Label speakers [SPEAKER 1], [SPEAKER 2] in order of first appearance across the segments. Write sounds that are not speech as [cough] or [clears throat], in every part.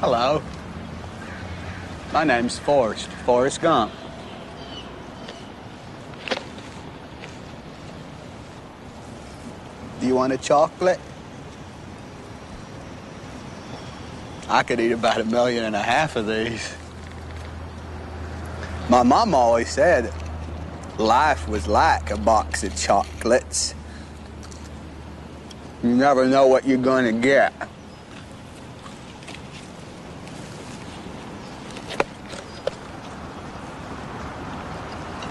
[SPEAKER 1] Hello. My name's Forrest, Forrest Gump. Do you want a chocolate? I could eat about a million and a half of these. My mom always said life was like a box of chocolates. You never know what you're gonna get.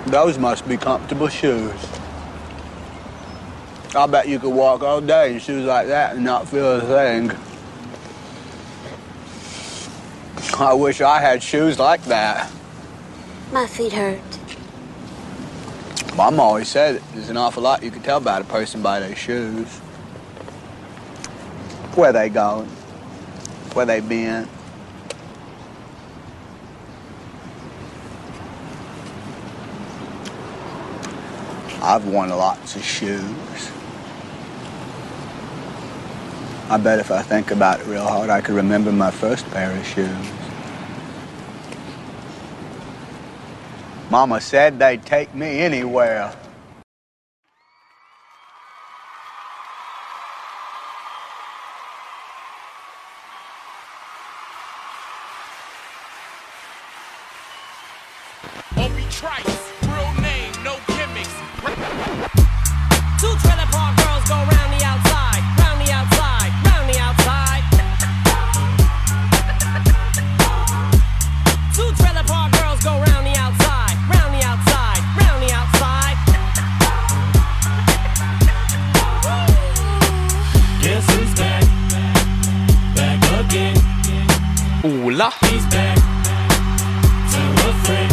[SPEAKER 1] Those must be comfortable shoes. I bet you could walk all day in shoes like that and not feel a thing. I wish I had shoes like that.
[SPEAKER 2] My feet hurt.
[SPEAKER 1] Mom always said there's an awful lot you can tell about a person by their shoes. Where they going, where they been. I've worn lots of shoes. I bet if I think about it real hard, I could remember my first pair of shoes. Mama said they'd take me anywhere.
[SPEAKER 3] Obi Trice, real name, no gimmicks.
[SPEAKER 4] Two trailer park girls go round the outside, round the outside, round the outside. Two trailer park girls go round the outside, round the outside, round the outside.
[SPEAKER 5] Guess who's back? Back again.
[SPEAKER 3] Ola,
[SPEAKER 5] He's back. Tell a friend.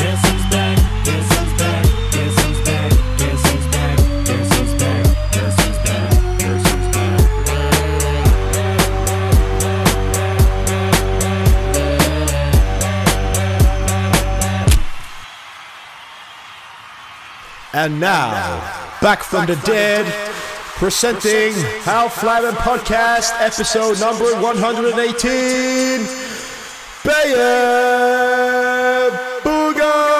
[SPEAKER 5] Guess who's back? Guess who's back? Guess who's back? Guess who's back? Guess who's back? Guess who's back? Guess who's back?
[SPEAKER 6] And now, back from the dead, presenting Hal Flyman Podcast, episode number 118, Bayer Booga!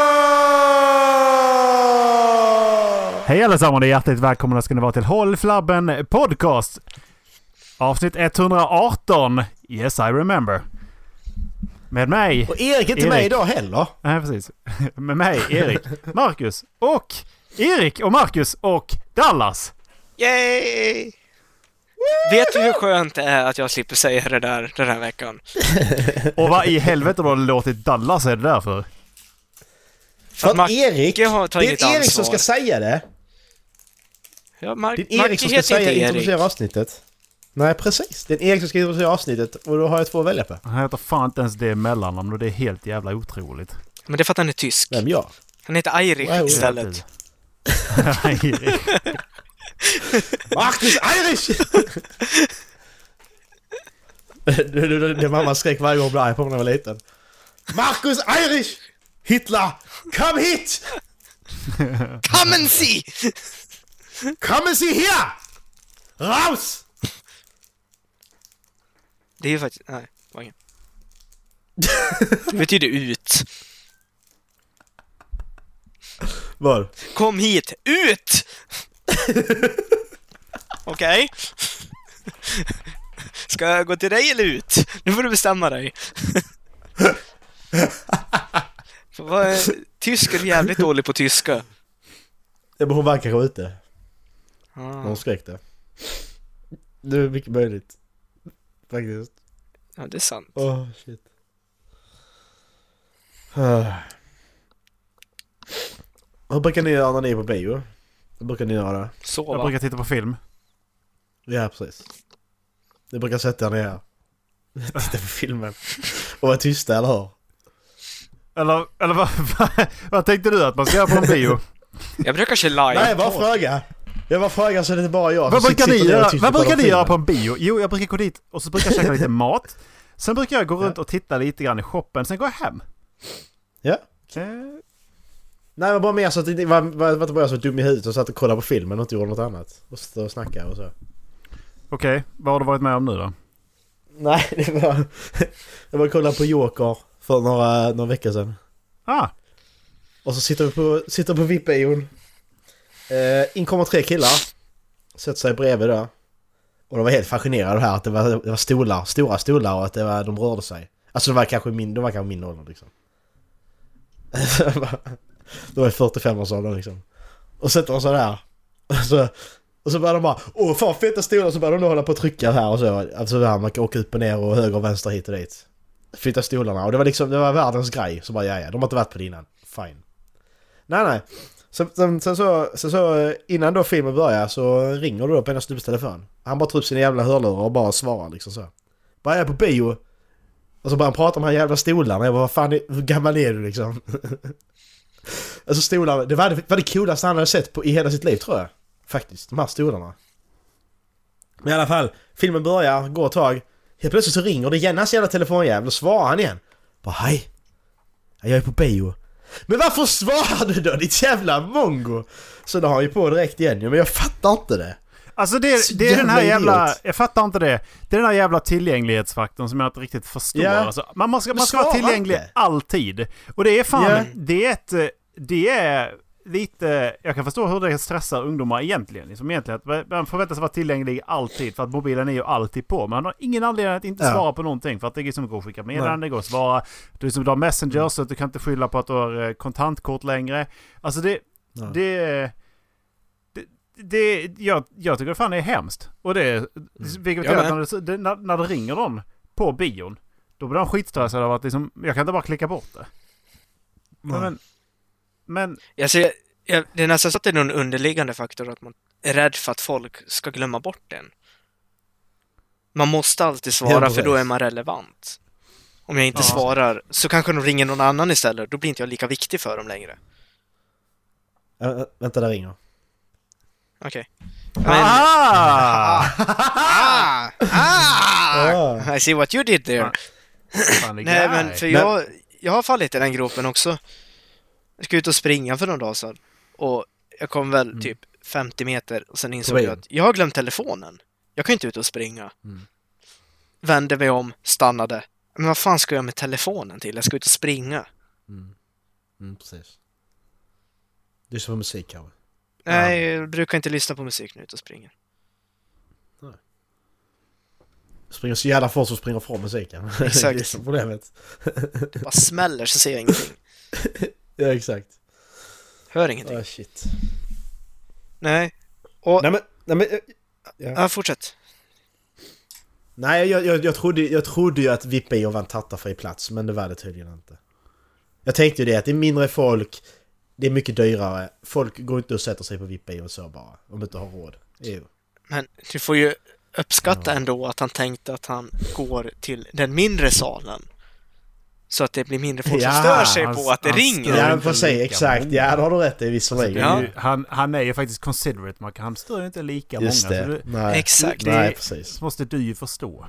[SPEAKER 7] Hej allesammans och hjärtligt välkomna ska ni vara till Håll Flabben Podcast. Avsnitt 118. Yes I remember. Med mig.
[SPEAKER 6] Och Erik är inte med
[SPEAKER 7] Erik.
[SPEAKER 6] idag heller.
[SPEAKER 7] Nej precis. [laughs] Med mig, Erik, Marcus och Erik och Marcus och Dallas.
[SPEAKER 8] Yay! Vet du hur skönt det är att jag slipper säga det där den här veckan?
[SPEAKER 7] Och vad i helvete då har du låtit Dallas är det där för?
[SPEAKER 6] För att
[SPEAKER 8] Marcus
[SPEAKER 6] Erik, det
[SPEAKER 8] har
[SPEAKER 6] är
[SPEAKER 8] tagit
[SPEAKER 6] Erik som
[SPEAKER 8] ansvar.
[SPEAKER 6] ska säga det.
[SPEAKER 8] Ja, Mark,
[SPEAKER 6] Det är Erik
[SPEAKER 8] Marcus
[SPEAKER 6] som ska
[SPEAKER 8] heter
[SPEAKER 6] säga
[SPEAKER 8] inte
[SPEAKER 6] introducera
[SPEAKER 8] Erik.
[SPEAKER 6] avsnittet. Nej, precis. Det är Erik som ska introducera avsnittet och då har jag två att välja på.
[SPEAKER 7] Han heter fan inte ens det mellannamn och det är helt jävla otroligt. [laughs]
[SPEAKER 8] Men det är för att han är tysk.
[SPEAKER 6] Vem jag?
[SPEAKER 8] Han heter Eirik
[SPEAKER 6] Wow.
[SPEAKER 8] istället.
[SPEAKER 7] Erik.
[SPEAKER 6] Marcus Irish! det, det, det mamma skrek varje gång jag på när jag var liten. Marcus Irish! Hitler! Come hit!
[SPEAKER 8] Come and see!
[SPEAKER 6] Come and see here! Raus!
[SPEAKER 8] Det är ju faktiskt... Nej,
[SPEAKER 6] [laughs]
[SPEAKER 8] det var ingen. Det betyder ut.
[SPEAKER 6] Vad?
[SPEAKER 8] Kom hit! Ut! Okej? Ska jag gå till dig eller ut? Nu får du bestämma dig. För vad är- Tysken är jävligt dålig på tyska.
[SPEAKER 6] Ja, men hon var kanske ute när
[SPEAKER 8] Ah,
[SPEAKER 6] hon skrek det. Det är mycket möjligt. Faktiskt.
[SPEAKER 8] ja, det är sant.
[SPEAKER 6] Åh, shit. Ah. Vad brukar ni göra när ni är på bio? Vad brukar ni göra?
[SPEAKER 7] Jag
[SPEAKER 8] Sova.
[SPEAKER 7] brukar titta på film.
[SPEAKER 6] Ja, precis. Ni brukar sätta er ner. [laughs] Titta på filmen. Och vara tysta, eller hur?
[SPEAKER 7] Eller, eller vad, [laughs] vad, vad tänkte du att man ska göra på en bio?
[SPEAKER 8] Jag brukar köra live.
[SPEAKER 6] Nej, bara fråga! Jag bara frågar så det inte bara är jag som
[SPEAKER 7] Vad brukar,
[SPEAKER 6] sitter
[SPEAKER 7] ni
[SPEAKER 6] ner och
[SPEAKER 7] göra,
[SPEAKER 6] tyst
[SPEAKER 7] vad
[SPEAKER 6] kollar
[SPEAKER 7] brukar ni
[SPEAKER 6] filmen.
[SPEAKER 7] göra på en bio? Jo, jag brukar gå dit och så brukar jag käka
[SPEAKER 6] [laughs]
[SPEAKER 7] lite mat. Sen brukar jag gå runt och titta lite grann i shoppen, sen går jag hem.
[SPEAKER 6] Ja.
[SPEAKER 7] Eh,
[SPEAKER 6] Nej, men bara mer så att det inte var, var, var inte bara jag som var dum i huvudet och satt och kollade på filmen och inte gjorde något annat. Och stå och snacka och så.
[SPEAKER 7] Okej, vad har du varit med om nu då?
[SPEAKER 6] Nej, det var... [laughs] Jag var kolla på Joker för några, några veckor sedan.
[SPEAKER 7] Ah,
[SPEAKER 6] Och så sitter vi på, sitter på VIP-ion. Eh, in kommer tre killar. Sätter sig bredvid där. Och de var helt fascinerade av det här att det var, det var stolar, stora stolar och att det var, de rörde sig. Alltså de var kanske min, de var kanske min ålder liksom. [laughs] de var i 45-årsåldern liksom. Och sätter de sig där. Och så, och så börjar de bara Åh fan feta stolar! Så börjar de då hålla på och trycka här och så. Alltså där, man kan åka upp och ner och höger och vänster hit och dit. Flytta stolarna och det var liksom, det var världens grej. Så bara ja ja, de har inte varit på det innan. Fine. Nej, nej. Sen, sen, sen, så, sen så eh, innan då filmen börjar så ringer du då på ena snubbes telefon. Han bara tar upp sina jävla hörlurar och bara svarar liksom så. Bara jag är på bio. Och så börjar han prata om de här jävla stolarna. Jag bara vad fan, är, hur gammal är du liksom? [laughs] alltså stolarna, det var, det var det coolaste han hade sett på, i hela sitt liv tror jag. Faktiskt, de här stolarna. Men i alla fall, filmen börjar, går ett tag. Helt plötsligt så ringer det Jennas jävla telefonjävel och svarar han igen. Bara hej. Jag är på bio. Men varför svarar du då ditt jävla mongo? Så då har han ju på direkt igen ja, men jag fattar inte det.
[SPEAKER 7] Alltså det är,
[SPEAKER 6] Så
[SPEAKER 7] det är den här
[SPEAKER 6] jävla
[SPEAKER 7] jävla...
[SPEAKER 6] idiot.
[SPEAKER 7] Jag fattar inte det. Det är den här jävla tillgänglighetsfaktorn som jag inte riktigt förstår.
[SPEAKER 6] Ja.
[SPEAKER 7] Alltså, man, man ska, man ska vara
[SPEAKER 6] svara
[SPEAKER 7] tillgänglig
[SPEAKER 6] inte.
[SPEAKER 7] alltid. Och det är fan...
[SPEAKER 6] Ja.
[SPEAKER 7] Det är ett... eh, Det är lite... Jag kan förstå hur det stressar ungdomar egentligen. Liksom egentligen att man förväntas vara tillgänglig alltid för att mobilen är ju alltid på. Man har ingen anledning att inte
[SPEAKER 6] Ja.
[SPEAKER 7] svara på någonting för att det liksom går att skicka meddelanden, det går att svara. Du, liksom, du har
[SPEAKER 6] Mm.
[SPEAKER 7] Messenger så att du kan inte skylla på att du har eh, kontantkort längre. Alltså det... Det det, jag, jag tycker det fan är hemskt. Och
[SPEAKER 6] Mm.
[SPEAKER 7] det, vilket
[SPEAKER 8] Jag
[SPEAKER 7] gör att
[SPEAKER 8] med.
[SPEAKER 7] när det, det, när, när det ringer någon på bion, då blir de skitstressade av att liksom, jag kan inte bara klicka bort det. Men, men,
[SPEAKER 8] Alltså, jag, jag, det är nästan så att det är någon underliggande faktor att man är rädd för att folk ska glömma bort den. Man måste alltid
[SPEAKER 6] Ja,
[SPEAKER 8] svara
[SPEAKER 6] precis.
[SPEAKER 8] för då är man relevant. Om jag inte
[SPEAKER 7] Ja.
[SPEAKER 8] svarar så kanske de ringer någon annan istället. Då blir inte jag lika viktig för dem längre.
[SPEAKER 6] Äh, äh, vänta, där ringer.
[SPEAKER 8] Okej. Men
[SPEAKER 7] [laughs] ah!
[SPEAKER 6] Ah.
[SPEAKER 8] I see what you did there.
[SPEAKER 7] Ja. Fan, det är
[SPEAKER 8] Nej,
[SPEAKER 7] grej.
[SPEAKER 8] men för jag, jag har fallit i den gropen också. Jag skulle ut och springa för några dagar sedan och jag kom väl typ 50 meter och sen insåg jag
[SPEAKER 6] vägen?
[SPEAKER 8] att jag har glömt telefonen. Jag kan ju inte ut och springa. Vände mig om, stannade. Men vad fan ska jag med telefonen till? Jag ska ut och springa.
[SPEAKER 6] Mm, precis. Du som på musik kanske?
[SPEAKER 8] Nej, jag brukar inte lyssna på musik när jag är ute och springer.
[SPEAKER 6] Springer så jävla fort så springer från [laughs] musiken.
[SPEAKER 8] Exakt.
[SPEAKER 6] det är så problemet.
[SPEAKER 8] Det bara smäller så ser jag ingenting.
[SPEAKER 6] Ja, exakt.
[SPEAKER 8] Hör ingenting.
[SPEAKER 6] [laughs] Ah, shit.
[SPEAKER 8] Nej. Och...
[SPEAKER 6] Nej, men... Nej, men eh,
[SPEAKER 8] Ja, fortsätt.
[SPEAKER 6] nej jag, jag, jag, trodde, jag trodde ju att VIP-bio var en tattarfri plats, men det var det tydligen inte. Jag tänkte ju det, att det är mindre folk, det är mycket dyrare. Folk går inte och sätter sig på VIP-bio så bara, om de inte har råd. Jo.
[SPEAKER 8] Men du får ju uppskatta ändå att han tänkte att han går till den mindre salen. Så att det blir mindre folk som
[SPEAKER 6] Ja,
[SPEAKER 8] stör sig
[SPEAKER 7] han-
[SPEAKER 8] på att det
[SPEAKER 7] han
[SPEAKER 8] ringer.
[SPEAKER 7] stör.
[SPEAKER 6] Ja,
[SPEAKER 7] inte
[SPEAKER 6] men för sig,
[SPEAKER 7] lika
[SPEAKER 6] exakt.
[SPEAKER 7] många.
[SPEAKER 6] Ja, det har du rätt i
[SPEAKER 7] Det
[SPEAKER 6] visserligen.
[SPEAKER 7] är
[SPEAKER 8] Ja.
[SPEAKER 7] ju, han, han är ju faktiskt considerate, man kan, han stör ju inte lika
[SPEAKER 6] Just
[SPEAKER 7] många. så
[SPEAKER 6] det.
[SPEAKER 7] du-
[SPEAKER 6] Nej.
[SPEAKER 8] Exakt. Mm.
[SPEAKER 7] Det-
[SPEAKER 6] Nej, precis.
[SPEAKER 7] Så måste du ju förstå.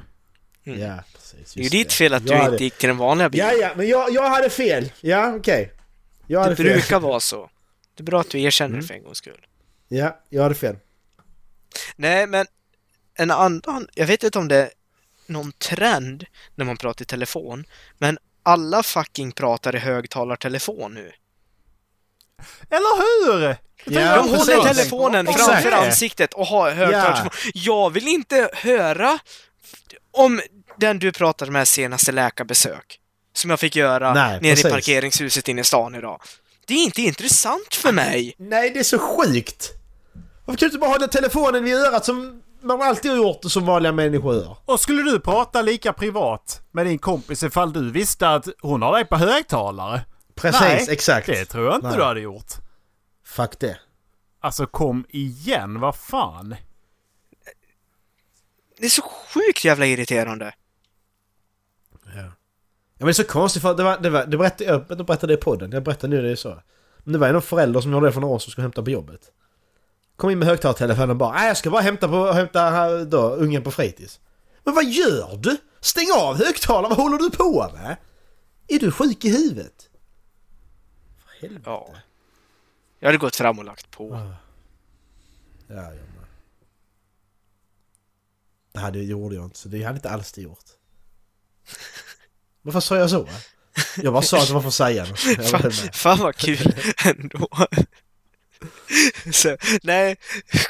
[SPEAKER 6] Ja, precis.
[SPEAKER 8] det är ju
[SPEAKER 6] just
[SPEAKER 8] ditt fel att du
[SPEAKER 6] Jag hade-
[SPEAKER 8] inte gick till den vanliga bilen.
[SPEAKER 6] Ja, ja, men jag, jag hade fel. Ja, okej. Jag hade
[SPEAKER 8] det
[SPEAKER 6] fel.
[SPEAKER 8] brukar vara så. Det är bra att du erkänner det för en gångs skull.
[SPEAKER 6] Ja, jag hade fel.
[SPEAKER 8] Nej, men en annan, jag vet inte om det är någon trend när man pratar i telefon, men alla fucking pratar i högtalartelefon nu.
[SPEAKER 7] Eller hur?
[SPEAKER 6] Ja,
[SPEAKER 8] De håller
[SPEAKER 6] precis.
[SPEAKER 8] telefonen
[SPEAKER 7] Exakt.
[SPEAKER 8] framför ansiktet och har högtalartelefon. Jag vill inte höra om den du pratade med senaste läkarbesök. Som jag fick göra
[SPEAKER 6] Nej,
[SPEAKER 8] nere
[SPEAKER 6] precis.
[SPEAKER 8] i parkeringshuset inne i stan idag. Det är inte intressant för mig!
[SPEAKER 6] Nej, det är så sjukt! Varför kan du inte bara hålla telefonen vid örat som man alltid har gjort och som vanliga människor gör?
[SPEAKER 7] Och skulle du prata lika privat med din kompis ifall du visste att hon har dig på högtalare?
[SPEAKER 6] Precis, exakt.
[SPEAKER 7] det tror jag inte
[SPEAKER 6] Nej.
[SPEAKER 7] du hade gjort.
[SPEAKER 6] Fuck det.
[SPEAKER 7] Alltså kom igen, vad fan. [laughs]
[SPEAKER 8] Det är så sjukt jävla irriterande.
[SPEAKER 6] Ja, men det är så konstigt för att det var, det var, det berättade, jag jag berättade det i podden, jag berättar nu det är så. Men det var ju någon förälder som gjorde det för några år som skulle hämta på jobbet. Kom in med högtalartelefonen och bara Nej, jag ska bara hämta, på, hämta här då, ungen på fritids. Men vad gör du? Stäng av högtalaren, vad håller du på med? Är du sjuk i huvudet? För helvete.
[SPEAKER 8] Ja. Jag hade gått fram och lagt på.
[SPEAKER 6] Ja, jag med. Det här det gjorde jag inte, så det hade jag inte alls det gjort. Varför sa jag så? Jag bara sa att det var för att säga något. Jag var
[SPEAKER 8] Fan,
[SPEAKER 6] helt med.
[SPEAKER 8] fan vad kul [laughs] ändå. Så, nej,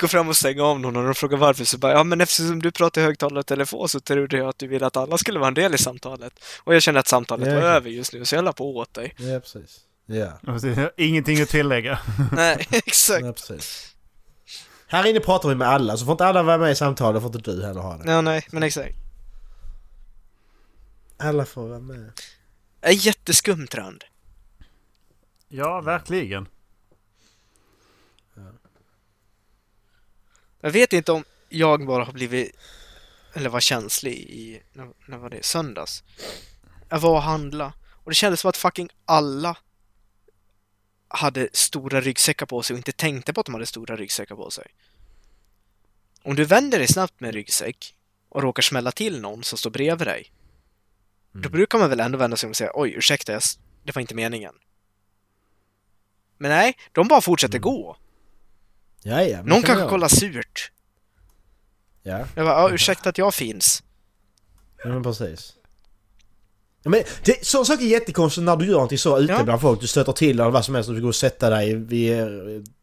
[SPEAKER 8] gå fram och stäng av någon och de frågar varför så bara ja men eftersom du pratar i högtalare och telefon så trodde jag att du ville att alla skulle vara en del i samtalet. Och jag kände att samtalet
[SPEAKER 6] Ja,
[SPEAKER 8] var
[SPEAKER 6] okej.
[SPEAKER 8] över just nu så jag la på åt dig.
[SPEAKER 6] Ja, precis. Ja,
[SPEAKER 7] Ingenting att tillägga.
[SPEAKER 8] nej, [laughs] exakt.
[SPEAKER 6] ja, precis. Här inne pratar vi med alla, så får inte alla vara med i samtalet får inte du heller ha det.
[SPEAKER 8] Ja, nej, men exakt.
[SPEAKER 6] Alla får vara med.
[SPEAKER 8] En jätteskum trend.
[SPEAKER 7] Ja, verkligen.
[SPEAKER 8] Jag vet inte om jag bara har blivit, eller var känslig i, när, när var det, söndags. Jag var och handla och det kändes som att fucking alla hade stora ryggsäckar på sig och inte tänkte på att de hade stora ryggsäckar på sig. Om du vänder dig snabbt med en ryggsäck och råkar smälla till någon som står bredvid dig,
[SPEAKER 6] Mm.
[SPEAKER 8] då brukar man väl ändå vända sig om och säga oj, ursäkta, jag, s- det var inte meningen. Men nej, de bara fortsätter gå.
[SPEAKER 6] Ja, ja. Mm. men
[SPEAKER 8] Någon
[SPEAKER 6] det
[SPEAKER 8] kanske
[SPEAKER 6] vi
[SPEAKER 8] kollar surt.
[SPEAKER 6] göra. Ja,
[SPEAKER 8] Jag bara, ja, ursäkta att jag finns.
[SPEAKER 6] ja men precis. Ja, men det, sådana saker är jättekonstigt när du gör någonting så ute
[SPEAKER 8] Ja.
[SPEAKER 6] bland folk. Du stöter till eller vad som helst och du går och sätter dig vid eh,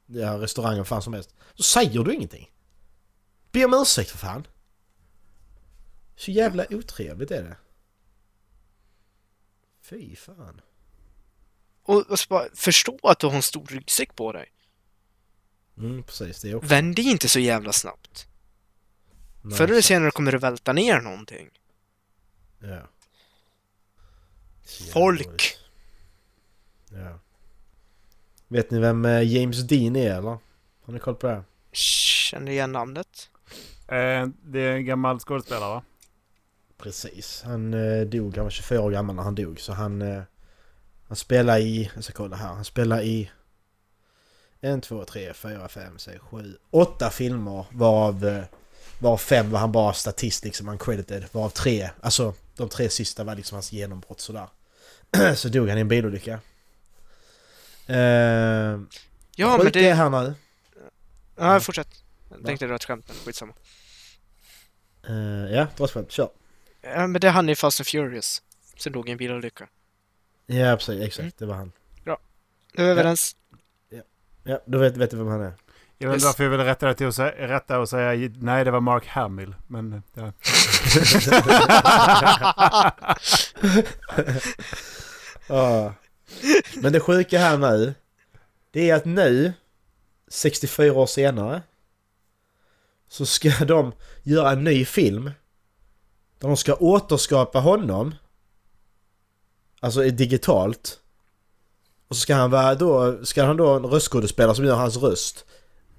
[SPEAKER 6] ja, restaurangen vad fan som helst. Så säger du ingenting. Be om ursäkt för fan. Så jävla otrevligt är det. Fy fan.
[SPEAKER 8] Och, och så bara, förstå att du har en stor ryggsäck på dig.
[SPEAKER 6] Mm, precis, det är också...
[SPEAKER 8] Vänd dig inte så jävla snabbt.
[SPEAKER 6] Nej,
[SPEAKER 8] Förr eller senare kommer du välta ner någonting.
[SPEAKER 6] Ja. Så jävla
[SPEAKER 8] Folk!
[SPEAKER 6] dåligt. Ja. Vet ni vem eh, James Dean är eller? Har ni koll på det?
[SPEAKER 8] Känner igen namnet?
[SPEAKER 7] Eh, det är en gammal skådespelare va?
[SPEAKER 6] Precis. Han eh, dog, han var 24 år gammal när han dog. Så han... Eh, han spelar i... Jag ska kolla här. Han spelar i... en, två, tre, fyra, fem, sex, sju, åtta filmer varav... Eh, varav fem var han bara statist liksom, uncredited. Varav tre, alltså de tre sista var liksom hans genombrott sådär. [clears throat] så dog han i en bilolycka. Eh,
[SPEAKER 8] Ja, men
[SPEAKER 6] Sjukt det är
[SPEAKER 8] det...
[SPEAKER 6] här Mm. nu.
[SPEAKER 8] Ja, fortsätt. Jag tänkte dra ett skämt, men skitsamma.
[SPEAKER 6] Eh, ja, dra ett skämt. Kör.
[SPEAKER 8] Ja, men det är han i Fast and Furious. Som dog i en bilolycka.
[SPEAKER 6] Ja, precis. Exakt.
[SPEAKER 8] Mm.
[SPEAKER 6] Det var han.
[SPEAKER 8] Nu är vi överens.
[SPEAKER 6] Ja, då vet, vet du vem han är.
[SPEAKER 7] Jag vet inte
[SPEAKER 8] Yes.
[SPEAKER 7] varför jag ville rätta, det till och säga, rätta och säga nej det var Mark Hamill. Men ja.
[SPEAKER 6] Ja. Men det sjuka här nu, det är att nu, 64 år senare, så ska [laughs] de göra en ny film. Där de ska återskapa honom. Alltså i- digitalt. Och så ska han vara då, ska han då ha en röstskådespelare som gör hans röst.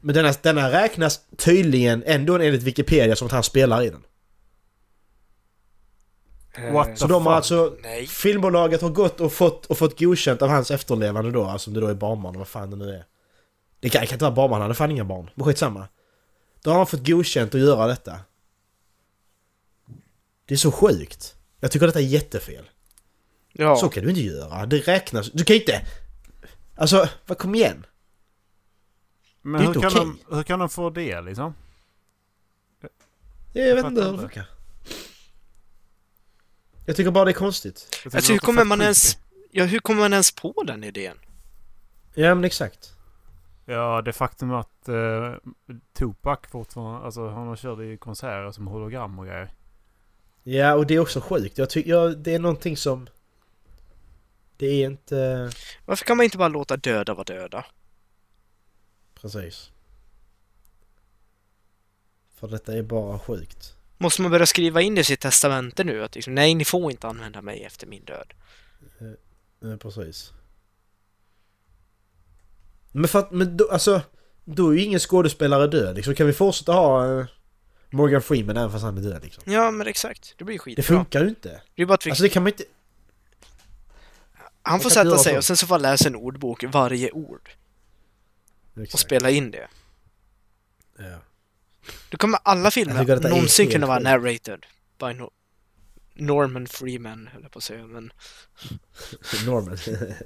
[SPEAKER 6] Men denna, denna räknas tydligen ändå enligt Wikipedia som att han spelar i den.
[SPEAKER 7] What the
[SPEAKER 6] Så de har alltså,
[SPEAKER 8] Nej.
[SPEAKER 6] filmbolaget har gått och fått, och fått godkänt av hans efterlevande då, alltså om det då är barnbarn eller vad fan det nu är. Det kan, det kan inte vara barnbarn, han hade fan inga barn. Men skitsamma. Då har han fått godkänt att göra detta. Det är så sjukt. Jag tycker detta är jättefel. Så
[SPEAKER 8] Ja.
[SPEAKER 6] kan du inte göra, det räknas. Du kan ju inte... Alltså, vad kom igen.
[SPEAKER 7] Men
[SPEAKER 6] Det är
[SPEAKER 7] hur,
[SPEAKER 6] inte
[SPEAKER 7] kan de, hur kan de få det liksom?
[SPEAKER 6] Jag, jag vet
[SPEAKER 7] fattar
[SPEAKER 6] inte hur det
[SPEAKER 7] inte.
[SPEAKER 6] funkar. Jag tycker bara det är konstigt.
[SPEAKER 8] Alltså, hur
[SPEAKER 7] låter
[SPEAKER 8] kommer
[SPEAKER 7] fett
[SPEAKER 8] man
[SPEAKER 7] creepy.
[SPEAKER 8] ens... Ja, hur kommer man ens på den idén?
[SPEAKER 6] Ja men exakt.
[SPEAKER 7] Ja, det faktum att eh, Tupac fortfarande, alltså han körde ju konserter som hologram och grejer.
[SPEAKER 6] Ja, och det är också sjukt. Jag tycker, jag, det är någonting som... Det är inte...
[SPEAKER 8] Varför kan man inte bara låta döda vara döda?
[SPEAKER 6] Precis. För detta är bara sjukt.
[SPEAKER 8] Måste man börja skriva in i sitt testamente nu att liksom, nej, ni får inte använda mig efter min död?
[SPEAKER 6] Ja, precis. Men för att, men då, alltså... Då är ju ingen skådespelare död liksom. Kan vi fortsätta ha eh, Morgan Freeman även fast han är död liksom?
[SPEAKER 8] Ja, men exakt. Det blir
[SPEAKER 6] Det
[SPEAKER 8] skitbra.
[SPEAKER 6] funkar ju inte.
[SPEAKER 8] Det är bara att vi...
[SPEAKER 6] Alltså det kan man inte...
[SPEAKER 8] han får
[SPEAKER 6] jag kan inte
[SPEAKER 8] sätta
[SPEAKER 6] göra
[SPEAKER 8] sig
[SPEAKER 6] så.
[SPEAKER 8] och sen så får han läsa en ordbok varje ord och
[SPEAKER 6] Exakt.
[SPEAKER 8] spela in det.
[SPEAKER 6] Ja.
[SPEAKER 8] Då kommer alla
[SPEAKER 6] Jag tycker detta
[SPEAKER 8] filmer
[SPEAKER 6] är
[SPEAKER 8] någonsin
[SPEAKER 6] helt
[SPEAKER 8] kunna vara
[SPEAKER 6] sjukt.
[SPEAKER 8] narrated by no Norman Freeman, höll jag på att säga, men... [laughs]
[SPEAKER 6] Norman. [laughs]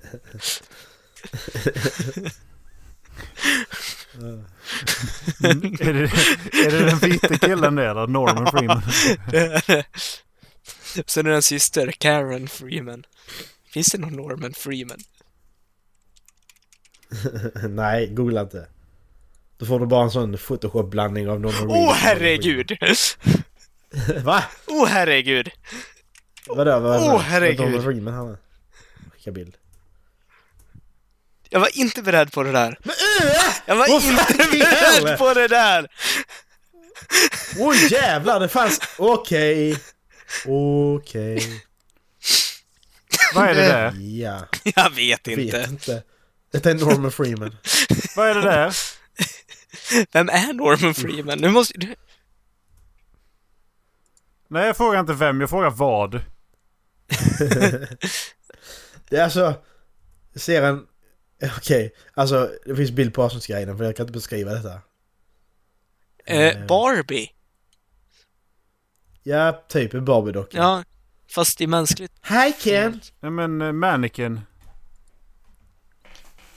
[SPEAKER 7] Mm. är, det, är det den vita killen det eller? Norman Freeman?
[SPEAKER 8] Sen är det en syster, Karen Freeman. Finns det någon Norman Freeman?
[SPEAKER 6] Nej, googla inte. Då får du bara en sån photoshop-blandning av någon
[SPEAKER 8] Åh oh, herregud!
[SPEAKER 6] Va?
[SPEAKER 8] Åh oh, herregud!
[SPEAKER 6] Vadå? Vad-
[SPEAKER 8] Åh,
[SPEAKER 6] vad-
[SPEAKER 8] herregud.
[SPEAKER 6] vad Donald Freeman han är? Skicka bild.
[SPEAKER 8] Jag var inte beredd på det där.
[SPEAKER 6] äh!
[SPEAKER 8] Jag var
[SPEAKER 6] Vad
[SPEAKER 8] inte
[SPEAKER 6] fan i helvete?
[SPEAKER 8] beredd på det där!
[SPEAKER 6] Åh oh, jävlar, det fanns... Okej. Okej.
[SPEAKER 7] Vad är det där?
[SPEAKER 6] Ja.
[SPEAKER 8] Jag vet
[SPEAKER 6] Vet
[SPEAKER 8] inte.
[SPEAKER 6] inte. Det är Norman Freeman.
[SPEAKER 7] Vad är det där?
[SPEAKER 8] Vem är Norman Freeman? Nu måste du...
[SPEAKER 7] Nej, jag frågar inte vem. Jag frågar vad.
[SPEAKER 6] Det är alltså... Jag ser en... Okej, alltså det finns bild på avsnittsguiden för jag kan inte beskriva detta.
[SPEAKER 8] Eh, Barbie?
[SPEAKER 6] Ja, typ en Barbie-docka.
[SPEAKER 8] Ja, fast i mänskligt.
[SPEAKER 6] Hi Ken!
[SPEAKER 7] Nej men eh, mannequin.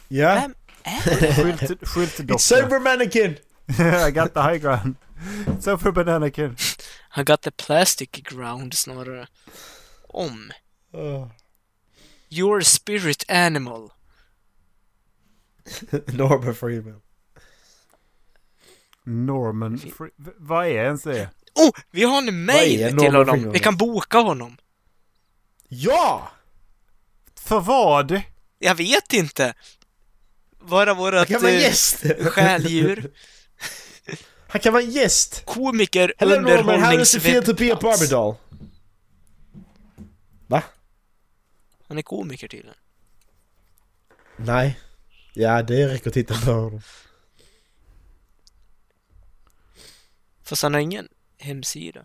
[SPEAKER 6] Ja.
[SPEAKER 8] Vem
[SPEAKER 6] [laughs]
[SPEAKER 8] är det?
[SPEAKER 7] Skylt- Skyltdocka. [laughs]
[SPEAKER 6] mannequin!
[SPEAKER 7] I got the high ground. So for banana kid.
[SPEAKER 8] I got the plastic ground snarare. Om. Your spirit animal.
[SPEAKER 6] Norman Freeman.
[SPEAKER 7] Norman. Fre- v- vad är ens det?
[SPEAKER 8] Oh, vi har en
[SPEAKER 6] Vad är
[SPEAKER 8] mail
[SPEAKER 6] Norman
[SPEAKER 8] till honom.
[SPEAKER 6] Freeman?
[SPEAKER 8] Vi kan boka honom.
[SPEAKER 6] Ja!
[SPEAKER 7] För vad?
[SPEAKER 8] Jag vet inte. Vara vårat
[SPEAKER 6] Han kan vara
[SPEAKER 8] eh, [laughs]
[SPEAKER 6] gäst!
[SPEAKER 8] skäldjur.
[SPEAKER 6] Han kan vara gäst!
[SPEAKER 8] Komiker,
[SPEAKER 6] [laughs] Hello Norman, how does it feel to be a
[SPEAKER 8] underhållningsvetenskap.
[SPEAKER 6] Barbie doll? Va?
[SPEAKER 8] Han är komiker tydligen.
[SPEAKER 6] Nej. Ja, det räcker att titta på honom.
[SPEAKER 8] Fast han har ingen hemsida.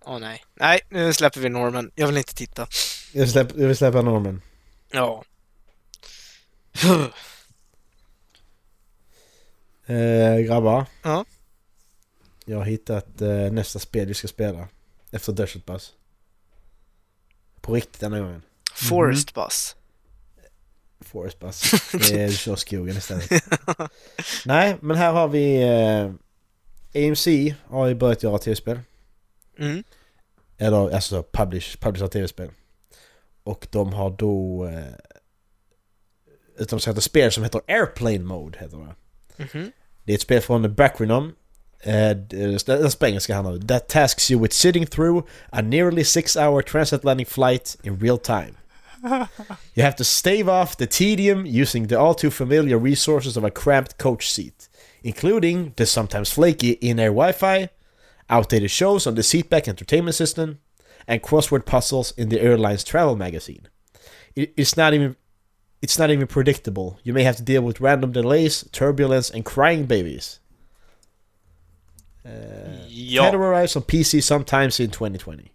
[SPEAKER 8] Åh nej. Nej, nu släpper vi Norman. Jag vill inte titta.
[SPEAKER 6] Jag, släpp, jag vill släppa Norman.
[SPEAKER 8] Ja.
[SPEAKER 6] Eh, grabbar.
[SPEAKER 8] Ja.
[SPEAKER 6] Jag har hittat eh, nästa spel vi ska spela. Efter Desert Bus. På riktigt denna gången.
[SPEAKER 7] Mhm.
[SPEAKER 8] Forest Bus.
[SPEAKER 6] Forest Bus. Det är, du kör skogen istället. Nej, men här har vi... Eh, AMC har ju börjat göra tv-spel.
[SPEAKER 8] Mm.
[SPEAKER 6] Eller alltså publish, publisher tv-spel. Och de har då... Eh, utan att säga ett spel som heter Airplane Mode heter det.
[SPEAKER 8] Mhm.
[SPEAKER 6] Det är ett spel från Backrenom. Eh, det- Den spanska handlar om. That tasks you with sitting through a nearly six hour transatlantic flight in real time. You have to stave off the tedium using the all too familiar resources of a cramped coach seat, including the sometimes flaky in-air Wi-Fi, outdated shows on the seatback entertainment system, and crossword puzzles in the airline's travel magazine. It, it's not even it's not even predictable. You may have to deal with random delays, turbulence, and crying babies.
[SPEAKER 8] Ja.
[SPEAKER 6] Tether arrives on PC sometimes in 2020.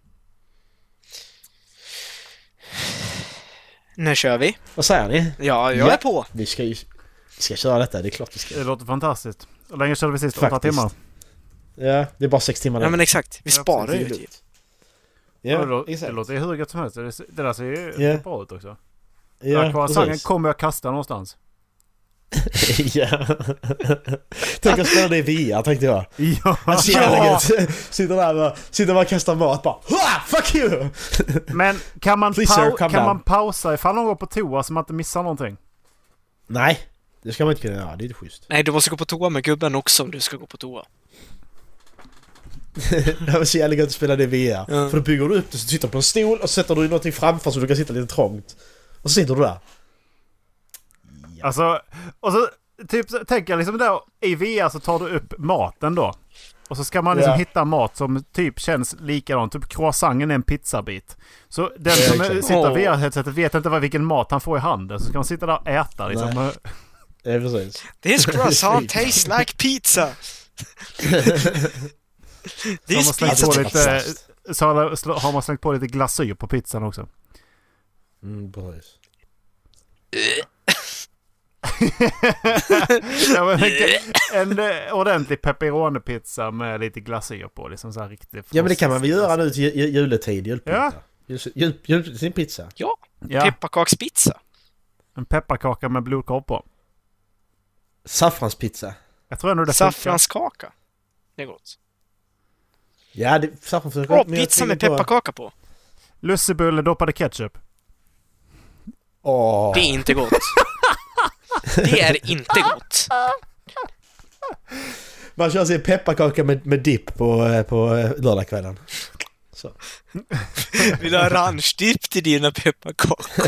[SPEAKER 8] Nu kör vi.
[SPEAKER 6] Vad säger ni?
[SPEAKER 8] Ja, jag
[SPEAKER 6] Ja.
[SPEAKER 8] är på.
[SPEAKER 6] Vi ska ju vi ska köra detta, det är klart vi ska.
[SPEAKER 7] Det låter fantastiskt. Hur länge körde vi sist? Åtta
[SPEAKER 6] Faktiskt.
[SPEAKER 7] timmar?
[SPEAKER 6] Ja, det är bara sex timmar
[SPEAKER 8] Ja
[SPEAKER 6] där.
[SPEAKER 8] men exakt. Vi
[SPEAKER 7] Ja,
[SPEAKER 8] sparar
[SPEAKER 7] precis.
[SPEAKER 8] ju tid.
[SPEAKER 7] det,
[SPEAKER 6] Ja,
[SPEAKER 7] låter, det
[SPEAKER 6] exakt.
[SPEAKER 7] låter ju hur gött som helst. Det, det där ser ju
[SPEAKER 6] Ja.
[SPEAKER 7] bra ut också. Den här
[SPEAKER 6] Ja,
[SPEAKER 7] croissanten
[SPEAKER 6] precis.
[SPEAKER 7] kommer jag kasta någonstans.
[SPEAKER 6] [laughs] ja. Tänk att spela det i VR, tänkte jag.
[SPEAKER 7] Ja!
[SPEAKER 6] Alltså jävla gött. [laughs] Sitter där bara, sitter bara och kastar mat bara "Ha, Fuck you!
[SPEAKER 7] Men kan man,
[SPEAKER 6] Please,
[SPEAKER 7] pau-
[SPEAKER 6] sir,
[SPEAKER 7] kan
[SPEAKER 6] calm down.
[SPEAKER 7] man pausa ifall någon går på toa så man inte missar någonting?
[SPEAKER 6] Nej, det ska man inte kunna göra. Det är inte schysst.
[SPEAKER 8] Nej, du måste gå på toa med gubben också om du ska gå på toa.
[SPEAKER 6] [laughs] Det var så jävla gött att spela det i VR.
[SPEAKER 8] Ja.
[SPEAKER 6] För då bygger du upp det, så sitter du på en stol och sätter du någonting framför så du kan sitta lite trångt. Och så sitter du där.
[SPEAKER 7] Alltså, och så typ så tänker jag liksom där i VR så tar du upp maten då. Och så ska man liksom
[SPEAKER 6] Ja.
[SPEAKER 7] hitta mat som typ känns likadan. Typ croissanten är en pizzabit. Så den
[SPEAKER 6] Ja,
[SPEAKER 7] som
[SPEAKER 6] exakt.
[SPEAKER 7] sitter
[SPEAKER 8] Åh.
[SPEAKER 7] vid VR-headsetet vet inte vad, vilken mat han får i handen. Så ska man sitta där och äta liksom.
[SPEAKER 6] Ja, precis.
[SPEAKER 7] [laughs]
[SPEAKER 8] This croissant tastes like [laughs] pizza!
[SPEAKER 7] Så har
[SPEAKER 8] This
[SPEAKER 7] man
[SPEAKER 8] pizza
[SPEAKER 7] slängt på
[SPEAKER 6] pizza-
[SPEAKER 7] lite, Eh, så har sl- har man slängt på lite glasyr på pizzan också.
[SPEAKER 6] Mm, precis.
[SPEAKER 7] Ja, men [laughs] en, en eh, ordentlig pepperoni-pizza med lite glasyr på. Liksom så här riktigt
[SPEAKER 6] Ja men det kan man väl göra nu till ju- ju- juletid,
[SPEAKER 7] Ja.
[SPEAKER 6] julpizza. Jul- jul- jul- sin pizza.
[SPEAKER 8] Ja,
[SPEAKER 7] Ja,
[SPEAKER 8] pepparkakspizza.
[SPEAKER 7] en pepparkaka med blodkorv på.
[SPEAKER 6] Saffranspizza.
[SPEAKER 7] Jag tror ändå det funkar.
[SPEAKER 8] Saffranskaka. Det är gott.
[SPEAKER 6] Ja, det, saffransgurka...
[SPEAKER 8] Bra
[SPEAKER 6] men jag
[SPEAKER 8] pizza med
[SPEAKER 6] tänker på-
[SPEAKER 8] pepparkaka på!
[SPEAKER 7] Lussebulle doppade ketchup.
[SPEAKER 6] Åh.
[SPEAKER 8] Det är inte gott.
[SPEAKER 7] [laughs]
[SPEAKER 8] Det är inte gott.
[SPEAKER 6] Man kör sin pepparkaka med, med dipp på, eh, på eh, lördagskvällen.
[SPEAKER 8] Vill du ha ranchdipp till
[SPEAKER 6] [laughs]
[SPEAKER 8] dina pepparkakor?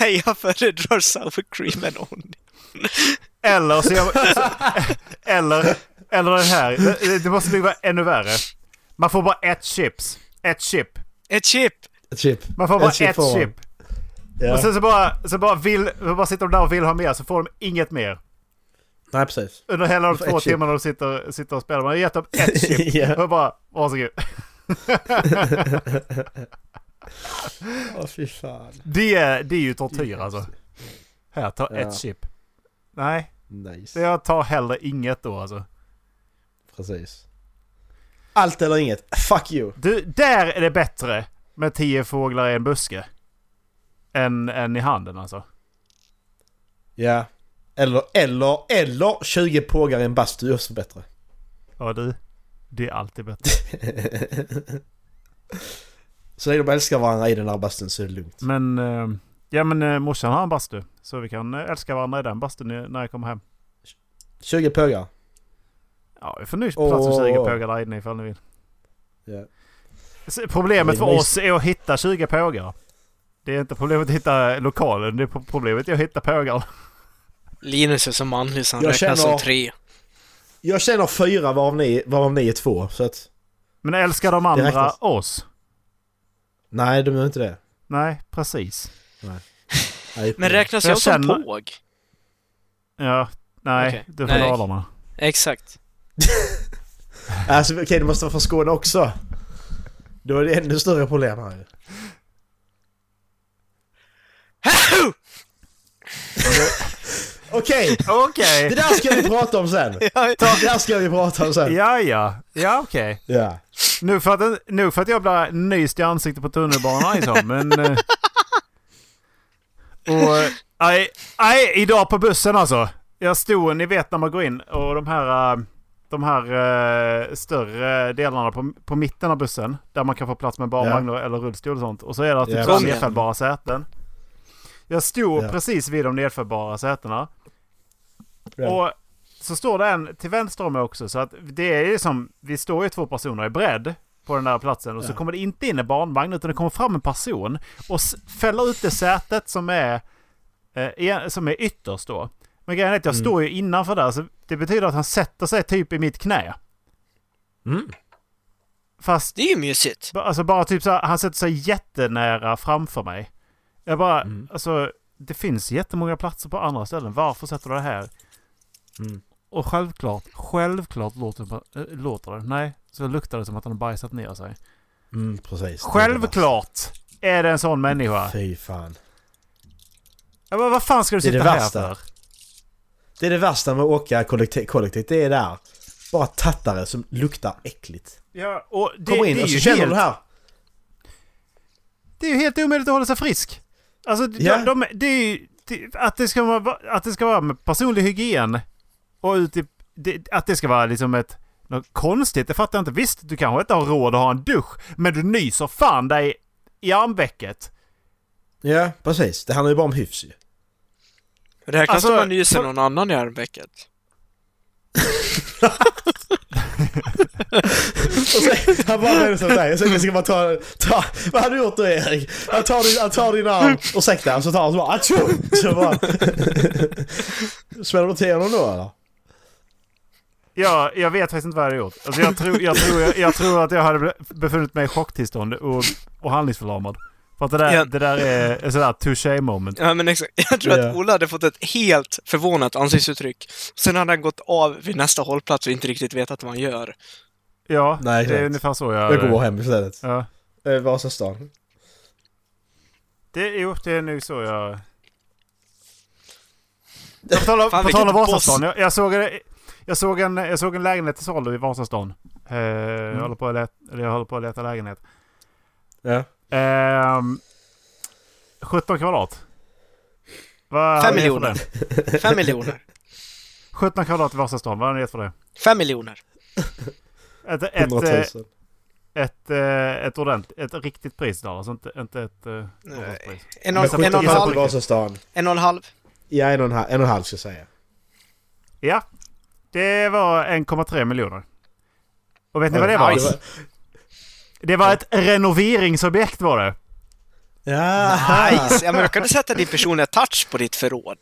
[SPEAKER 8] Nej, jag föredrar sour cream and onion.
[SPEAKER 7] Eller så jag, så, [laughs] Eller... Eller den här. Det- Det måste bli vara ännu värre. Man får bara ett chips. Ett chip.
[SPEAKER 8] Ett chip!
[SPEAKER 6] Ett chip.
[SPEAKER 7] Man får bara
[SPEAKER 6] chip
[SPEAKER 7] ett
[SPEAKER 6] får man.
[SPEAKER 7] chip.
[SPEAKER 6] Ja.
[SPEAKER 7] Och sen så bara, så bara, vill, så bara sitter de där och vill ha mer så får de inget mer.
[SPEAKER 6] Nej, precis.
[SPEAKER 7] Under hela de
[SPEAKER 6] får
[SPEAKER 7] två
[SPEAKER 6] ett chip.
[SPEAKER 7] timmarna de sitter, sitter och spelar. Man har gett dem ett
[SPEAKER 6] [laughs]
[SPEAKER 7] chip.
[SPEAKER 6] Ja.
[SPEAKER 7] Och jag bara, varsågod.
[SPEAKER 6] Åh, fy fan.
[SPEAKER 7] Det, är- det är ju tortyr alltså. Här, ta
[SPEAKER 6] Ja.
[SPEAKER 7] ett chip. Nej,
[SPEAKER 6] Nice.
[SPEAKER 7] det jag tar hellre inget då alltså.
[SPEAKER 6] Precis. Allt eller inget. Fuck you.
[SPEAKER 7] Du, där är det bättre med tio fåglar i en buske. Än, än i handen alltså.
[SPEAKER 6] Ja. Eller, eller, eller 20 pågar i en bastu är också bättre.
[SPEAKER 7] Ja du, det är
[SPEAKER 6] [laughs]
[SPEAKER 7] alltid bättre.
[SPEAKER 6] Så länge de älskar varandra i den där bastun så är det lugnt.
[SPEAKER 7] Men, eh, ja men eh, morsan har en bastu. Så vi kan eh, älska varandra i den bastun i- när jag kommer hem.
[SPEAKER 6] 20 pågar.
[SPEAKER 7] Ja, vi får nu plats för
[SPEAKER 6] Åh.
[SPEAKER 7] 20 pågar där inne ifall ni vill.
[SPEAKER 6] Ja.
[SPEAKER 7] S- Problemet
[SPEAKER 6] Det
[SPEAKER 7] för
[SPEAKER 6] är mys-
[SPEAKER 7] oss är att hitta 20 pågar. Det är inte problemet att hitta lokalen, det är pro- problemet är att hitta pågar.
[SPEAKER 8] Linus är så manlig så han
[SPEAKER 6] Jag
[SPEAKER 8] räknas
[SPEAKER 6] känner-
[SPEAKER 8] som tre.
[SPEAKER 6] Jag känner fyra varav ni, varav ni är två. Så att,
[SPEAKER 7] Men älskar de
[SPEAKER 6] Det
[SPEAKER 7] andra
[SPEAKER 6] räknas.
[SPEAKER 7] oss?
[SPEAKER 6] nej de gör inte det.
[SPEAKER 7] Nej, precis.
[SPEAKER 6] Nej,
[SPEAKER 8] Men räknas
[SPEAKER 7] Jag
[SPEAKER 8] jag, som
[SPEAKER 7] känner-
[SPEAKER 8] påg?
[SPEAKER 7] Ja, nej,
[SPEAKER 8] Okej.
[SPEAKER 7] du får
[SPEAKER 8] Nej.
[SPEAKER 7] Dalarna.
[SPEAKER 8] Exakt.
[SPEAKER 6] Alltså okej, det måste vara från Skåne också. Då är det ännu större problem här ju. Okej,
[SPEAKER 7] Okej!
[SPEAKER 6] det där ska vi prata om
[SPEAKER 7] [laughs]
[SPEAKER 6] sen. Det där ska vi prata om sen.
[SPEAKER 7] Ja, ja. Ja, okej.
[SPEAKER 6] Ja.
[SPEAKER 7] Nu, för att- nu för att jag blir nyst i ansiktet på tunnelbanan liksom, men... eh, Och... eh, Nej, nej, idag på bussen alltså. Jag stod, ni vet när man går in och de här... eh, De här eh, större delarna på, på mitten av bussen. Där man kan få plats med barnvagn eller rullstol och sånt. Och så är det
[SPEAKER 6] Ja,
[SPEAKER 7] typ yeah.
[SPEAKER 8] kom igen.
[SPEAKER 7] nedfällbara säten. Jag stod
[SPEAKER 6] Ja.
[SPEAKER 7] precis vid de nedfällbara sätena.
[SPEAKER 6] Ja.
[SPEAKER 7] Och så står det en till vänster om mig också. Så att det är ju som, vi står ju två personer i bredd på den där platsen. Och så kommer det inte in en barnvagn utan det kommer fram en person. Och s- fäller ut det sätet som är, eh, igen- som är ytterst då. Men grejen är att jag
[SPEAKER 6] Mm.
[SPEAKER 7] står ju innanför där. Så det betyder att han sätter sig typ i mitt knä.
[SPEAKER 6] Mm.
[SPEAKER 7] Fast
[SPEAKER 8] Det är ju mysigt.
[SPEAKER 7] Ba- Alltså bara typ så här, han sätter sig jättenära framför mig. Jag bara,
[SPEAKER 6] Mm.
[SPEAKER 7] alltså det finns jättemånga platser på andra ställen. Varför sätter du det här?
[SPEAKER 6] Mm.
[SPEAKER 7] Och självklart, självklart låter, det- äh, låter det. Nej, så luktar det som att han har bajsat ner sig.
[SPEAKER 6] Mm, precis.
[SPEAKER 7] Självklart är det en sån människa.
[SPEAKER 6] Fy fan.
[SPEAKER 7] Jag bara, vad fan ska du
[SPEAKER 6] Det är det
[SPEAKER 7] sitta här
[SPEAKER 6] värsta.
[SPEAKER 7] för?
[SPEAKER 6] Det är det värsta med att åka kollektiv, kollektivt. Det är där. Bara tattare som luktar äckligt.
[SPEAKER 7] Ja, och det,
[SPEAKER 6] Kommer
[SPEAKER 7] det,
[SPEAKER 6] in
[SPEAKER 7] är
[SPEAKER 6] och så
[SPEAKER 7] ju
[SPEAKER 6] känner du det
[SPEAKER 7] helt,
[SPEAKER 6] här.
[SPEAKER 7] det är ju helt omöjligt att hålla sig frisk. Alltså, de,
[SPEAKER 6] Ja.
[SPEAKER 7] de, det är ju... Det, att, det ska vara, att det ska vara med personlig hygien och ut i, det, att det ska vara liksom ett... Något konstigt, det fattar jag inte. Visst, du kanske inte har råd att ha en dusch, men du nyser fan dig i armvecket.
[SPEAKER 6] Ja, precis. Det handlar ju bara om hyfs ju. [laughs]
[SPEAKER 8] Räknas
[SPEAKER 7] Alltså,
[SPEAKER 8] det om man nyser
[SPEAKER 7] så-
[SPEAKER 8] någon annan i armvecket?
[SPEAKER 6] Och så, han bara vänder sig mot dig. Jag ska- Jag ska bara ta, ta... Vad har du gjort då Erik? Han tar din, han tar din arm, ursäkta, så tar han så bara atjo! Så bara... Smäller du till honom då eller?
[SPEAKER 7] Ja, jag vet faktiskt inte vad jag hade gjort. Alltså, jag, tror, jag, tror, jag, jag tror att jag hade be- befunnit mig i chocktillstånd och, och handlingsförlamad. För att det där,
[SPEAKER 8] Ja.
[SPEAKER 7] det där är ett sådär touché moment.
[SPEAKER 8] Ja, men exakt. Jag tror
[SPEAKER 6] Ja.
[SPEAKER 8] att Ola hade fått ett helt förvånat ansiktsuttryck. Sen hade han gått av vid nästa hållplats och inte riktigt vetat vad han
[SPEAKER 6] [laughs]
[SPEAKER 8] gör.
[SPEAKER 7] Ja,
[SPEAKER 6] Nej,
[SPEAKER 7] det är
[SPEAKER 6] exakt.
[SPEAKER 7] ungefär så jag...
[SPEAKER 6] Jag går hem istället.
[SPEAKER 7] Ja.
[SPEAKER 6] Eh, Vasastan.
[SPEAKER 7] Det, jo, det är nu så
[SPEAKER 8] [laughs]
[SPEAKER 7] jag... jag på tal om,
[SPEAKER 8] Fan,
[SPEAKER 7] på tal om
[SPEAKER 8] vilket
[SPEAKER 7] Vasastan. Jag, jag, såg, en- jag, såg en, jag såg en lägenhet till salu i Vasastan. Eh,
[SPEAKER 8] Mm.
[SPEAKER 7] jag, håller på att leta, eller jag håller på att leta lägenhet.
[SPEAKER 6] Ja.
[SPEAKER 7] Ehm, 17 kvadrat. Vad har
[SPEAKER 8] Fem
[SPEAKER 7] ni gett för
[SPEAKER 8] miljoner.
[SPEAKER 7] det?
[SPEAKER 8] Fem miljoner.
[SPEAKER 7] 17 kvadrat i Vasastan. Vad har ni gett för det?
[SPEAKER 8] Fem miljoner.
[SPEAKER 7] Ett, ett,
[SPEAKER 6] 100 000.
[SPEAKER 7] eh, ett, eh, ett, ordentligt, ett riktigt pris där. Alltså inte, inte ett eh, avtalspris.
[SPEAKER 8] En
[SPEAKER 6] Men
[SPEAKER 8] och, en, och en, halv,
[SPEAKER 6] på Vasastan.
[SPEAKER 8] en och en halv.
[SPEAKER 6] Ja, en och en halv, en och en halv ska jag säga.
[SPEAKER 7] Ja, det var 1,3 miljoner. Och vet ni vad det var?
[SPEAKER 8] Nice.
[SPEAKER 7] Det var ett renoveringsobjekt var det.
[SPEAKER 6] Ja!
[SPEAKER 8] Nice! Ja men då kan du sätta din personliga touch på ditt förråd.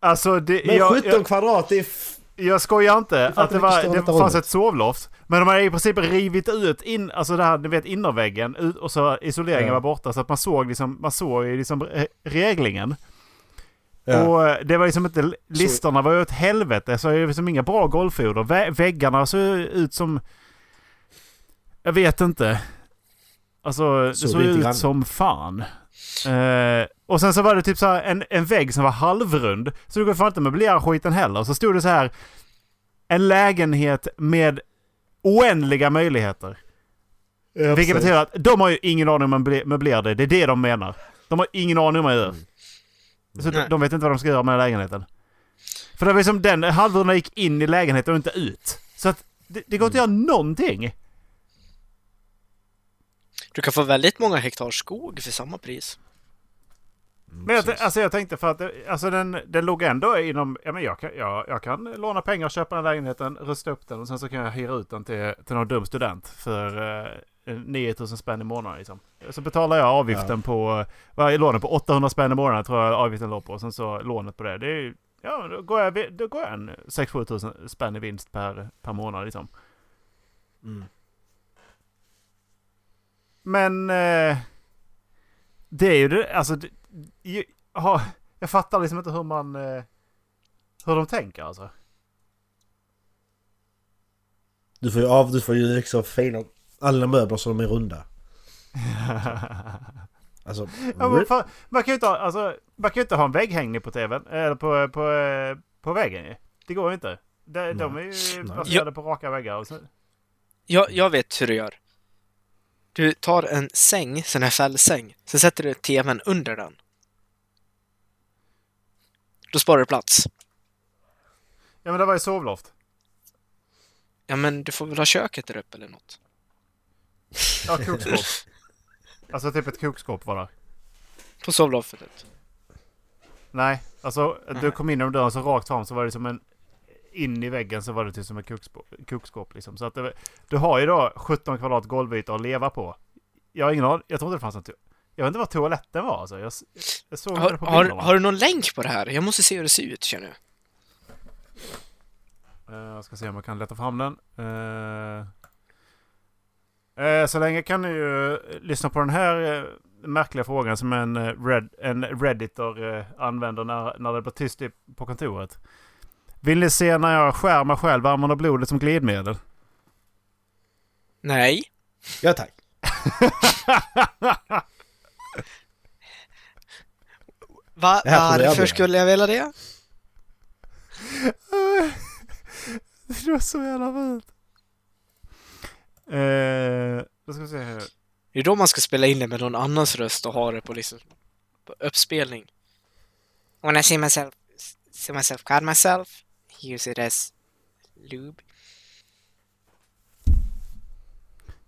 [SPEAKER 7] Alltså, det,
[SPEAKER 6] Men
[SPEAKER 7] jag,
[SPEAKER 6] 17
[SPEAKER 7] jag,
[SPEAKER 6] kvadrat, det är... F-
[SPEAKER 7] jag skojar inte
[SPEAKER 6] fattar
[SPEAKER 7] att det,
[SPEAKER 6] vilken
[SPEAKER 7] var,
[SPEAKER 6] stor
[SPEAKER 7] det
[SPEAKER 6] detta
[SPEAKER 7] fanns
[SPEAKER 6] var.
[SPEAKER 7] ett sovloft. Men de hade i princip rivit ut in, alltså det här, ni vet innerväggen ut, och så isoleringen
[SPEAKER 6] Ja.
[SPEAKER 7] var borta så att man såg liksom, man såg ju liksom re- reglingen.
[SPEAKER 6] ja.
[SPEAKER 7] Och eh, det var liksom inte, listorna var ju ett helvete så det var liksom inga bra golffoder. Vä- väggarna såg ju ut som... Jag vet inte. Alltså det
[SPEAKER 6] Såg
[SPEAKER 7] såg
[SPEAKER 6] lite
[SPEAKER 7] ut
[SPEAKER 6] grann.
[SPEAKER 7] som fan. Eh, och sen så var det typ så här en, en vägg som var halvrund. Så det går fan inte att möblera skiten heller. Så stod det så här. En lägenhet med oändliga möjligheter.
[SPEAKER 6] ja,
[SPEAKER 7] Vilket
[SPEAKER 6] precis.
[SPEAKER 7] betyder att de har ju ingen aning om man ble- möblerar det. Det är det de menar. De har ingen aning om vad man
[SPEAKER 6] Mm.
[SPEAKER 7] gör. Så de,
[SPEAKER 8] Nej.
[SPEAKER 7] de vet inte vad de ska göra med den här lägenheten. För det var ju som den halvrunda gick in i lägenheten och inte ut. Så att det, det går inte att göra någonting.
[SPEAKER 8] Du kan få väldigt många hektar skog för samma pris.
[SPEAKER 7] Men jag, t- alltså jag tänkte för att det, alltså den, den låg ändå inom... Ja men jag kan, jag, jag kan låna pengar, köpa den här lägenheten, rusta upp den och sen så kan jag hyra ut den till, till någon dum student för eh, 9000 spänn i månaden liksom. Så betalar jag avgiften på... Vad är lånet på? 800 spänn i månaden tror jag avgiften låg på. Och sen så lånet på det. det är, ju- ja men då går jag, vi- då går jag en 6-7 tusen spänn i vinst per, per månad liksom. Men... Eh, det är ju det, alltså... Det, ju, ha, jag fattar liksom inte hur man... eh, Hur de tänker alltså.
[SPEAKER 6] Du får ju av, du får ju liksom fina... Alla möbler som de är runda.
[SPEAKER 7] [laughs]
[SPEAKER 6] Alltså...
[SPEAKER 7] Ja, men fan, man, kan ju inte ha, alltså man kan ju inte ha en vägghängning på tvn. Eller på, på, eh, på väggen ju. Det går ju inte. De, de är ju baserade på raka väggar. Och så.
[SPEAKER 8] Jag, jag vet hur du gör. Du tar en säng, sån här fällsäng, sen sätter du tvn under den. Då sparar du plats.
[SPEAKER 7] Ja men det var ju sovloft.
[SPEAKER 8] Ja men du får väl ha köket där uppe eller något.
[SPEAKER 7] Ja, kokskåp. Alltså typ ett kokskåp var det.
[SPEAKER 8] På sovloffet.
[SPEAKER 7] Nej, alltså du kom in genom dörren så rakt fram så var det som en... In i väggen så var det typ som ett kokskåp, kokskåp liksom. Så att det, du har ju då 17 kvadrat golvyta att leva på. Jag har ingen aning. Jag trodde det fanns en to- Jag vet inte vad toaletten var alltså. Jag, s- jag såg inte
[SPEAKER 8] Har,
[SPEAKER 7] det på
[SPEAKER 8] har,
[SPEAKER 7] bilderna.
[SPEAKER 8] har du någon länk på det här? Jag måste se hur det ser ut känner jag.
[SPEAKER 7] Eh, Jag ska se om jag kan leta fram den. Eh, eh, Så länge kan ni ju eh, lyssna på den här eh, märkliga frågan som en, eh, red, en redditor eh, använder när, när det blir tyst i- på kontoret. Vill ni se när jag skär mig själv armarna och blodet som glidmedel?
[SPEAKER 8] Nej.
[SPEAKER 6] Ja, tack.
[SPEAKER 8] Va,
[SPEAKER 6] Det här tror jag
[SPEAKER 8] varför
[SPEAKER 6] blir.
[SPEAKER 8] skulle jag vilja det?
[SPEAKER 7] [laughs] Det var så jävla fult. Eh, Då ska vi se här.
[SPEAKER 8] Det är då man ska spela in det med någon annans röst och ha det på liksom på uppspelning. When I see myself, see myself cut myself, use it as lube.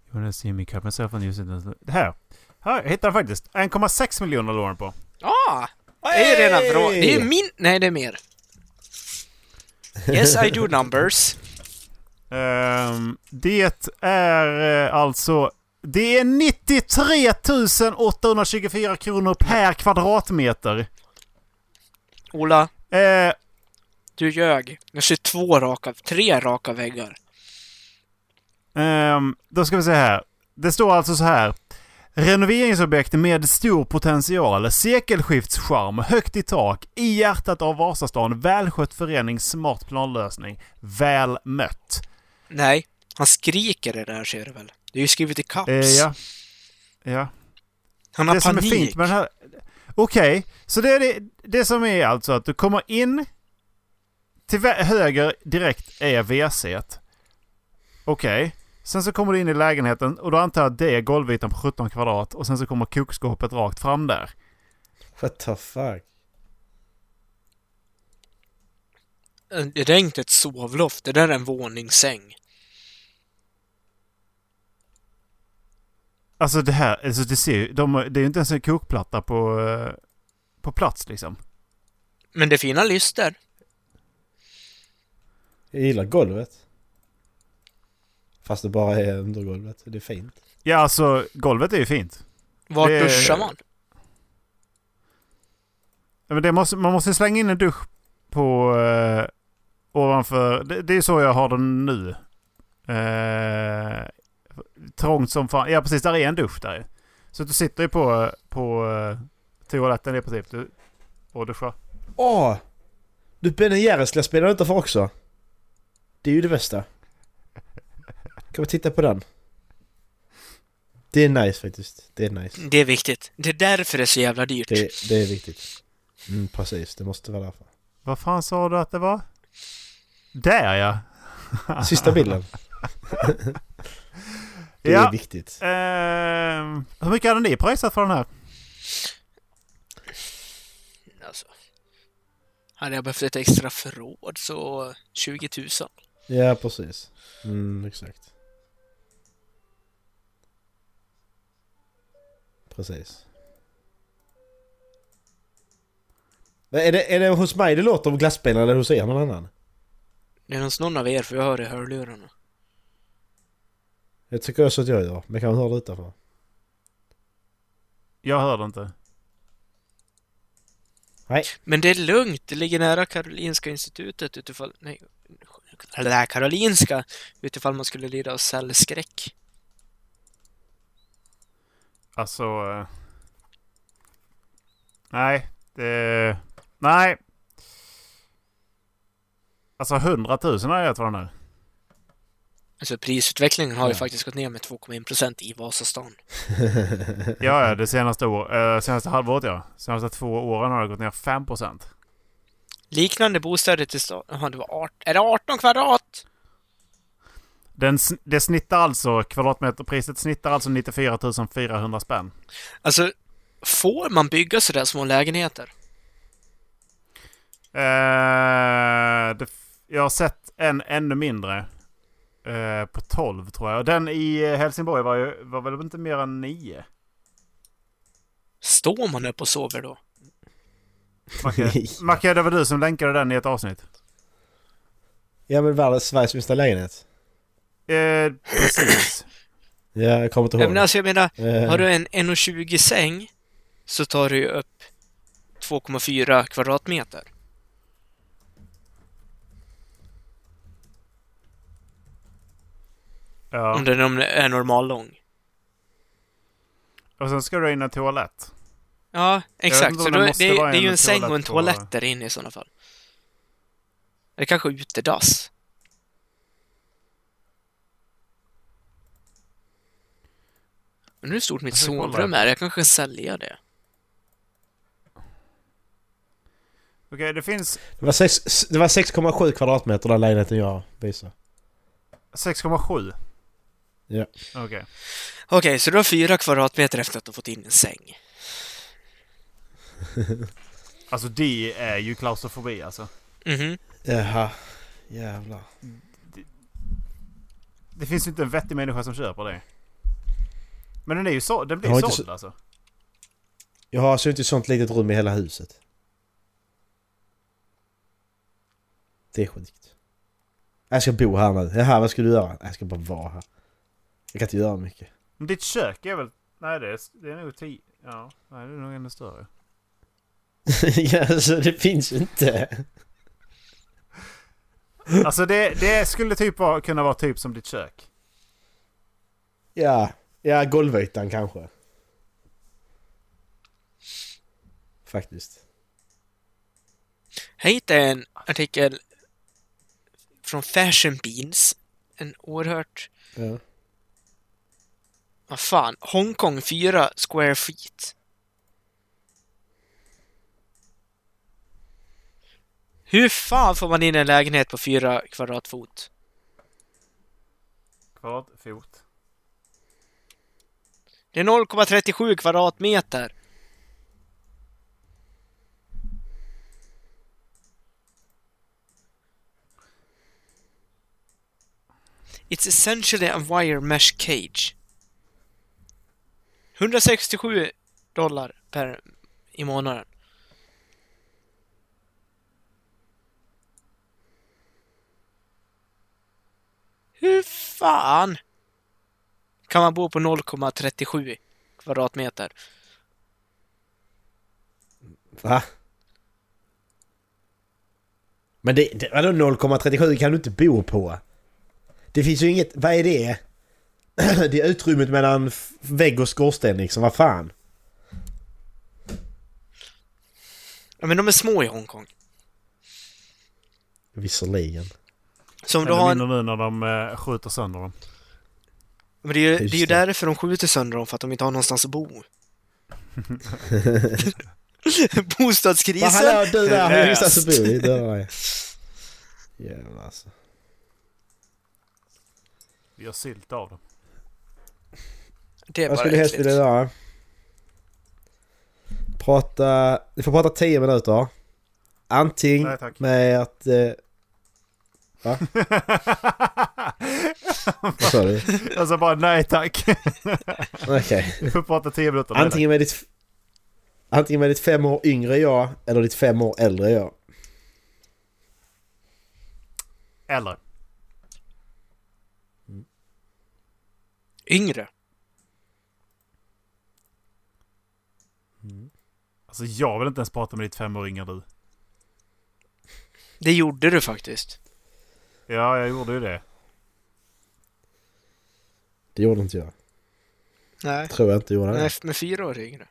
[SPEAKER 7] You wanna see me cut myself and use it as... Det Här! Här, jag hittade den faktiskt. 1,6 miljoner lån på.
[SPEAKER 8] Ah! Det är ju redan bra. Det är
[SPEAKER 6] Hey!
[SPEAKER 8] min... Nej, det är mer. Yes, I do numbers.
[SPEAKER 7] Ehm, det är eh, alltså... Det är 93 824 kronor per kvadratmeter.
[SPEAKER 8] Ola,
[SPEAKER 7] Eh,
[SPEAKER 8] du ljög. Jag ser två raka, tre raka väggar.
[SPEAKER 7] ehm, då ska vi se här. Det står alltså så här. Renoveringsobjekt med stor potential, sekelskiftscharm, högt i tak, i hjärtat av Vasastan, välskött förening, smart planlösning. Väl mött.
[SPEAKER 8] Nej, han skriker det där ser du väl? Det är ju skrivet i caps.
[SPEAKER 7] Eh, ja. Ja.
[SPEAKER 8] Han har
[SPEAKER 7] det
[SPEAKER 8] panik.
[SPEAKER 7] som är fint med den här... Okej, så det är det, det som är alltså att du kommer in till vä- höger direkt är WC. -et. Okej. Sen så kommer du in i lägenheten och då antar jag att det är golvytan på 17 kvadrat och sen så kommer kokskåpet rakt fram där.
[SPEAKER 6] What the fuck?
[SPEAKER 8] Det där är inte ett sovloft, det där är en våningssäng.
[SPEAKER 7] Alltså det här, alltså det, ser, ju- de, har- det är ju inte ens en kokplatta på, eh, på plats liksom.
[SPEAKER 8] Men det är fina lyster.
[SPEAKER 6] Jag gillar golvet. Fast det bara är undergolvet. Det är fint.
[SPEAKER 7] Ja, alltså golvet är ju fint.
[SPEAKER 8] Vart
[SPEAKER 7] Det-
[SPEAKER 8] duschar man?
[SPEAKER 7] Ja, Men det måste, man måste slänga in en dusch på eh, ovanför. Det, det är så jag har den nu. Eh, trångt som fan. Ja precis, där är en dusch där ju. Så du sitter ju på, på eh, toaletten i princip du, och duschar.
[SPEAKER 6] Åh! Du Ben Jerrys ska jag spela utanför också. Det är ju det bästa. Kan vi titta på den? Det är nice faktiskt. Det är nice.
[SPEAKER 8] Det är viktigt. Det är därför det är så jävla dyrt.
[SPEAKER 6] Det, det är viktigt. Mm, precis, det måste vara [laughs] därför.
[SPEAKER 7] Vad fan sa du att det var? Där ja!
[SPEAKER 6] Sista [laughs] bilden. Det
[SPEAKER 7] ja.
[SPEAKER 6] är viktigt.
[SPEAKER 7] Ehm, hur mycket hade ni pröjsat för den här?
[SPEAKER 8] Alltså. Hade jag behövt ett extra förråd så 20 000.
[SPEAKER 6] Ja, precis. Mm, exakt. Precis. Men Är det, är det hos mig det låter om glassbilen eller hos er någon annan?
[SPEAKER 8] Det är nog någon av er för jag hör det i hörlurarna.
[SPEAKER 6] Det tycker också att jag gör, men kan man höra det utanför?
[SPEAKER 7] Jag hörde inte.
[SPEAKER 6] Nej.
[SPEAKER 8] Men det är lugnt, det ligger nära Karolinska institutet utifall... Nej. Eller det här Karolinska utifall man skulle lida av cellskräck.
[SPEAKER 7] Alltså... eh, nej. Det, nej. Alltså 100 000 har jag gett för den här.
[SPEAKER 8] Alltså prisutvecklingen har ju faktiskt gått ner med 2,1% i Vasastan.
[SPEAKER 7] Ja, ja, det senaste, år, eh, senaste halvåret ja. Senaste två åren har det gått ner 5%.
[SPEAKER 8] Liknande bostäder till stan... Jaha, det var 18... Är det 18 kvadrat?
[SPEAKER 7] Den, sn- det snittar alltså, kvadratmeterpriset snittar alltså 94 400 spänn.
[SPEAKER 8] Alltså, får man bygga sådär små lägenheter?
[SPEAKER 7] Eh, det, f- jag har sett en ännu mindre. Eh, på 12 tror jag. Den i eh, Helsingborg var, ju, var väl inte mer än 9?
[SPEAKER 8] Står man upp och sover då?
[SPEAKER 7] Macke, Macke, Eh, det var du som länkade den i ett avsnitt.
[SPEAKER 6] Ja men världens Sveriges minsta lägenhet.
[SPEAKER 7] Eh, precis.
[SPEAKER 6] Ja, jag kommer inte
[SPEAKER 8] Ja,
[SPEAKER 6] ihåg.
[SPEAKER 8] men alltså jag menar,
[SPEAKER 6] Eh.
[SPEAKER 8] har du en 1,20 säng så tar du ju upp 2,4 kvadratmeter.
[SPEAKER 7] Ja.
[SPEAKER 8] Om den är normal lång.
[SPEAKER 7] Och sen ska du in en toalett.
[SPEAKER 8] Ja,
[SPEAKER 7] vet
[SPEAKER 8] exakt.
[SPEAKER 7] inte
[SPEAKER 8] Så
[SPEAKER 7] om
[SPEAKER 8] då,
[SPEAKER 7] det
[SPEAKER 8] det,
[SPEAKER 7] måste
[SPEAKER 8] det,
[SPEAKER 7] vara
[SPEAKER 8] är ju
[SPEAKER 7] en
[SPEAKER 8] en säng och en
[SPEAKER 7] toalett på-
[SPEAKER 8] toalett där inne i sådana fall. Det kanske är utedass. Men nu hur stort mitt
[SPEAKER 7] Jag ska kolla.
[SPEAKER 8] sovrum är. Jag kanske kan sälja det.
[SPEAKER 7] Okej, det finns
[SPEAKER 6] Det var sex- det var 6,7 kvadratmeter den lägenheten jag visade.
[SPEAKER 7] 6,7.
[SPEAKER 6] Ja.
[SPEAKER 7] Okej.
[SPEAKER 8] Okej, så du har fyra kvadratmeter efter att du fått in en säng.
[SPEAKER 7] Alltså det är ju klaustrofobi alltså.
[SPEAKER 8] Mhm.
[SPEAKER 6] Jaha. Jävlar.
[SPEAKER 7] Det finns ju inte en vettig människa som köper det. Men den är ju så, den
[SPEAKER 6] Jag
[SPEAKER 7] blir
[SPEAKER 6] har inte
[SPEAKER 7] såld alltså.
[SPEAKER 6] Jag har alltså inte ett sånt litet rum i hela huset. Det är sjukt. Jag ska bo här nu. Jaha, vad ska du göra? Jag ska bara vara här. Jag kan inte göra mycket.
[SPEAKER 7] Men ditt kök är väl... Nej det är, det är nog 10... Ja, nej det är nog ännu större.
[SPEAKER 6] [laughs] ja, alltså det finns ju inte.
[SPEAKER 7] Alltså det, det skulle typ vara, kunna vara typ som ditt kök.
[SPEAKER 6] Ja, ja golvytan kanske. Faktiskt.
[SPEAKER 8] Här hittade jag en artikel från Fashion Beans. En oerhört...
[SPEAKER 6] Ja.
[SPEAKER 8] Vad fan? Hongkong 4 square feet. Hur fan får man in en lägenhet på 4 kvadratfot?
[SPEAKER 7] Kvadratfot.
[SPEAKER 8] Det är 0,37 kvadratmeter. It's essentially a wire mesh cage. 167 dollar per i månaden. Hur fan kan man bo på 0,37 kvadratmeter?
[SPEAKER 6] Va? Men det, det vadå 0,37 kan du inte bo på? Det finns ju inget, vad är det? [clears throat] Det är utrymmet mellan f- vägg och skorsten liksom, vad fan?
[SPEAKER 8] Ja, men de är små i Hongkong.
[SPEAKER 6] Visserligen.
[SPEAKER 8] Så om du
[SPEAKER 7] Eller
[SPEAKER 8] har en
[SPEAKER 7] mindre nu när de eh, skjuter sönder dem.
[SPEAKER 8] Men det är ju,
[SPEAKER 6] Just
[SPEAKER 8] det är ju
[SPEAKER 6] det.
[SPEAKER 8] därför de skjuter sönder dem, för att de inte har någonstans
[SPEAKER 6] [laughs]
[SPEAKER 8] att bo.
[SPEAKER 6] Vad
[SPEAKER 8] Bostadskrisen!
[SPEAKER 6] hallå du där, hur
[SPEAKER 8] löst.
[SPEAKER 6] vistas du bor? i? Det har jag. Jävlar alltså.
[SPEAKER 7] Vi gör sylt av dem.
[SPEAKER 8] Det är
[SPEAKER 6] Jag
[SPEAKER 8] bara
[SPEAKER 6] skulle helst
[SPEAKER 8] äckligt.
[SPEAKER 6] vilja göra... Prata... Ni får prata 10 minuter. Antingen
[SPEAKER 7] Nej, tack.
[SPEAKER 6] med att... Eh, va? Vad sa
[SPEAKER 7] [laughs]
[SPEAKER 6] du?
[SPEAKER 7] Alltså bara nej tack.
[SPEAKER 6] Okej.
[SPEAKER 7] Vi får prata tio minuter. Nej,
[SPEAKER 6] Antingen med ditt... Antingen med ditt fem år yngre jag eller ditt fem år äldre jag.
[SPEAKER 7] tack. Eller?
[SPEAKER 8] Yngre.
[SPEAKER 7] Alltså jag vill inte ens prata med ditt fem år yngre du.
[SPEAKER 8] Det gjorde du faktiskt.
[SPEAKER 7] Ja, jag gjorde ju det.
[SPEAKER 6] Det gjorde inte jag.
[SPEAKER 8] Nej.
[SPEAKER 6] Tror jag inte gjorde
[SPEAKER 8] Nej,
[SPEAKER 6] det.
[SPEAKER 8] f- med fyra år yngre.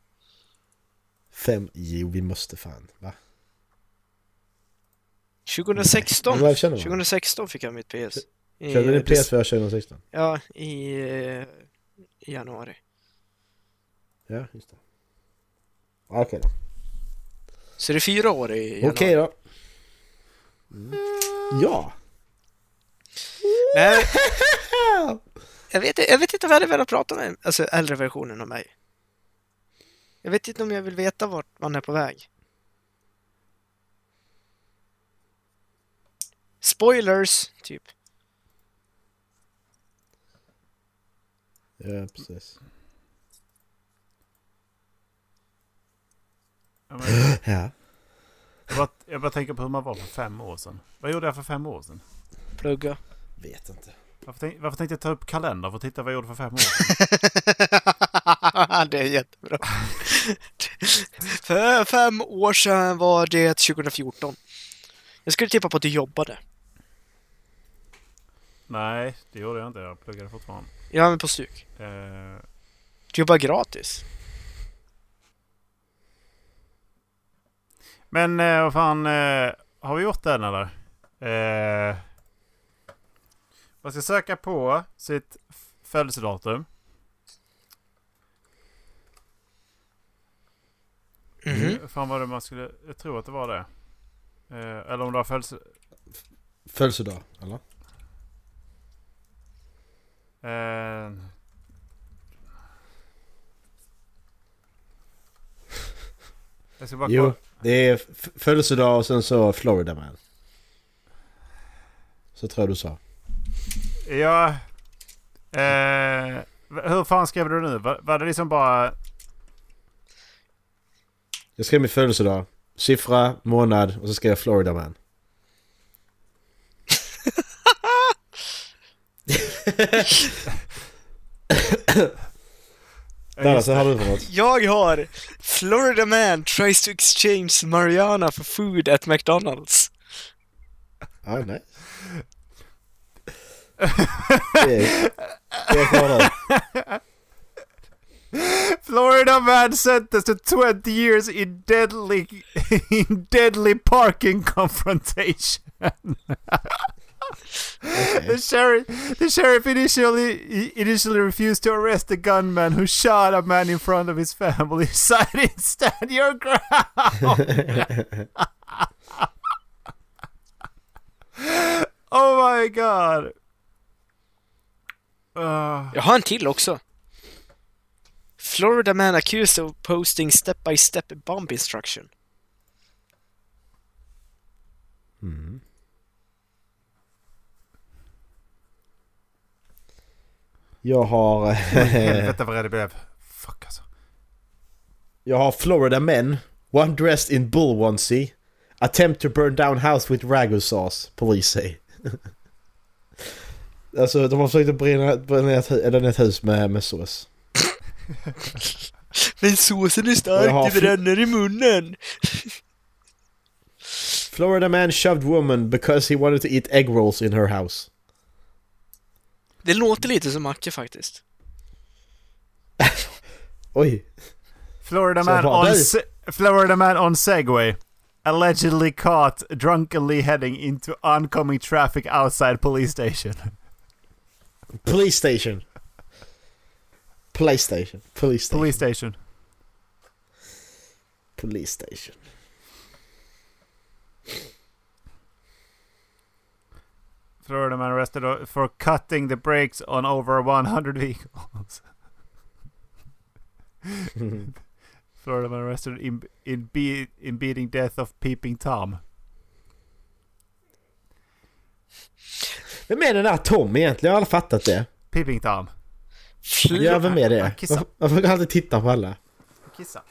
[SPEAKER 6] Fem? Jo, vi måste fan. Va?
[SPEAKER 8] 2016.
[SPEAKER 6] Men vad känner man?
[SPEAKER 8] 2016 fick jag mitt PS. I,
[SPEAKER 6] Körde ni
[SPEAKER 8] dec-
[SPEAKER 6] PS4 2016?
[SPEAKER 8] Ja, i eh, januari.
[SPEAKER 6] Ja, just det. Okej då.
[SPEAKER 8] Så det är fyra år i januari.
[SPEAKER 6] Okej då. Ja.
[SPEAKER 8] Nej. [laughs] Jag vet, jag vet inte vad jag hade velat prata med, alltså äldre versionen av mig. Jag vet inte om jag vill veta vart man är på väg. Spoilers, typ.
[SPEAKER 6] Ja, precis.
[SPEAKER 7] Jag, men,
[SPEAKER 6] [gasps] Ja.
[SPEAKER 7] jag, bara, jag bara tänker på hur man var för fem år sedan. Vad gjorde jag för fem år sedan?
[SPEAKER 8] Plugga.
[SPEAKER 6] Vet inte.
[SPEAKER 7] Varför, tänk, varför tänkte jag ta upp kalendern för att titta vad jag gjorde för fem år
[SPEAKER 8] [laughs]
[SPEAKER 7] sedan?
[SPEAKER 8] [laughs] det är jättebra. [laughs] För fem år sedan var det 2014. Jag skulle tippa på att du jobbade.
[SPEAKER 7] Nej, det gjorde jag inte. Jag pluggade fortfarande.
[SPEAKER 8] Ja, men på stuk.
[SPEAKER 7] Eh,
[SPEAKER 8] Du jobbar gratis.
[SPEAKER 7] Men eh, vad fan, eh, har vi gjort den eller? Eh, man ska söka på sitt f- födelsedatum.
[SPEAKER 8] Mhm.
[SPEAKER 7] Fan vad det man skulle, jag tror att det var det. Eh, eller om det var födelse...
[SPEAKER 6] Födelsedag, eller?
[SPEAKER 7] Eh, jag ska bara
[SPEAKER 6] Jo,
[SPEAKER 7] kolla.
[SPEAKER 6] det är f- födelsedag och sen så Florida man. Så tror jag du sa.
[SPEAKER 7] Ja. Eh, hur fan skrev du nu? Var, var det liksom bara...
[SPEAKER 6] Jag skrev min födelsedag, siffra, månad och så skrev jag Florida man. Där, så har du för något.
[SPEAKER 8] Jag har Florida man tries to exchange Mariana for food at McDonalds.
[SPEAKER 6] Ja, nej. Det är, det är kvar där.
[SPEAKER 7] Florida man sentenced to 20 years in deadly in deadly parking confrontation. the sheriff the sheriff initially initially refused to arrest the gunman who shot a man in front of his family, [laughs] citing stand your ground. [laughs] oh my god. Ah.
[SPEAKER 8] Jag har en till också. Florida man accused of posting step by step bomb instruction.
[SPEAKER 6] Jag har... eh,
[SPEAKER 7] Helvete vad rädd jag blev. Fuck alltså.
[SPEAKER 6] Jag har Florida men, one dressed in bull onesie, attempt to burn down house with ragu sauce, police say. [laughs] alltså de har försökt att brinna, bränna ett, hu- eller ett hus med, med sås.
[SPEAKER 8] Men såsen är
[SPEAKER 6] Jag har fl-
[SPEAKER 8] stark, det bränner i munnen!
[SPEAKER 6] Florida man shoved woman because he wanted to eat egg rolls in her house.
[SPEAKER 8] Det låter lite som Macke faktiskt.
[SPEAKER 6] Oj,
[SPEAKER 7] Florida
[SPEAKER 6] Så jag
[SPEAKER 7] man,
[SPEAKER 6] bara,
[SPEAKER 7] on
[SPEAKER 6] "Nej."
[SPEAKER 7] se- Florida man on Segway. Allegedly caught drunkenly heading into oncoming traffic outside police station.
[SPEAKER 6] police station. Playstation. Police station.
[SPEAKER 7] Police station.
[SPEAKER 6] Police station.
[SPEAKER 7] Florida man arrested o- for cutting the brakes on over 100 vehicles. Florida man arrested in in, be- in beating death of Peeping Tom.
[SPEAKER 6] Vem är den där Tom egentligen? Jag har aldrig fattat det.
[SPEAKER 7] Peeping Tom.
[SPEAKER 8] Fl-
[SPEAKER 6] Ja, vem är
[SPEAKER 7] Han
[SPEAKER 6] det?
[SPEAKER 7] kissar.
[SPEAKER 6] Varför varför kan jag alltid titta på alla?
[SPEAKER 7] Kissa.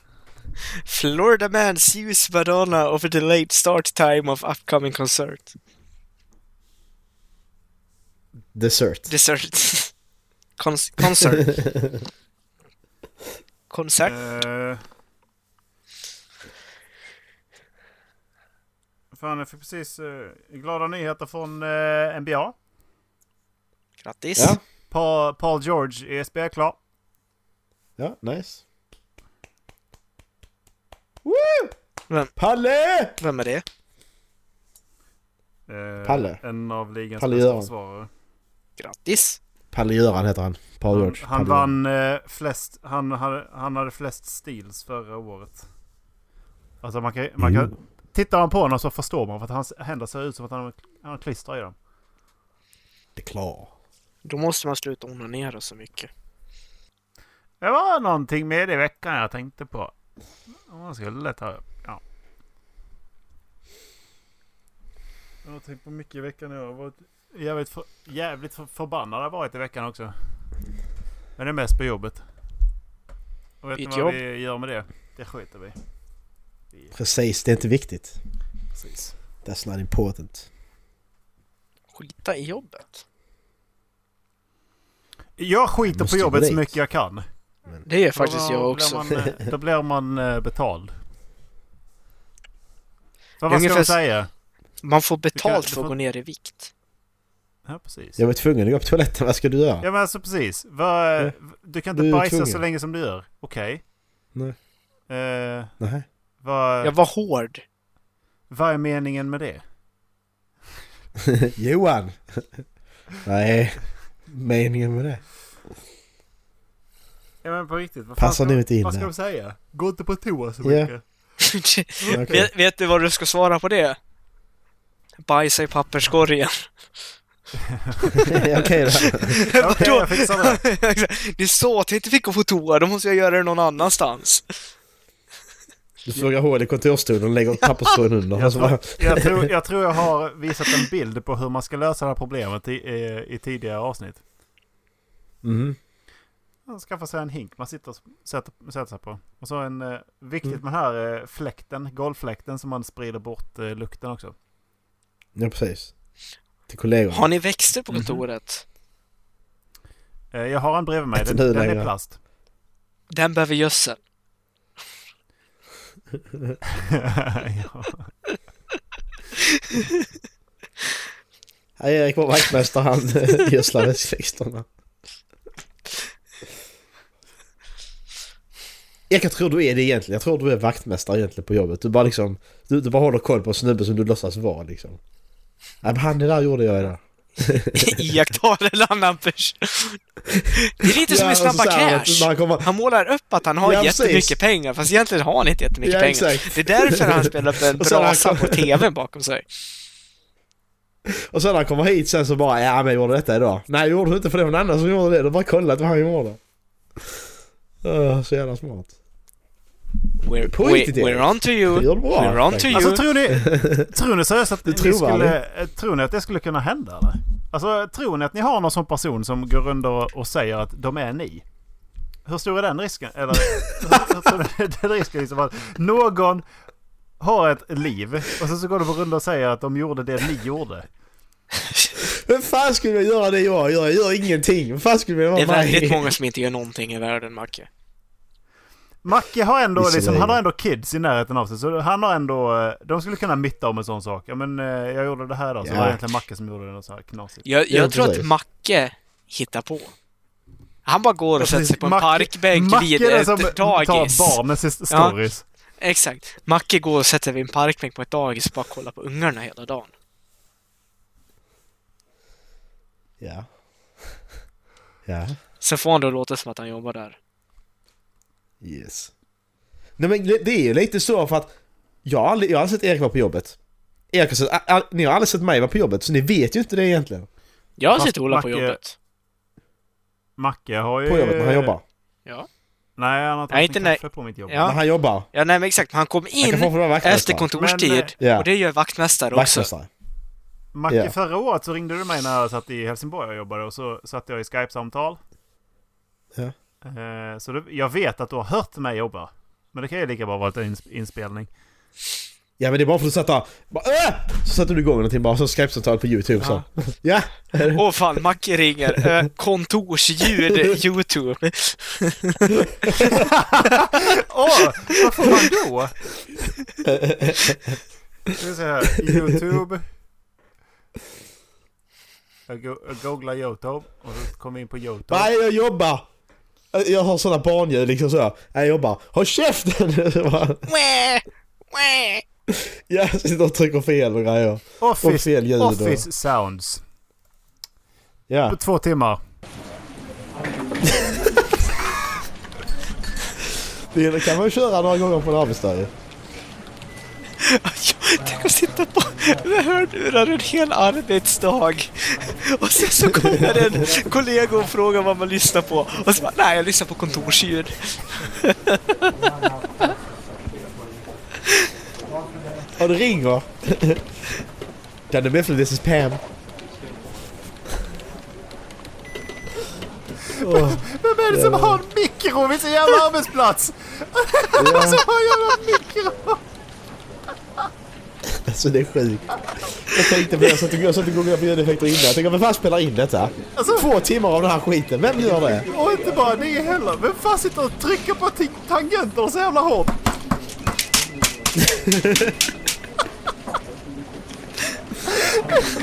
[SPEAKER 8] Florida man sues Madonna over the late start time of upcoming concert.
[SPEAKER 6] Dessert.
[SPEAKER 8] Dessert. Cons-
[SPEAKER 6] [laughs]
[SPEAKER 8] concert. Concert.
[SPEAKER 7] Eh. Fan, jag fick precis eh, glada nyheter från eh, NBA.
[SPEAKER 8] Grattis.
[SPEAKER 6] Ja,
[SPEAKER 7] Paul, Paul George är spelklar.
[SPEAKER 6] ja, nice.
[SPEAKER 8] Vem,
[SPEAKER 6] Palle!
[SPEAKER 8] vem är det?
[SPEAKER 7] Eh,
[SPEAKER 6] Palle.
[SPEAKER 7] En av ligans
[SPEAKER 6] Palle
[SPEAKER 7] bästa
[SPEAKER 6] Göran.
[SPEAKER 7] försvarare.
[SPEAKER 8] Grattis.
[SPEAKER 6] Palle-Göran heter han. Paul
[SPEAKER 7] Han,
[SPEAKER 6] George.
[SPEAKER 7] han
[SPEAKER 6] Palle-Göran.
[SPEAKER 7] vann eh, flest, han, hade- han hade flest steals förra året. Alltså man kan, man
[SPEAKER 6] Mm.
[SPEAKER 7] kan Tittar man på honom så förstår man för att hans händer ser ut som att han, har- han har klister i dem.
[SPEAKER 6] Det är klart.
[SPEAKER 8] Då måste man sluta onanera så mycket.
[SPEAKER 7] Det var någonting med det i veckan jag tänkte på. Om man skulle ta upp. Ja. Jag har tänkt på mycket i veckan. Jag har varit jävligt, för, jävligt för, förbannad har jag varit i veckan också. Men det är mest på jobbet. Och vet ni
[SPEAKER 8] Ditt
[SPEAKER 7] vad
[SPEAKER 8] jobb?
[SPEAKER 7] vi gör med det? Det skiter vi i.
[SPEAKER 6] Precis, det är inte viktigt.
[SPEAKER 7] Precis.
[SPEAKER 6] That's not important.
[SPEAKER 8] Skita i jobbet.
[SPEAKER 7] Jag
[SPEAKER 6] Jag
[SPEAKER 7] skiter
[SPEAKER 6] måste
[SPEAKER 7] på jobbet så
[SPEAKER 6] dit.
[SPEAKER 7] mycket jag kan.
[SPEAKER 8] Det gör faktiskt
[SPEAKER 7] Då
[SPEAKER 8] jag
[SPEAKER 7] Blir
[SPEAKER 8] också.
[SPEAKER 7] man,
[SPEAKER 8] [laughs]
[SPEAKER 7] eh, då blir man eh, betald. För vad ska
[SPEAKER 8] Ungefär
[SPEAKER 7] man
[SPEAKER 8] s-
[SPEAKER 7] säga?
[SPEAKER 8] Man får
[SPEAKER 7] Du kan-
[SPEAKER 8] betalt
[SPEAKER 7] du
[SPEAKER 8] för att
[SPEAKER 7] får-
[SPEAKER 8] gå ner i vikt.
[SPEAKER 7] Ja, precis.
[SPEAKER 6] Jag var tvungen att gå på toaletten, vad ska du göra?
[SPEAKER 7] Ja men alltså precis. Vad-
[SPEAKER 6] Ja.
[SPEAKER 7] Du kan inte
[SPEAKER 6] Du är
[SPEAKER 7] bajsa så
[SPEAKER 6] tvungen.
[SPEAKER 7] länge som du gör. Okej.
[SPEAKER 6] Nej.
[SPEAKER 7] Eh,
[SPEAKER 6] Nej. [laughs]
[SPEAKER 7] vad,
[SPEAKER 8] Jag var hård.
[SPEAKER 7] vad är meningen med det?
[SPEAKER 6] Johan! [laughs] Nej, meningen med det. [laughs]
[SPEAKER 7] Ja men på riktigt. Vad
[SPEAKER 6] fan Passar ska- nu inte in vad
[SPEAKER 7] Vad
[SPEAKER 6] ska
[SPEAKER 7] ska
[SPEAKER 6] där. de
[SPEAKER 7] de säga? Gå inte på toa så
[SPEAKER 6] Ja.
[SPEAKER 7] mycket.
[SPEAKER 6] Okej.
[SPEAKER 8] vet, vet du vad du ska svara på det? Bajsa i papperskorgen.
[SPEAKER 6] Okej då.
[SPEAKER 7] [laughs] Okej, jag fixar
[SPEAKER 8] [laughs]
[SPEAKER 7] det.
[SPEAKER 8] Du sa att jag inte fick gå på toa, då måste jag göra det någon annanstans.
[SPEAKER 6] Du slår hål i kontorstolen och lägger papperskorgen under.
[SPEAKER 7] Jag
[SPEAKER 6] Alltså,
[SPEAKER 7] tror,
[SPEAKER 6] bara,
[SPEAKER 7] jag,
[SPEAKER 6] [laughs]
[SPEAKER 7] tror, jag tror jag har visat en bild på hur man ska lösa det här problemet i, i, i tidigare avsnitt.
[SPEAKER 6] mm,
[SPEAKER 7] Man skaffar sig en hink man sitter, sätter, sätter sig på. Och så en, eh,
[SPEAKER 6] Mm.
[SPEAKER 7] viktigt med den här eh, fläkten, golvfläkten som man sprider bort eh, lukten också.
[SPEAKER 6] ja, precis. Till kollegor.
[SPEAKER 8] Har ni växter
[SPEAKER 6] Mhm.
[SPEAKER 8] på kontoret?
[SPEAKER 7] Eh, jag har en bredvid mig,
[SPEAKER 6] Inte
[SPEAKER 7] den,
[SPEAKER 6] nu
[SPEAKER 7] den
[SPEAKER 6] längre.
[SPEAKER 7] är plast. [laughs]
[SPEAKER 8] Den behöver gödsel.
[SPEAKER 7] ja.
[SPEAKER 6] Hej Erik, vår vaktmästare, han eh, gödslar växtväxterna. Erik, Jag tror du är det egentligen. Jag tror du är vaktmästare egentligen på jobbet. Du bara liksom... Du, du bara håller koll på en snubbe som du låtsas vara liksom. Nej men han det där gjorde jag idag.
[SPEAKER 8] [laughs] Iakttar en annan person. Det är lite
[SPEAKER 6] Ja,
[SPEAKER 8] som i
[SPEAKER 6] och så
[SPEAKER 8] Snabba
[SPEAKER 6] så här, när
[SPEAKER 8] Cash.
[SPEAKER 6] han kommer-
[SPEAKER 8] Han målar upp att han har
[SPEAKER 6] Ja, precis.
[SPEAKER 8] jättemycket pengar, fast egentligen har han inte jättemycket
[SPEAKER 6] Ja,
[SPEAKER 8] pengar.
[SPEAKER 6] exakt.
[SPEAKER 8] Det är därför han spelar upp en
[SPEAKER 6] [laughs] Och sen när han
[SPEAKER 8] brasa på
[SPEAKER 6] kommer-
[SPEAKER 8] TVn
[SPEAKER 6] [laughs]
[SPEAKER 8] bakom sig.
[SPEAKER 6] Och sen när han kommer hit sen så bara ja men jag gjorde detta idag. Nej gjorde du inte för det var någon annan som gjorde det. Du har bara kollat vad han gjorde. Uh, så jävla smart.
[SPEAKER 8] We're,
[SPEAKER 6] På
[SPEAKER 8] we,
[SPEAKER 6] riktigt, Erik.
[SPEAKER 8] we're on to you.
[SPEAKER 6] Det gör du bra,
[SPEAKER 8] We're on to
[SPEAKER 6] faktiskt.
[SPEAKER 8] you.
[SPEAKER 7] Alltså tror ni,
[SPEAKER 6] [laughs]
[SPEAKER 7] tror ni seriöst att, ni
[SPEAKER 6] tror
[SPEAKER 7] skulle, eh, tror ni att det skulle kunna hända eller? Alltså tror ni att ni har någon sån person som går runt och, och säger att de är ni? hur stor är den risken? Eller [laughs] hur- hur stor är den risken liksom att någon har ett liv och sen så går de på runda och säger att de gjorde det ni gjorde.
[SPEAKER 6] Vem fan skulle jag göra det jag gör? Jag gör ingenting. Vem fan skulle jag
[SPEAKER 8] Det
[SPEAKER 6] vara
[SPEAKER 8] är väldigt
[SPEAKER 6] mig?
[SPEAKER 8] många som inte gör någonting i världen, Macke.
[SPEAKER 7] Macke har ändå,
[SPEAKER 6] Visserligen.
[SPEAKER 7] liksom, han har ändå kids i närheten av sig. Så han har ändå, eh, de skulle kunna mitta om en sån sak. Ja men eh, jag gjorde det här då. Så
[SPEAKER 6] Ja.
[SPEAKER 7] det var egentligen Macke som gjorde det. något Så här knasigt.
[SPEAKER 8] Jag,
[SPEAKER 6] Ja,
[SPEAKER 8] jag tror att
[SPEAKER 6] precis.
[SPEAKER 8] Macke hittar på. Han bara går och sätter sig på en
[SPEAKER 7] Macke-
[SPEAKER 8] parkbänk
[SPEAKER 7] Macke
[SPEAKER 8] vid
[SPEAKER 7] är den
[SPEAKER 8] ett
[SPEAKER 7] som
[SPEAKER 8] dagis.
[SPEAKER 7] tar barnens his-
[SPEAKER 8] Ja.
[SPEAKER 7] stories.
[SPEAKER 8] Exakt. Macke går och sätter sig vid en parkbänk på ett dagis och bara kollar på ungarna hela dagen.
[SPEAKER 6] Ja. Ja.
[SPEAKER 8] Sen får han det att låta som att han jobbar där.
[SPEAKER 6] Yes. Nej men det det är ju lite så för att jag har aldrig, jag har aldrig sett Erik vara på jobbet. Erik har sett, a- a- ni har aldrig sett mig vara på jobbet så ni vet ju inte det egentligen.
[SPEAKER 8] Jag har
[SPEAKER 7] Fast
[SPEAKER 8] sett Ola på
[SPEAKER 7] Macke-
[SPEAKER 8] jobbet.
[SPEAKER 7] Macke har ju...
[SPEAKER 6] På jobbet när han jobbar.
[SPEAKER 8] Ja.
[SPEAKER 7] Nej, han har
[SPEAKER 8] Nej,
[SPEAKER 7] tagit
[SPEAKER 8] inte
[SPEAKER 7] sin
[SPEAKER 8] nej.
[SPEAKER 7] kaffe på mitt jobb.
[SPEAKER 8] Ja.
[SPEAKER 6] När han jobbar.
[SPEAKER 8] Ja, nej men exakt. Men Han kom
[SPEAKER 6] kan
[SPEAKER 8] in
[SPEAKER 6] få vara vaktmästare.
[SPEAKER 8] efter
[SPEAKER 7] Men,
[SPEAKER 8] kontorstid.
[SPEAKER 7] eh,
[SPEAKER 6] Ja.
[SPEAKER 8] Och det gör vaktmästare också.
[SPEAKER 6] Vaktmästare.
[SPEAKER 7] Macke,
[SPEAKER 6] Ja.
[SPEAKER 7] förra året så ringde du mig när jag satt i Helsingborg och jobbade och så satt jag i Skype-samtal.
[SPEAKER 6] Ja.
[SPEAKER 7] Eh, så du, jag vet att du har hört mig jobba. Men det kan ju lika bra vara en ins- inspelning.
[SPEAKER 6] Ja men det är bara för att du satt där. Bara, äh! Så satte du igång någonting bara, så skype-samtal på youtube så. Ja!
[SPEAKER 8] Åh fan, Macke ringer. Eh,
[SPEAKER 6] [laughs]
[SPEAKER 8] kontorsljud, YouTube.
[SPEAKER 7] Åh, vad får man då? Nu ska vi se här. Youtube. Jag, go- jag googlar Youtube och så kom vi in på Youtube.
[SPEAKER 6] Nej jag jobbar! Eh, Jag har sådana barnljud liksom så. här. Nej jag jobbar. Håll käften! [laughs] Så bara,
[SPEAKER 8] Mwah! Mwah!
[SPEAKER 6] jag sitter och trycker fel och grejer. Och
[SPEAKER 7] Office,
[SPEAKER 6] fel ljud då.
[SPEAKER 7] office sounds.
[SPEAKER 6] Ja.
[SPEAKER 7] På två timmar.
[SPEAKER 6] Det kan man ju köra några gånger på en arbetsdag ju.
[SPEAKER 8] Ja, Tänk att sitta på med hörlurar en hel arbetsdag. Och sen så kommer en kollega och frågar vad man lyssnar på. Och så bara, nej jag lyssnar på kontorsljud.
[SPEAKER 6] Ja, det ringer. Kan du meddela this is Pam?
[SPEAKER 7] Vem är det som har en mikro vid sin jävla arbetsplats? [laughs] Vem är det som har en jävla mikro?
[SPEAKER 6] Alltså det är sjukt. Jag tänkte på det, jag satt och- jag satt och googlade på ljudeffekter innan. Jag tänkte, vem fan spelar in detta?
[SPEAKER 7] Alltså-
[SPEAKER 6] Två timmar av den här skiten, vem gör det?
[SPEAKER 7] Och inte bara det heller. Vem fan sitter och trycker på t- tangenter så jävla hårt?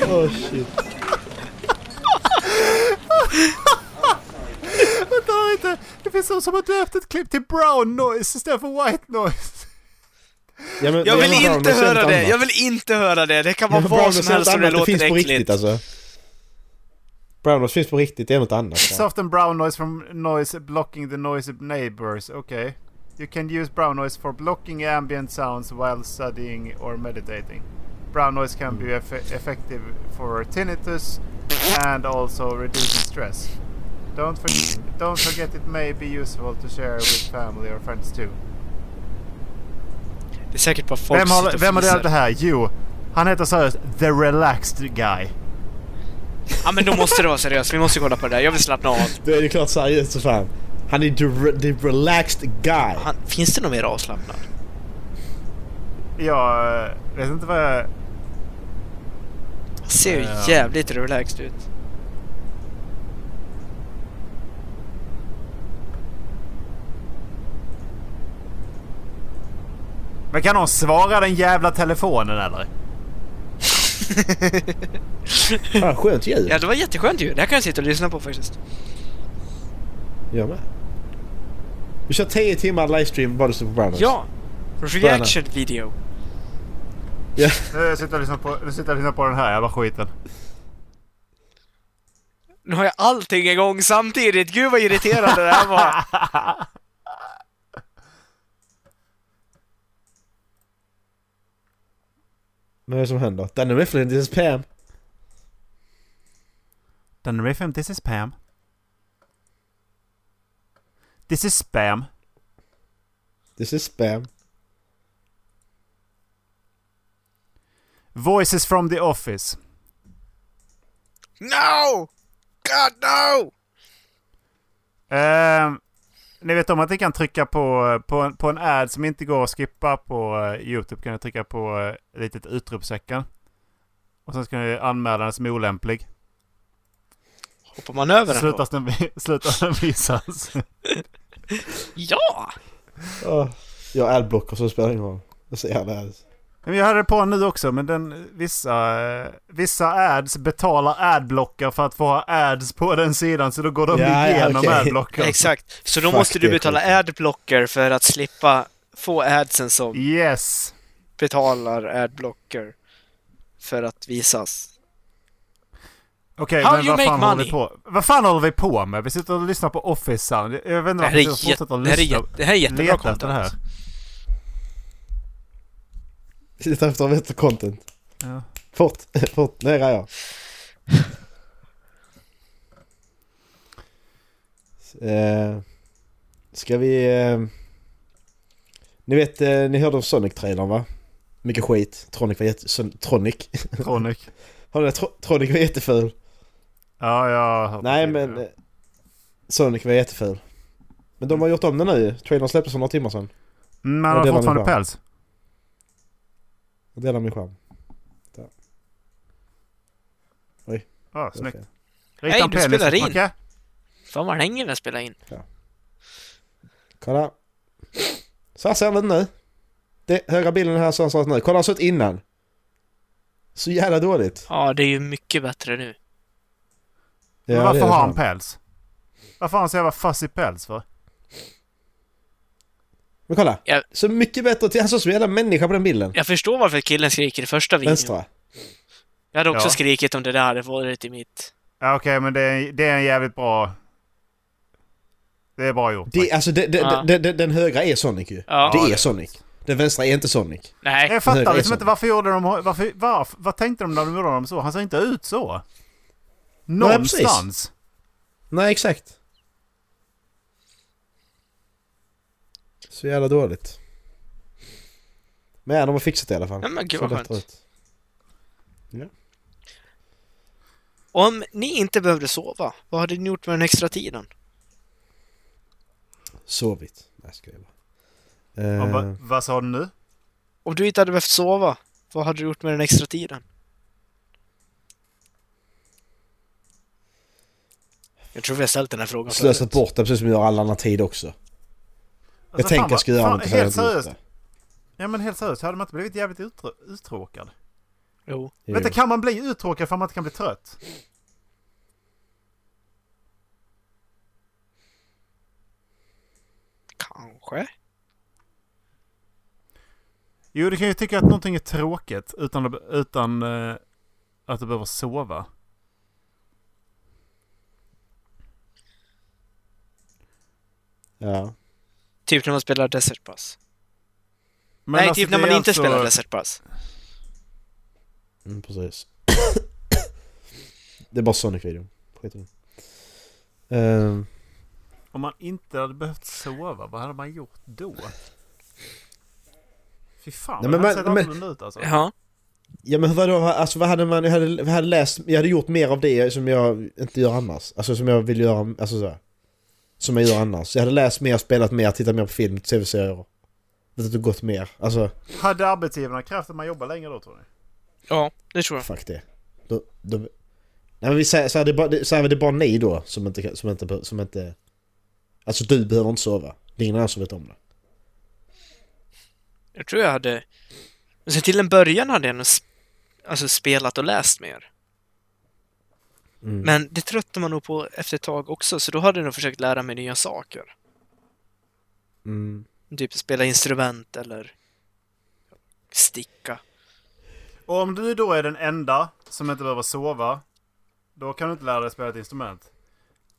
[SPEAKER 6] Oh shit.
[SPEAKER 7] Vänta lite. Det finns de som har döpt ett klipp till brown noise istället för white noise.
[SPEAKER 6] Ja, men,
[SPEAKER 8] Jag
[SPEAKER 6] men
[SPEAKER 8] vill
[SPEAKER 6] Brown
[SPEAKER 8] inte
[SPEAKER 6] har sänt
[SPEAKER 8] höra det,
[SPEAKER 6] annat.
[SPEAKER 8] jag vill inte höra det. Det kan
[SPEAKER 6] Ja,
[SPEAKER 8] vara
[SPEAKER 6] men Brown har
[SPEAKER 8] vad som
[SPEAKER 6] sänt
[SPEAKER 8] helst om det
[SPEAKER 6] annat,
[SPEAKER 8] låter
[SPEAKER 6] finns på
[SPEAKER 8] äckligt.
[SPEAKER 6] riktigt alltså. Brownos finns på riktigt, det är något annat.
[SPEAKER 7] Soften brown noise from noise blocking the noise of neighbors. Okay. You can use brown noise for blocking ambient sounds while studying or meditating. Brown noise can be eff- effective for tinnitus and also reducing stress. Don't, for- don't forget it may be useful to share with family or friends too.
[SPEAKER 8] Det är säkert bara folk
[SPEAKER 7] Vem
[SPEAKER 8] som
[SPEAKER 7] har,
[SPEAKER 8] sitter och
[SPEAKER 7] vem har
[SPEAKER 8] fnissar.
[SPEAKER 7] delat det här? Jo, han heter seriöst The Relaxed Guy.
[SPEAKER 8] Ja men då måste det vara seriöst, vi måste kolla på det där. Jag vill slappna av.
[SPEAKER 6] Det är ju klart seriöst så fan. Han är the, re- the relaxed guy.
[SPEAKER 8] Han, finns det någon mer avslappnad?
[SPEAKER 7] Jag eh, vet inte vad jag...
[SPEAKER 8] Han ser ju
[SPEAKER 7] Ja.
[SPEAKER 8] jävligt relaxed ut.
[SPEAKER 7] Men kan någon svara den jävla telefonen eller?
[SPEAKER 6] Fan, skönt ljud.
[SPEAKER 8] Ja det var jätteskönt ju. Det här kan jag sitta och lyssna på faktiskt.
[SPEAKER 6] Jag med. Vi kör 10 timmar livestream bara du står på Brownos.
[SPEAKER 8] Ja! Reaction video.
[SPEAKER 7] Nu sitter jag och lyssnar på, nu sitter jag och lyssnar på den här jävla skiten.
[SPEAKER 8] Nu har jag allting igång samtidigt. Gud vad irriterande det här [laughs] var.
[SPEAKER 6] Men vad är det som händer? Danny Mifflin, this is Pam.
[SPEAKER 7] Den riffen, this is Pam. This is spam.
[SPEAKER 6] This is spam.
[SPEAKER 7] Voices from the office.
[SPEAKER 8] No! God no!
[SPEAKER 7] Ehm, ni vet om att ni kan trycka på, på, en, på en ad som inte går att skippa på eh, YouTube kan ni trycka på eh, ett litet utropstecken. Och sen ska ni anmäla den som olämplig.
[SPEAKER 8] Hoppar man över den då?
[SPEAKER 7] Slutas den, vi- [laughs] slutas den visas.
[SPEAKER 8] Ja!
[SPEAKER 6] Oh, jag har adblocker så det spelar ingen roll. Jag ser gärna ads.
[SPEAKER 7] Men jag hade det på nu också men den, vissa, eh, vissa ads betalar adblocker för att få ha ads på den sidan så då går de
[SPEAKER 6] Ja, ja,
[SPEAKER 7] igenom
[SPEAKER 6] okej.
[SPEAKER 7] adblocker.
[SPEAKER 8] Exakt. Så då
[SPEAKER 6] Fuck,
[SPEAKER 8] måste du
[SPEAKER 6] det är
[SPEAKER 8] betala adblocker för att slippa få adsen som
[SPEAKER 7] Yes!
[SPEAKER 8] betalar adblocker för att visas.
[SPEAKER 7] Okej,
[SPEAKER 8] How
[SPEAKER 7] men
[SPEAKER 8] you
[SPEAKER 7] vad
[SPEAKER 8] make
[SPEAKER 7] fan håller vi
[SPEAKER 8] money?
[SPEAKER 7] på Vad fan håller vi på med? Vi sitter och lyssnar på Office Sound. Jag vet inte
[SPEAKER 8] Det här
[SPEAKER 7] varför
[SPEAKER 8] är,
[SPEAKER 7] jag
[SPEAKER 8] jät-
[SPEAKER 7] fortsätter att
[SPEAKER 8] det här är,
[SPEAKER 7] lyssna.
[SPEAKER 8] jät- det här är jättebra
[SPEAKER 7] Leta efter det här.
[SPEAKER 8] content.
[SPEAKER 6] Titta efter bättre content.
[SPEAKER 7] Ja.
[SPEAKER 6] Fort, [laughs] fort, nära jag. Eh, ska vi... Eh, ni vet, eh, ni hörde om Sonic-trailern va? Mycket skit. Tronic var jätte... Son- Tronic? [laughs]
[SPEAKER 7] Tronic.
[SPEAKER 6] Hörde ni att Tro- Tronic var jätteful?
[SPEAKER 7] Ja, jag har hört
[SPEAKER 6] Nej
[SPEAKER 7] det.
[SPEAKER 6] men... Eh, Sonic var jätteful. Men de har gjort om den nu. Trailern släpptes för några timmar sedan.
[SPEAKER 7] Men han
[SPEAKER 6] det
[SPEAKER 7] Mm, har
[SPEAKER 6] var
[SPEAKER 7] fortfarande
[SPEAKER 6] nog bra.
[SPEAKER 7] päls.
[SPEAKER 6] Jag delar min skärm. Där.
[SPEAKER 7] Ja,
[SPEAKER 6] Det var
[SPEAKER 7] snyggt.
[SPEAKER 6] fel.
[SPEAKER 8] Nej,
[SPEAKER 7] en
[SPEAKER 8] du
[SPEAKER 7] penis.
[SPEAKER 8] spelar in.
[SPEAKER 7] Okej.
[SPEAKER 8] Fan vad den hänger när jag spelar in.
[SPEAKER 6] Kolla. Så här ser den ut nu. Det, högra bilden här så här ser den ut nu. Kolla hur den såg ut innan. Så jävla dåligt.
[SPEAKER 8] Ja, det är ju mycket bättre
[SPEAKER 6] Ja,
[SPEAKER 8] nu.
[SPEAKER 7] Men
[SPEAKER 6] det är
[SPEAKER 7] varför
[SPEAKER 6] det
[SPEAKER 7] har
[SPEAKER 6] fan.
[SPEAKER 7] han päls? Varför har han så jävla fuzzy päls för?
[SPEAKER 6] Men kolla.
[SPEAKER 8] Ja.
[SPEAKER 6] Så mycket bättre. till- Han såg ut som en jävla människa på den bilden.
[SPEAKER 8] Jag förstår varför killen skriker i första videon.
[SPEAKER 6] Vänstra.
[SPEAKER 8] Jag hade också
[SPEAKER 7] Ja.
[SPEAKER 8] skrikit om det där hade varit i mitt...
[SPEAKER 7] Ja, okej, men det är, det är en jävligt bra... Det är bra gjort.
[SPEAKER 6] Det, alltså det, det,
[SPEAKER 8] Ja.
[SPEAKER 6] det, det, den högra är Sonic ju.
[SPEAKER 8] Ja.
[SPEAKER 6] Det är
[SPEAKER 7] det-
[SPEAKER 6] Sonic. Den vänstra är inte Sonic.
[SPEAKER 8] Nej,
[SPEAKER 7] Jag fattar
[SPEAKER 6] Det är
[SPEAKER 7] liksom
[SPEAKER 6] så.
[SPEAKER 7] inte varför gjorde de... Varför, varför, vad tänkte de när de gjorde honom så? Han ser inte ut så.
[SPEAKER 6] Nej, precis.
[SPEAKER 7] Någonstans.
[SPEAKER 6] Nej, exakt. Så jävla dåligt. Men de har fixat det i alla fall.
[SPEAKER 8] Ja, men gud
[SPEAKER 6] Ser
[SPEAKER 8] vad
[SPEAKER 6] bättre
[SPEAKER 8] skönt.
[SPEAKER 6] ut.
[SPEAKER 8] om ni inte behövde sova, vad hade ni gjort med den extra tiden?
[SPEAKER 6] Sovit. Nej, ska jag bara. Eh,
[SPEAKER 7] Han bara, Vad sa du nu? Alltså,
[SPEAKER 8] Om du inte hade behövt sova, vad hade du gjort med den extra tiden? Jag tror vi har ställt den här frågan
[SPEAKER 6] Slösat bort det precis som vi gör all annan tid också. Jag
[SPEAKER 7] Alltså,
[SPEAKER 6] tänker
[SPEAKER 7] fan,
[SPEAKER 6] jag ska göra
[SPEAKER 7] fan,
[SPEAKER 6] något. så
[SPEAKER 7] Helt
[SPEAKER 6] har jag inte
[SPEAKER 7] seriöst.
[SPEAKER 6] gjort
[SPEAKER 7] Ja men helt seriöst, hade man inte blivit jävligt uttr- uttråkad?
[SPEAKER 8] Jo.
[SPEAKER 6] det.
[SPEAKER 7] Vänta,
[SPEAKER 6] Jo.
[SPEAKER 7] kan man bli uttråkad för att man inte kan bli trött?
[SPEAKER 8] Kanske.
[SPEAKER 7] Jo, du kan ju tycka att någonting är tråkigt utan, att- utan eh, att du behöver sova.
[SPEAKER 6] Ja.
[SPEAKER 8] Typ när man spelar Desert Bus.
[SPEAKER 7] Men
[SPEAKER 8] Nej,
[SPEAKER 7] alltså,
[SPEAKER 8] typ när
[SPEAKER 7] det
[SPEAKER 8] man
[SPEAKER 7] är
[SPEAKER 8] inte
[SPEAKER 7] alltså-
[SPEAKER 8] spelar Desert Bus.
[SPEAKER 6] Mm, precis. [coughs] det är bara Sonic-videon. Skit i det. Eh,
[SPEAKER 7] Om man inte hade behövt sova, vad hade man gjort då? Fy fan,
[SPEAKER 6] Nej,
[SPEAKER 7] men,
[SPEAKER 6] men
[SPEAKER 7] det hade
[SPEAKER 6] man-
[SPEAKER 7] sett
[SPEAKER 6] men-
[SPEAKER 7] annorlunda ut alltså.
[SPEAKER 8] Ja.
[SPEAKER 6] Ja men vadå, alltså vad hade man, jag hade, jag hade läst, jag hade gjort mer av det som jag inte gör annars. Alltså som jag vill göra, alltså så här, Som jag gör annars. Jag hade läst mer, spelat mer, tittat mer på film, tv-serier. Vet du, gått mer. Alltså,
[SPEAKER 7] Hade arbetsgivarna krävt att man jobbar längre då tror ni?
[SPEAKER 8] Ja, det tror jag.
[SPEAKER 6] fuck det. Då, då, nej men vi säger så här, det är bara, det, så här, det är bara ni då som inte, kan- som inte, be- som inte... Alltså du behöver inte sova. Det är ingen annan som vet om det.
[SPEAKER 8] Jag tror jag hade... Men sen till en början hade jag nog sp- alltså spelat och läst mer. Men det tröttnar man nog på efter ett tag också, så då hade jag nog försökt lära mig nya saker. Typ spela instrument eller sticka.
[SPEAKER 7] Och om du då är den enda som inte behöver sova, då kan du inte lära dig spela ett instrument.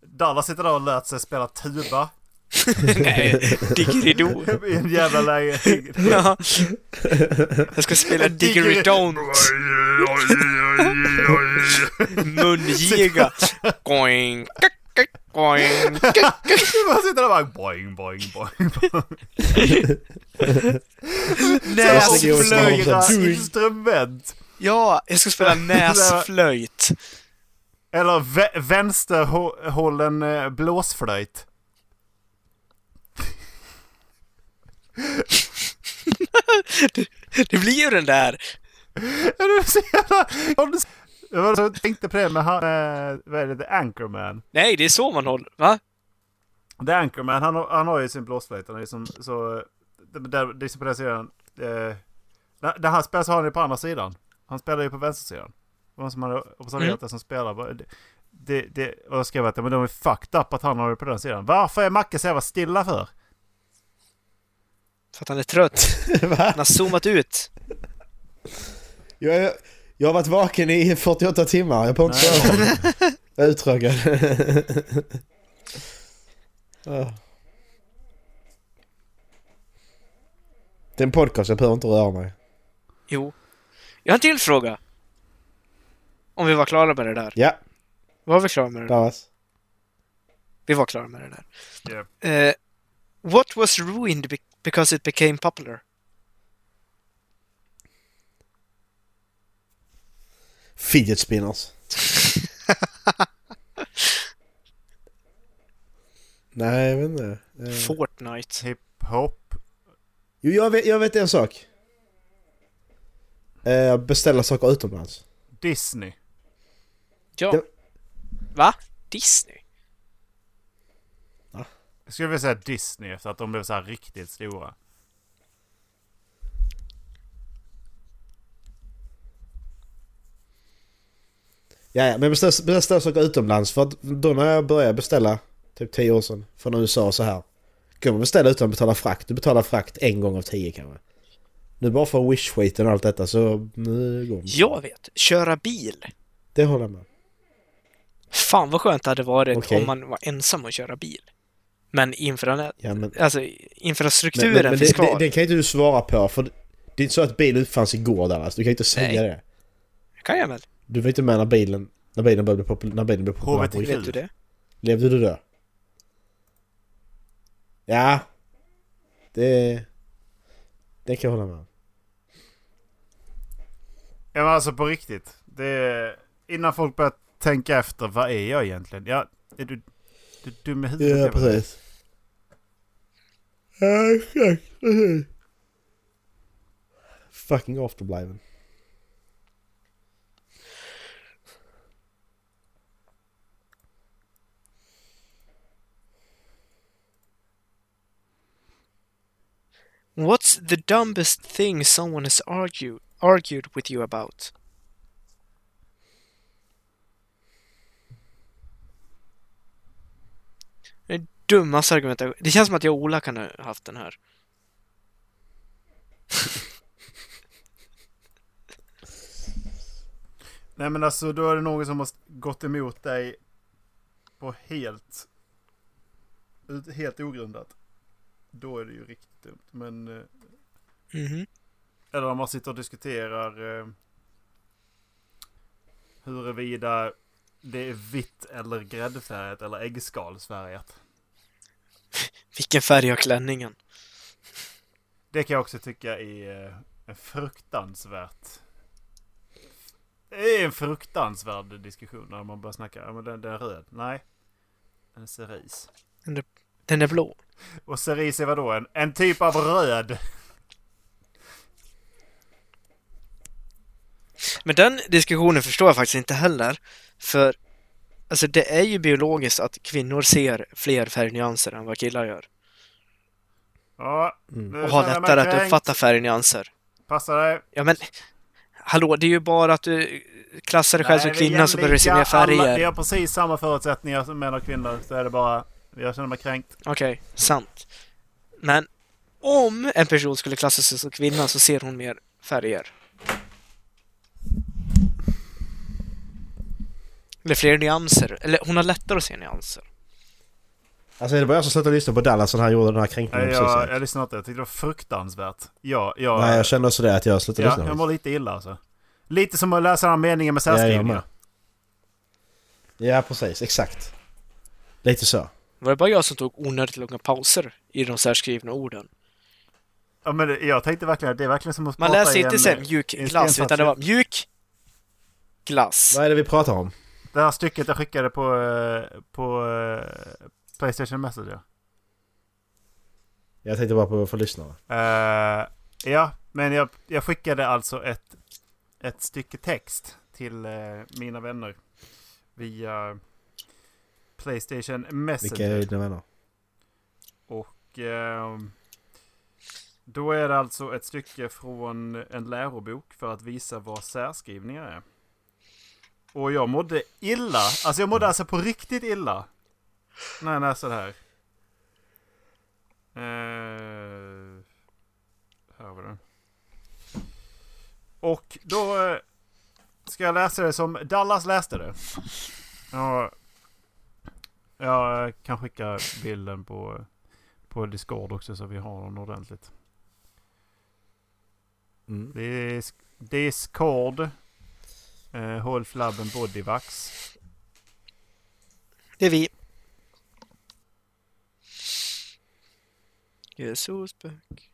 [SPEAKER 7] Dallas sitter där och lärt sig spela tuba
[SPEAKER 8] Nej, diggeridoo.
[SPEAKER 7] i en jävla [laughs] lägenhet.
[SPEAKER 8] Ja. Jag ska spela diggeridont. Mungiga. Going, kack, kack, going.
[SPEAKER 7] Du bara sitter där och bara boing, boing, boing.
[SPEAKER 6] Näsflöjt.
[SPEAKER 7] Näsflöjta
[SPEAKER 6] Doing.
[SPEAKER 7] instrument.
[SPEAKER 8] Ja, jag ska spela näsflöjt.
[SPEAKER 7] Eller vä- vänsterhållen eh, blåsflöjt.
[SPEAKER 8] Det blir ju den där!
[SPEAKER 7] Ja, det var så jävla... Ja, det- Jag var så tänkte på det med han, eh, vad är det, The Anchorman.
[SPEAKER 8] Nej, det är så man håller. Va?
[SPEAKER 7] The Anchorman, han, har- han har ju sin blåsflöjt. Han är ju som, så, eh, det, där, det är som på den sidan. Eh, där, där han spelar så har han ju på andra sidan. Han spelar ju på vänstersidan. Det var någon som hade observerat
[SPEAKER 8] Mm.
[SPEAKER 7] det som spelar. bara, Det, det, det, och jag skrev att ja, men de är fucked up att han har det på den sidan. Varför är Macke så jävla stilla för?
[SPEAKER 8] För att han är trött.
[SPEAKER 6] [laughs] Va?
[SPEAKER 8] Han har zoomat ut.
[SPEAKER 6] Jag, är- jag har varit vaken i 48 timmar. Jag får inte sova. Jag är uttråkad. [laughs] Ja. det är en podcast, jag behöver inte röra mig.
[SPEAKER 8] Jo. Jag har en till fråga. Om vi var klara med det där.
[SPEAKER 6] Ja,
[SPEAKER 8] Var vi klara med det där?
[SPEAKER 6] Dallas.
[SPEAKER 8] Vi var klara med det där.
[SPEAKER 7] Yep.
[SPEAKER 8] Eh, what was ruined be- because it became popular?
[SPEAKER 6] Fidget alltså. spinners. Nej, jag vet inte. Eh,
[SPEAKER 8] Fortnite.
[SPEAKER 7] Hiphop.
[SPEAKER 6] Jo, jag vet, jag vet en sak. Eh, beställa saker utomlands.
[SPEAKER 7] Disney.
[SPEAKER 8] Ja.
[SPEAKER 6] Det-
[SPEAKER 8] Va? Disney?
[SPEAKER 7] Jag skulle vilja säga Disney efter att de blev så här riktigt stora.
[SPEAKER 6] Ja, ja men beställ, beställ saker utomlands för att då när jag började beställa, typ 10 år sedan, från USA så här. Kan man beställa utan att betala frakt? Du betalar frakt en gång av 10 kanske. Nu bara för wish-skiten och allt detta så nu går det.
[SPEAKER 8] Jag vet. Köra bil.
[SPEAKER 6] Det håller jag med.
[SPEAKER 8] Fan vad skönt det hade varit
[SPEAKER 6] Okej.
[SPEAKER 8] om man var ensam och köra bil. Men infra-
[SPEAKER 6] Ja, men,
[SPEAKER 8] alltså,
[SPEAKER 6] men,
[SPEAKER 8] infrastrukturen
[SPEAKER 6] men, men
[SPEAKER 8] finns
[SPEAKER 6] det,
[SPEAKER 8] kvar.
[SPEAKER 6] det, det kan ju inte du svara på för det är inte så att bilen uppfanns igår Dallas. Du kan ju inte säga
[SPEAKER 8] Nej.
[SPEAKER 6] det.
[SPEAKER 8] kan jag väl?
[SPEAKER 6] Du var inte med när bilen, när bilen började bli populär. När bilen blev populär.
[SPEAKER 7] HBTQ.
[SPEAKER 8] Vet du det?
[SPEAKER 6] Levde du då? Ja. Det... Det kan jag hålla med om.
[SPEAKER 7] Ja men alltså på riktigt. Det är, innan folk börjar tänka efter, vad är jag egentligen? Ja, är du, du dum i huvudet?
[SPEAKER 6] Ja,
[SPEAKER 7] Jag vet.
[SPEAKER 6] precis. Ja, exakt. Precis. Fucking afterbliven.
[SPEAKER 8] What's the dumbest thing someone has argue, argued with you about? Det dummaste argumentet. Det känns som att jag och Ola kan ha haft den här.
[SPEAKER 7] Nej men alltså då är det någon som har gått emot dig på helt, ut- helt ogrundat. Då är det ju riktigt dumt. Men, eh,
[SPEAKER 8] Mhm.
[SPEAKER 7] eller om man sitter och diskuterar eh, huruvida det är vitt eller gräddfärgat eller äggskalsfärgat.
[SPEAKER 8] Vilken färg har klänningen?
[SPEAKER 7] Det kan jag också tycka är eh, en fruktansvärt... Det är en fruktansvärd diskussion när man börjar snacka. Ja, men den, den är röd. Nej. Den är cerise.
[SPEAKER 8] Den är blå.
[SPEAKER 7] Och cerise är vadå? En, en typ av röd.
[SPEAKER 8] Men den diskussionen förstår jag faktiskt inte heller. För alltså, det är ju biologiskt att kvinnor ser fler färgnyanser än vad killar gör.
[SPEAKER 7] Ja. nu
[SPEAKER 8] Mm. Och har
[SPEAKER 7] känner jag mig
[SPEAKER 8] lättare att
[SPEAKER 7] kränkt.
[SPEAKER 8] uppfatta färgnyanser.
[SPEAKER 7] Passa dig.
[SPEAKER 8] Ja men, hallå, det är ju bara att du klassar dig själv som
[SPEAKER 7] Nej, vi är
[SPEAKER 8] kvinna så börjar du se mer
[SPEAKER 7] jämlika.
[SPEAKER 8] färger.
[SPEAKER 7] Alla- Vi har precis samma förutsättningar som män och kvinnor. Så är det bara... Jag känner mig kränkt.
[SPEAKER 8] Okej, sant. Men om en person skulle klassa sig som kvinna så ser hon mer färger. Eller fler nyanser. Eller hon har lättare att se nyanser.
[SPEAKER 6] Alltså är det bara jag som slutar lyssna på Dallas när han gjorde den här
[SPEAKER 7] Nej,
[SPEAKER 6] kränkningen
[SPEAKER 7] jag,
[SPEAKER 6] precis?
[SPEAKER 7] jag lyssnade inte. Jag tyckte det var fruktansvärt. Ja, jag...
[SPEAKER 6] Nej, jag känner också det att jag slutar
[SPEAKER 7] Ja,
[SPEAKER 6] lyssna.
[SPEAKER 7] jag mår lite illa alltså. Lite som att läsa den här meningen med
[SPEAKER 6] Ja, jag
[SPEAKER 7] särskrivningar.
[SPEAKER 6] med. Ja, precis. Exakt. Lite så.
[SPEAKER 8] Var det bara jag som tog onödigt långa pauser i de särskrivna orden?
[SPEAKER 7] Ja, men det- jag tänkte verkligen att det är verkligen som att
[SPEAKER 8] Man
[SPEAKER 7] prata
[SPEAKER 8] läser
[SPEAKER 7] i
[SPEAKER 8] inte
[SPEAKER 7] en-
[SPEAKER 8] sen mjuk
[SPEAKER 7] i en
[SPEAKER 8] glass,
[SPEAKER 7] stensats-
[SPEAKER 8] utan det var mjuk glass.
[SPEAKER 6] Vad är det vi pratar om?
[SPEAKER 7] Det här stycket jag skickade på, eh, på eh, Playstation Messenger.
[SPEAKER 6] Jag tänkte bara på för lyssnarna.
[SPEAKER 8] Alltså,
[SPEAKER 7] Eh, ja, men jag, jag skickade alltså ett, ett stycke text till eh, mina vänner via Playstation Messenger.
[SPEAKER 6] Vilka är dina vänner?
[SPEAKER 7] Och ehm, då är det alltså ett stycke från en lärobok för att visa vad särskrivningar är. Och jag mådde illa. Alltså jag mådde alltså på riktigt illa. När jag läste det här. Eh, här var den. Och då eh, ska jag läsa det som Dallas läste det. Ja, jag kan skicka bilden på på Discord också så vi har den ordentligt.
[SPEAKER 6] Mm.
[SPEAKER 7] Dis- Discord. Eh, håll flabben bodyvax.
[SPEAKER 8] Det är vi. Jesus back.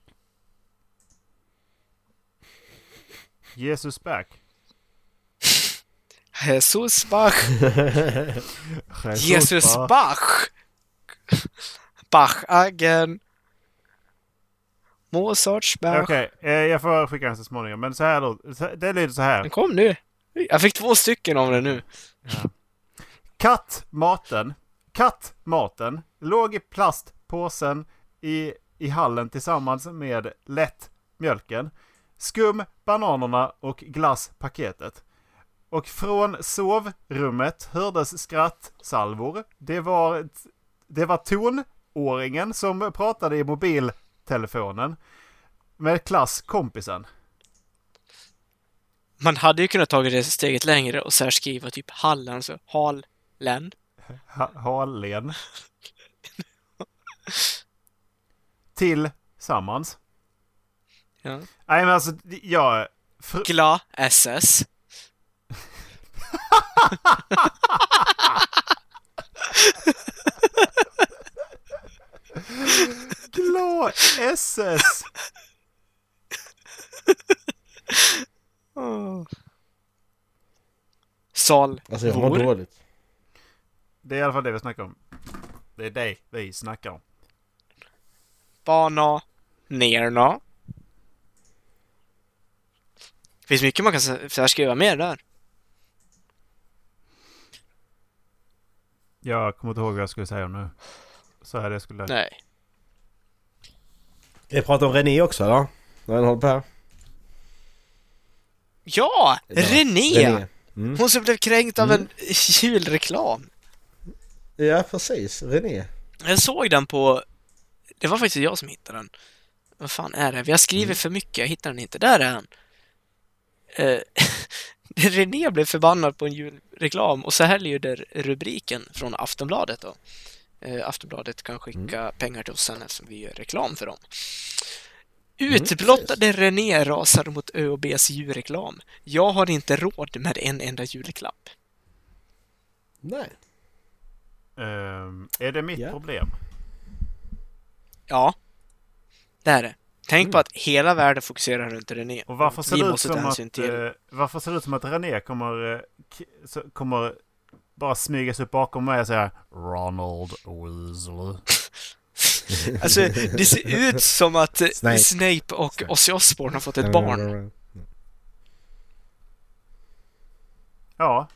[SPEAKER 7] Jesus back.
[SPEAKER 8] Jesus back. Jesus
[SPEAKER 7] back.
[SPEAKER 8] Bach! Bach again! Mozarts Bach.
[SPEAKER 7] Okej, eh, jag får skicka den så småningom. Men så här då. Så- Det lyder så här.
[SPEAKER 8] Den kom nu! Jag fick två stycken av den nu.
[SPEAKER 7] Kattmaten. Kattmaten låg i plastpåsen i, i hallen tillsammans med lätt mjölken, skum, bananerna och glasspaketet. Och från sovrummet hördes skrattsalvor. Det var, det var tonåringen som pratade i mobiltelefonen med klasskompisen.
[SPEAKER 8] Man hade ju kunnat tagit det steget längre och särskriva typ Hallen, så Hallen.
[SPEAKER 7] Ha- Halen. Tillsammans.
[SPEAKER 8] Ja.
[SPEAKER 7] Nej men alltså, jag... Fr-
[SPEAKER 8] Gla SS.
[SPEAKER 7] Glad SS!
[SPEAKER 8] Sal.
[SPEAKER 6] Alltså jag mår
[SPEAKER 8] Vår.
[SPEAKER 6] dåligt.
[SPEAKER 7] Det är i alla fall det vi snackar om. Det är dig vi snackar om.
[SPEAKER 8] Bana. Nerna. Det finns mycket man kan sä- särskriva mer där.
[SPEAKER 7] Jag kommer inte ihåg vad jag skulle säga nu. Så här det skulle...
[SPEAKER 8] Nej.
[SPEAKER 6] Vi pratar om René också eller? När han håller på här.
[SPEAKER 8] Ja! René!
[SPEAKER 6] René. Mm.
[SPEAKER 8] Hon som blev kränkt av en [laughs] julreklam.
[SPEAKER 6] Ja precis, René.
[SPEAKER 8] Jag såg den på... Det var faktiskt jag som hittade den. Vad fan är det? Vi har skrivit för mycket, jag hittar den inte. Där är den! Eh, [laughs] René blev förbannad på en julreklam och så här lyder rubriken från Aftonbladet då. Eh, Aftonbladet kan skicka pengar till oss sen eftersom vi gör reklam för dem. Utblottade René rasar mot ÖoBs julreklam. Jag har inte råd med en enda julklapp.
[SPEAKER 6] Nej.
[SPEAKER 7] Ehm, är det mitt
[SPEAKER 6] Ja.
[SPEAKER 7] problem?
[SPEAKER 8] Ja, det är det. Tänk på att hela världen fokuserar runt René.
[SPEAKER 7] Mm. Och varför ser,
[SPEAKER 8] Vi
[SPEAKER 7] det ut
[SPEAKER 8] måste ta
[SPEAKER 7] som
[SPEAKER 8] hänsyn
[SPEAKER 7] att, eh, varför ser det ut som att René kommer, eh, k- så- kommer bara smygas upp bakom mig och säga Ronald Weasley?
[SPEAKER 8] Alltså, det ser ut som att eh,
[SPEAKER 6] Snape.
[SPEAKER 8] Snape och Ozzy Osbourne har fått ett barn.
[SPEAKER 7] Ja,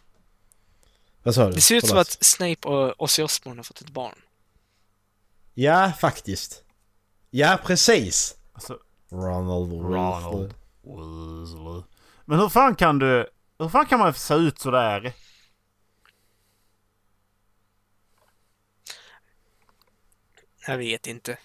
[SPEAKER 6] Vad sa du?
[SPEAKER 8] Det ser ut som
[SPEAKER 6] Förlåt.
[SPEAKER 8] att Snape och Ozzy Osbourne har fått ett barn.
[SPEAKER 6] Ja, faktiskt. Ja, precis.
[SPEAKER 7] alltså
[SPEAKER 6] Ronald
[SPEAKER 7] Ronald
[SPEAKER 6] Ronald.
[SPEAKER 7] Weasley. Men hur fan kan du... Hur fan kan man se ut sådär?
[SPEAKER 8] Jag vet inte.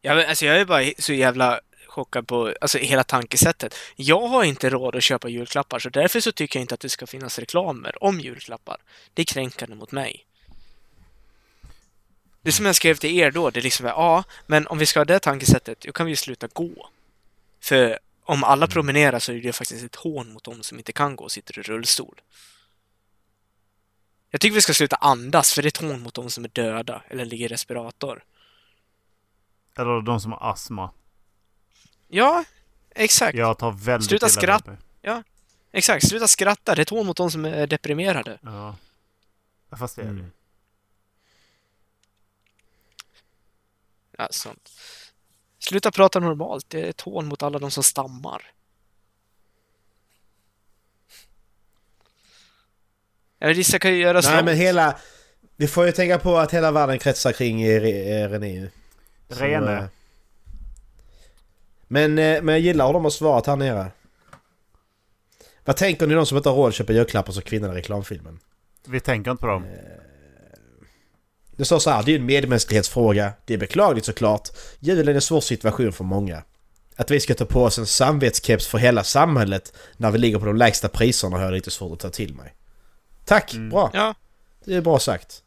[SPEAKER 8] Jag, alltså, jag är bara så jävla chockad på alltså, hela tankesättet. Jag har inte råd att köpa julklappar, så därför så tycker jag inte att det ska finnas reklamer om julklappar. Det är kränkande mot mig. Det som jag skrev till er då, det är liksom ja, men om vi ska ha det tankesättet, då kan vi ju sluta gå. För om alla promenerar så är det faktiskt ett hån mot dem som inte kan gå och sitter i rullstol. Jag tycker vi ska sluta andas, för det är ett hån mot dem som är döda eller ligger i respirator.
[SPEAKER 7] Eller de som har astma.
[SPEAKER 8] Ja, exakt.
[SPEAKER 7] Jag tar väldigt
[SPEAKER 8] Sluta
[SPEAKER 7] illa
[SPEAKER 8] skratta.
[SPEAKER 7] upp.
[SPEAKER 8] Exakt, sluta skratta. Det är ett hån mot de som är deprimerade.
[SPEAKER 7] Ja. Ja, Fast det är det.
[SPEAKER 8] Ja, sånt. Sluta prata normalt, det är ett hån mot alla de som stammar. Jag vill gissa jag kan göra så
[SPEAKER 6] Nej
[SPEAKER 8] långt.
[SPEAKER 6] men hela... Vi får ju tänka på att hela världen kretsar kring eh, Re- eh, René ju. Så,
[SPEAKER 7] Rene.
[SPEAKER 6] eh, Men, eh, men jag gillar hur de har svarat här nere. Vad tänker ni om de som inte har råd att köpa julklappar som kvinnan i reklamfilmen?
[SPEAKER 7] Vi tänker inte på dem.
[SPEAKER 6] eh, Det står så här, det är ju en medmänsklighetsfråga. Det är beklagligt såklart. Julen är en svår situation för många. Att vi ska ta på oss en samvetskeps för hela samhället när vi ligger på de lägsta priserna har jag lite svårt att ta till mig. Tack, bra!
[SPEAKER 8] Ja,
[SPEAKER 6] Det är bra sagt.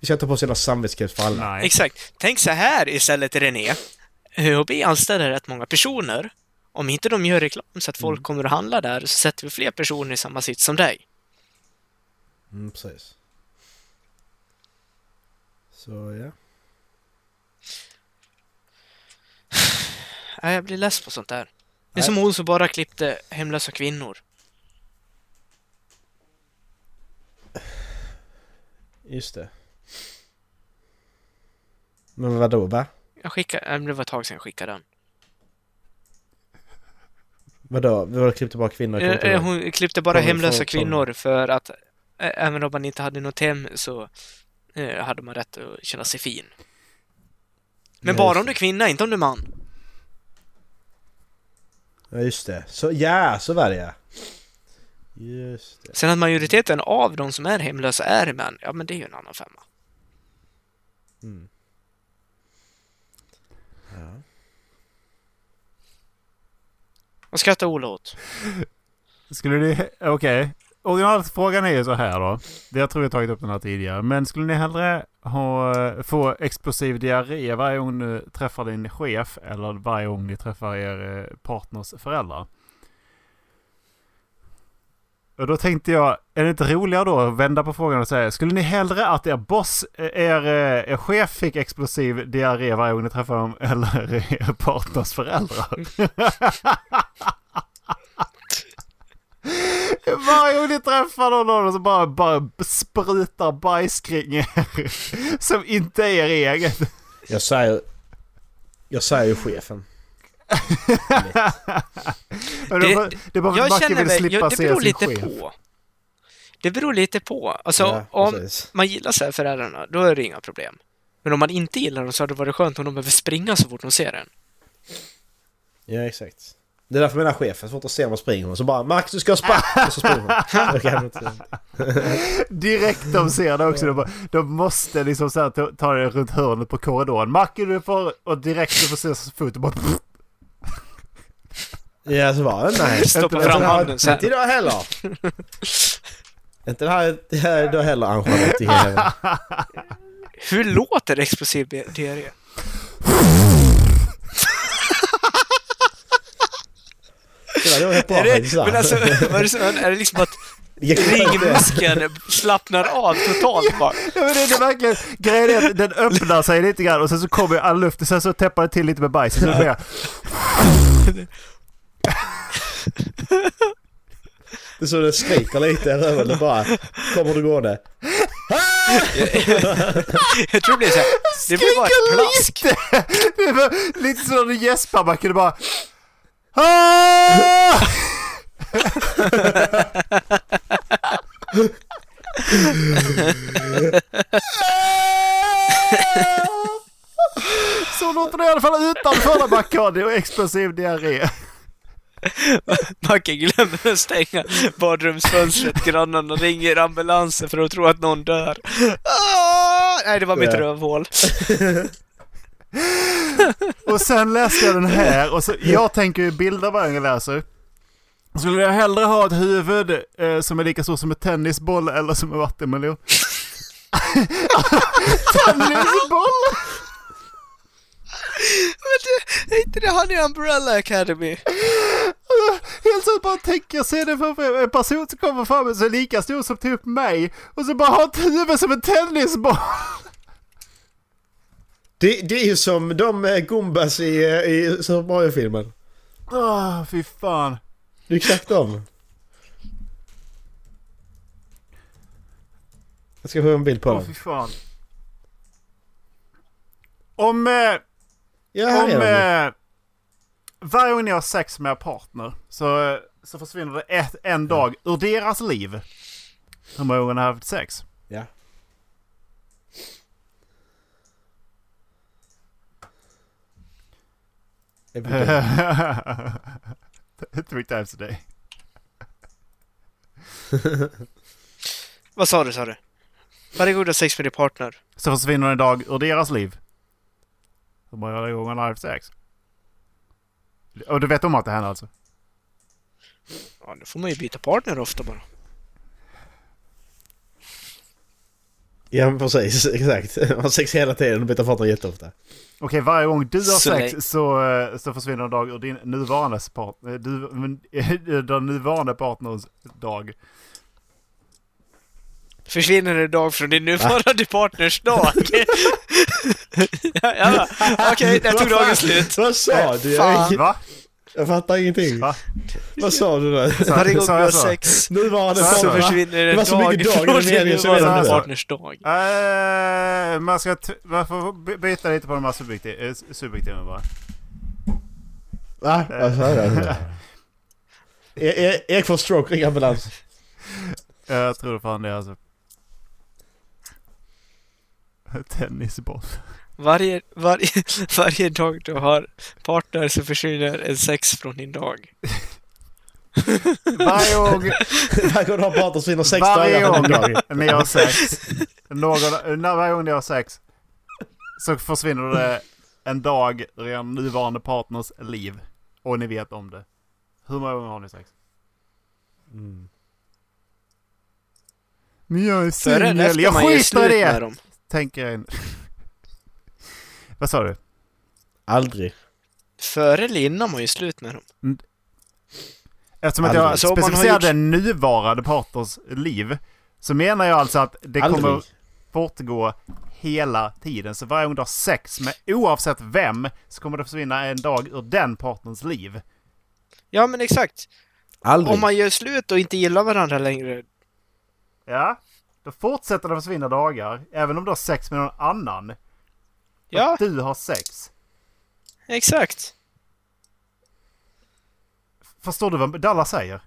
[SPEAKER 6] Vi ska ta på oss hela samvetskeps för alla.
[SPEAKER 7] Nej.
[SPEAKER 8] exakt. Tänk så här istället René. ÖoB anställer rätt många personer. Om inte de gör reklam så att folk kommer att handla där så sätter vi fler personer i samma sits som dig.
[SPEAKER 6] Mm, precis. Så ja.
[SPEAKER 8] Nej, jag blir less på sånt där. Det är som hon som bara klippte hemlösa kvinnor.
[SPEAKER 6] Just det. Men vadå va?
[SPEAKER 8] Jag skickade, nej, men det var ett tag sedan jag skickade den.
[SPEAKER 6] Vadå? Vi har klippt tillbaka kvinnor? jag kommer inte
[SPEAKER 8] Eh, eh,
[SPEAKER 6] ihåg.
[SPEAKER 8] Hon klippte bara
[SPEAKER 6] Kommer
[SPEAKER 8] hemlösa
[SPEAKER 6] folk som-
[SPEAKER 8] kvinnor för att eh, även om man inte hade något hem så eh, hade man rätt att känna sig fin. Men
[SPEAKER 6] Ja, just
[SPEAKER 8] bara om
[SPEAKER 6] det.
[SPEAKER 8] du är kvinna, inte om du är man.
[SPEAKER 6] Ja just det. Så ja, så var det ja. Just det.
[SPEAKER 8] Sen att majoriteten av de som är hemlösa är män, ja men det är ju en annan femma.
[SPEAKER 6] Mm.
[SPEAKER 8] Vad skrattar Ola åt?
[SPEAKER 7] Skulle ni... [laughs] Okej. Originalfrågan är ju så här då. Det jag tror jag tagit upp den här tidigare. Men skulle ni hellre ha, få explosiv diarré varje gång du träffar din chef eller varje gång ni träffar er eh, partners föräldrar? Och då tänkte jag, är det inte roligare då att vända på frågan och säga, skulle ni hellre att er boss, eh, er, eh, er chef fick explosiv diarré varje gång ni träffar dem [laughs] eller er partners föräldrar? Varje gång ni träffar någon av dem så bara, bara sprutar bajs kring er. Som inte är er eget.
[SPEAKER 6] Jag säger... Jag säger ju chefen.
[SPEAKER 7] Men
[SPEAKER 8] Det-
[SPEAKER 7] det, det, det är bara för att
[SPEAKER 8] Jag
[SPEAKER 7] Macke
[SPEAKER 8] känner
[SPEAKER 7] vill
[SPEAKER 8] väl,
[SPEAKER 7] slippa
[SPEAKER 8] jag, det
[SPEAKER 7] se
[SPEAKER 8] beror
[SPEAKER 7] sin
[SPEAKER 8] lite
[SPEAKER 7] chef.
[SPEAKER 8] på. Det beror lite på. Alltså
[SPEAKER 6] Ja,
[SPEAKER 8] om
[SPEAKER 6] precis.
[SPEAKER 8] man gillar så här föräldrarna, då är det inga problem. Men om man inte gillar dem så hade det varit skönt om de behöver springa så fort de ser en.
[SPEAKER 6] Ja exakt. Det är därför jag menar chefen, svårt att se om man springer och så bara Max du ska sparka! [laughs] Och så springer
[SPEAKER 8] [laughs]
[SPEAKER 6] man. Jag kan inte-
[SPEAKER 7] Direkt de ser det också. De, bara, de måste liksom så här, ta- ta det runt hörnet på korridoren. Macke du får... Och direkt du får se hans fot och bara...
[SPEAKER 6] Ja så bara nej.
[SPEAKER 8] Stoppa
[SPEAKER 6] Inte
[SPEAKER 8] fram
[SPEAKER 6] den här-
[SPEAKER 8] handen så
[SPEAKER 6] Inte
[SPEAKER 8] här.
[SPEAKER 6] idag heller! Inte det här, det här idag heller Ann-Charlotte i
[SPEAKER 8] [laughs]
[SPEAKER 6] hela-
[SPEAKER 8] Hur låter explosiv di- diarré?
[SPEAKER 6] Det där går rätt bra
[SPEAKER 8] Är
[SPEAKER 6] faktiskt.
[SPEAKER 8] det,
[SPEAKER 6] där.
[SPEAKER 8] men alltså, vad är det, som- är det liksom att
[SPEAKER 6] Jag kan inte-
[SPEAKER 8] ringmuskeln slappnar av totalt bara?
[SPEAKER 7] Ja, men det, det är verkligen... Grejen är att den öppnar sig lite grann och sen så kommer all luft och sen så täpper det till lite med bajs. Och så börjar...
[SPEAKER 6] Det är så det skriker lite i röven. Det bara kommer du gående.
[SPEAKER 8] Jag tror det blir så här, det blir bara ett plask.
[SPEAKER 7] [laughs] Det var lite som när du gäspar man kunde bara... Ah! Så låter det i alla fall utanför när man kan det och explosiv diarré.
[SPEAKER 8] Macke glömmer att stänga badrumsfönstret, grannarna ringer ambulansen för att tro att någon dör. Ah! Nej, det var mitt
[SPEAKER 6] Ja.
[SPEAKER 8] rövhål.
[SPEAKER 7] Och sen läste jag den här och så, jag tänker ju bilder varje gång jag läser. Skulle jag hellre ha ett huvud eh, som är lika stort som en tennisboll eller som en vattenmelon? [laughs] tennisboll!
[SPEAKER 8] Är inte det han i Umbrella Academy?
[SPEAKER 7] Helt så bara tänker jag ser det framför mig. En person som kommer fram och så är lika stor som typ mig och så bara har ett huvud som en tennisboll.
[SPEAKER 6] Det, det är ju som de eh, Gumbas i, eh, i Super Mario-filmen.
[SPEAKER 7] Åh, Ah, fy fan.
[SPEAKER 6] Det är exakt de. Jag ska få en bild på
[SPEAKER 7] Åh,
[SPEAKER 6] dem.
[SPEAKER 7] fy fan. Om... Eh,
[SPEAKER 6] Ja, här
[SPEAKER 7] om,
[SPEAKER 6] är de.
[SPEAKER 7] eh, varje gång jag har sex med en partner så, eh, så försvinner det ett, en dag ur deras liv. Hur många gånger har jag haft sex?
[SPEAKER 6] Ja. Det brukar-
[SPEAKER 7] Three times a day.
[SPEAKER 8] Vad sa du, sa du? Varje gång du har sex med din partner?
[SPEAKER 7] Så försvinner en dag ur deras liv. Hur många gånger har jag haft sex? Och du vet om att det händer alltså?
[SPEAKER 8] Ja, då får man ju byta partner ofta bara.
[SPEAKER 6] Ja men precis, [laughs] exakt. Man har sex hela tiden och byter partner jätteofta.
[SPEAKER 7] Okej, varje gång du har
[SPEAKER 8] Så
[SPEAKER 7] sex
[SPEAKER 8] nej.
[SPEAKER 7] så, eh, så försvinner en dag ur din nuvarande partner, du, men- [laughs] den nuvarande partners dag.
[SPEAKER 8] Försvinner en dag från din nuvarande partners dag? ja, ja. Okej, där tog dagen slut.
[SPEAKER 6] Vad sa du? Jag,
[SPEAKER 7] Va?
[SPEAKER 6] jag fattar ingenting.
[SPEAKER 7] Va?
[SPEAKER 6] Vad sa du där?
[SPEAKER 8] Varje gång du
[SPEAKER 7] Sa jag
[SPEAKER 8] har
[SPEAKER 7] så?
[SPEAKER 8] sex
[SPEAKER 6] Nu var det
[SPEAKER 7] Så
[SPEAKER 8] så
[SPEAKER 7] va?
[SPEAKER 8] försvinner
[SPEAKER 6] Det
[SPEAKER 8] en
[SPEAKER 6] var så
[SPEAKER 8] dag
[SPEAKER 6] mycket dagar
[SPEAKER 8] från
[SPEAKER 6] i den
[SPEAKER 8] din
[SPEAKER 6] helgen som
[SPEAKER 7] redan
[SPEAKER 8] nuvarande
[SPEAKER 7] var.
[SPEAKER 8] partners dag.
[SPEAKER 7] Eh, man ska t- man får by- byta lite på de här subjekti- eh, subjektiven bara.
[SPEAKER 6] Va? Vad sa du? E- E- Ek får stroke, ring ambulans. [laughs]
[SPEAKER 7] Eh, Jag tror fan det alltså. [laughs] Tennisboll.
[SPEAKER 8] Varje, varje, [laughs] varje dag du har partner så försvinner en sex från din dag.
[SPEAKER 7] Varje [laughs] gång,
[SPEAKER 6] Varje gång du har partner så vinner sex
[SPEAKER 7] varje
[SPEAKER 6] dagar.
[SPEAKER 7] gång
[SPEAKER 6] från en dag.
[SPEAKER 7] när jag har sex, någon, när varje gång jag har sex, så försvinner det en dag ur er nuvarande partners liv. Och ni vet om det. Hur många gånger har ni sex?
[SPEAKER 6] Mm.
[SPEAKER 7] Men jag är
[SPEAKER 8] Före eller
[SPEAKER 7] singel,
[SPEAKER 8] efter
[SPEAKER 7] jag
[SPEAKER 8] man gör
[SPEAKER 7] skiter i
[SPEAKER 8] slut med
[SPEAKER 7] det!
[SPEAKER 8] dem.
[SPEAKER 7] Tänker jag in. [laughs] Vad sa du?
[SPEAKER 6] Aldrig.
[SPEAKER 8] Före eller innan man gör slut med dem.
[SPEAKER 7] Eftersom att
[SPEAKER 6] Aldrig.
[SPEAKER 7] jag
[SPEAKER 8] Alltså, om man har
[SPEAKER 7] specificerade
[SPEAKER 8] gjort-
[SPEAKER 7] nuvarande partners liv så menar jag alltså att det kommer
[SPEAKER 6] Aldrig.
[SPEAKER 7] fortgå hela tiden. Så varje gång du har sex med oavsett vem så kommer det försvinna en dag ur den partners liv.
[SPEAKER 8] Ja, men exakt.
[SPEAKER 6] Aldrig.
[SPEAKER 8] Om man gör slut och inte gillar varandra längre.
[SPEAKER 7] Ja, då fortsätter det försvinna dagar även om du har sex med någon annan.
[SPEAKER 8] Ja,
[SPEAKER 7] Och du har sex.
[SPEAKER 8] exakt. [laughs]
[SPEAKER 7] Förstår du vad Dalla säger?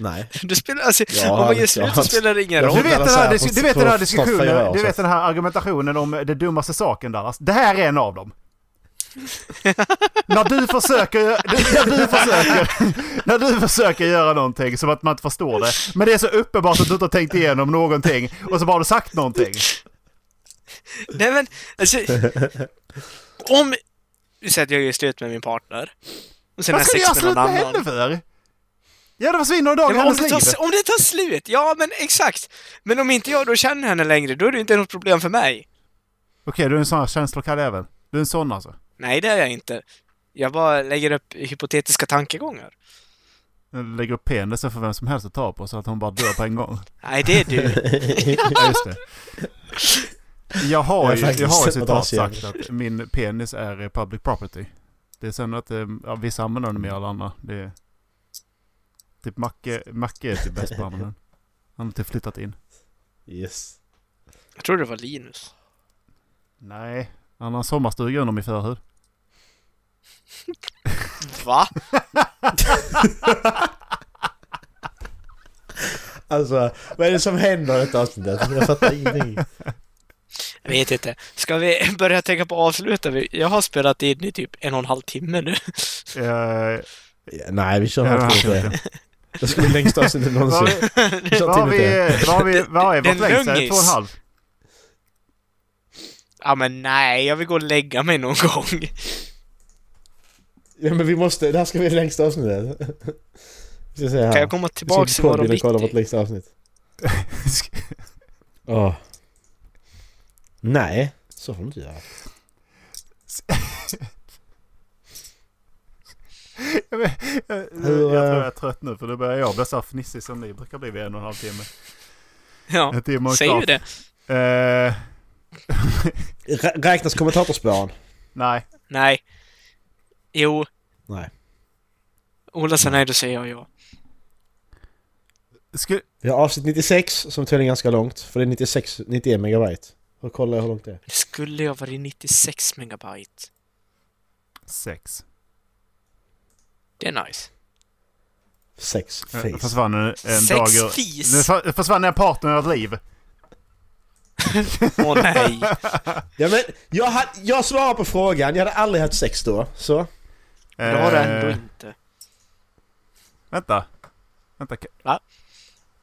[SPEAKER 6] Nej.
[SPEAKER 8] Det spelar, alltså,
[SPEAKER 6] Ja,
[SPEAKER 8] om man gör
[SPEAKER 6] det-
[SPEAKER 8] slut så
[SPEAKER 6] ja.
[SPEAKER 8] spelar det ingen
[SPEAKER 6] Ja,
[SPEAKER 8] roll.
[SPEAKER 7] Du
[SPEAKER 6] Om
[SPEAKER 7] vet,
[SPEAKER 6] Dallas
[SPEAKER 7] den här,
[SPEAKER 6] här
[SPEAKER 7] dis-
[SPEAKER 6] på-
[SPEAKER 7] du vet den här
[SPEAKER 6] för- för fyra
[SPEAKER 7] diskussionen,
[SPEAKER 6] år
[SPEAKER 7] du vet
[SPEAKER 6] sedan.
[SPEAKER 7] den här argumentationen om det dummaste saken Dallas. Det här är en av
[SPEAKER 8] [laughs]
[SPEAKER 7] dem. när du försöker, när du försöker, när du försöker göra någonting som att man inte förstår det. Men det är så uppenbart att du inte har tänkt igenom någonting och så bara har du sagt någonting.
[SPEAKER 8] Nej men,
[SPEAKER 7] [laughs]
[SPEAKER 8] alltså, om... Du säger att jag gör slut med min partner. Och sen har
[SPEAKER 7] Vad
[SPEAKER 8] jag
[SPEAKER 7] ska du göra
[SPEAKER 8] sex med
[SPEAKER 7] slut
[SPEAKER 8] någon
[SPEAKER 7] med henne
[SPEAKER 8] annan.
[SPEAKER 7] för? Ja, då försvinner en dag
[SPEAKER 8] Ja,
[SPEAKER 7] i
[SPEAKER 8] men om,
[SPEAKER 7] hennes
[SPEAKER 8] det
[SPEAKER 7] liv.
[SPEAKER 8] tar, om det tar slut, ja men exakt! Men om inte jag då känner henne längre, då är det inte något problem för mig.
[SPEAKER 7] Okej, du är en sån här känslokall även. Du är en sån alltså.
[SPEAKER 8] Nej, det är jag inte. Jag bara lägger upp hypotetiska tankegångar.
[SPEAKER 7] Du lägger upp penisen för vem som helst att ta på så att hon bara dör på en gång.
[SPEAKER 8] Nej, det är du.
[SPEAKER 7] Ja, just det. Jag har
[SPEAKER 6] Jag
[SPEAKER 7] ju,
[SPEAKER 6] har faktiskt
[SPEAKER 7] jag har ju
[SPEAKER 6] sett
[SPEAKER 7] citat
[SPEAKER 6] vad han
[SPEAKER 7] sagt att min penis är eh, public property. Det är sen att eh, ja, vissa använder den mer än andra. Det är, typ Macke, Macke är typ bäst på att använda den. Han har typ flyttat in.
[SPEAKER 6] Yes.
[SPEAKER 8] Jag tror det var Linus.
[SPEAKER 7] Nej, han har en sommarstuga under min förhud.
[SPEAKER 8] Va?
[SPEAKER 6] Alltså, vad är det som händer i detta avsnittet? Jag fattar ingenting.
[SPEAKER 8] Jag vet inte. Ska vi börja tänka på att avsluta? Vi- Jag har spelat in i typ en och en halv timme nu. [laughs]
[SPEAKER 7] Eh, ja,
[SPEAKER 6] Ja, nej, vi kör
[SPEAKER 7] vad har
[SPEAKER 6] inte
[SPEAKER 7] vi-
[SPEAKER 6] det. Det ska bli längsta avsnittet någonsin. Vi kör
[SPEAKER 7] vad
[SPEAKER 6] timmen
[SPEAKER 7] har
[SPEAKER 6] till.
[SPEAKER 7] vi, vad har vi, vad är
[SPEAKER 8] Det är
[SPEAKER 7] vårt
[SPEAKER 8] en
[SPEAKER 7] längsta? Är det
[SPEAKER 8] lungis.
[SPEAKER 7] Två och en halv?
[SPEAKER 8] Ja men nej, jag vill gå och lägga mig någon gång.
[SPEAKER 6] Ja men vi måste, det här ska bli det längsta avsnittet. Vi ska se här.
[SPEAKER 8] Kan jag komma
[SPEAKER 6] typ
[SPEAKER 8] tillbaks imorgon
[SPEAKER 6] bitti? kolla vårt
[SPEAKER 8] bitti?
[SPEAKER 6] längsta avsnitt. Åh. Nej, så får du inte göra.
[SPEAKER 7] Jag, vet- jag, jag
[SPEAKER 6] Hur,
[SPEAKER 7] tror jag
[SPEAKER 6] eh,
[SPEAKER 7] är trött nu för då börjar jag bli så här fnissig som ni brukar bli vid en och en halv timme.
[SPEAKER 8] Ja,
[SPEAKER 7] En timme och
[SPEAKER 8] säg ju
[SPEAKER 7] kvart.
[SPEAKER 8] det.
[SPEAKER 7] Eh,
[SPEAKER 6] Rä- Räknas kommentatorspåren?
[SPEAKER 7] nej.
[SPEAKER 8] Nej. Jo,
[SPEAKER 6] Nej.
[SPEAKER 8] Ola sa nej, då säger jag ja.
[SPEAKER 7] Skulle,
[SPEAKER 6] Vi har avsnitt 96 som tydligen är ganska långt. För det är 96, 91 megabyte. Hur kollar jag hur långt det är?
[SPEAKER 8] Det skulle jag varit 96 megabyte.
[SPEAKER 7] Sex.
[SPEAKER 8] Det är nice.
[SPEAKER 6] Sex
[SPEAKER 7] Det
[SPEAKER 6] face.
[SPEAKER 7] försvann en, en
[SPEAKER 8] Sex
[SPEAKER 7] dag ur...
[SPEAKER 8] fis.
[SPEAKER 7] Nu för- försvann en partner ur ett liv. [laughs]
[SPEAKER 8] Åh nej!
[SPEAKER 6] Ja, men jag, hade, jag svarar på frågan, jag hade aldrig haft sex då. Så.
[SPEAKER 8] Det har det ändå
[SPEAKER 7] Eh,
[SPEAKER 8] inte.
[SPEAKER 7] Vänta. Vänta. ka-
[SPEAKER 8] Va?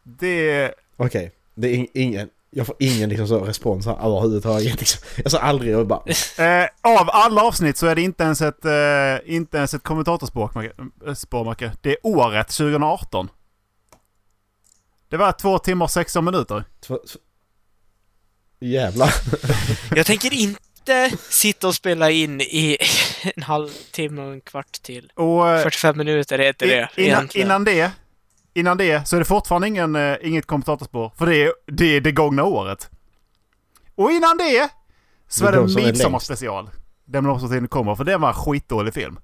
[SPEAKER 7] Det...
[SPEAKER 6] Okej, det är in, ingen... Jag får ingen liksom, så, respons här överhuvudtaget. Liksom. Jag sa aldrig och bara...
[SPEAKER 7] Eh, av alla avsnitt så är det inte ens ett, eh, inte ens ett kommentatorspår, Macke- eh, spår, Macke. Det är året 2018. Det var två timmar och 16 minuter.
[SPEAKER 6] Två, två. Jävlar. [laughs]
[SPEAKER 8] Jag tänker inte sitta och spela in i en halvtimme och en kvart till.
[SPEAKER 7] Och eh,
[SPEAKER 8] 45 minuter heter det
[SPEAKER 7] i- innan,
[SPEAKER 8] egentligen.
[SPEAKER 7] innan det Innan det så är det fortfarande ingen, eh, inget kommentatorspår. För det är, det är det gångna året. Och innan det så
[SPEAKER 6] Det
[SPEAKER 7] är
[SPEAKER 6] är
[SPEAKER 7] det
[SPEAKER 6] de som är
[SPEAKER 7] midsommarspecial. Den också tiden kommer. För det var en skitdålig film.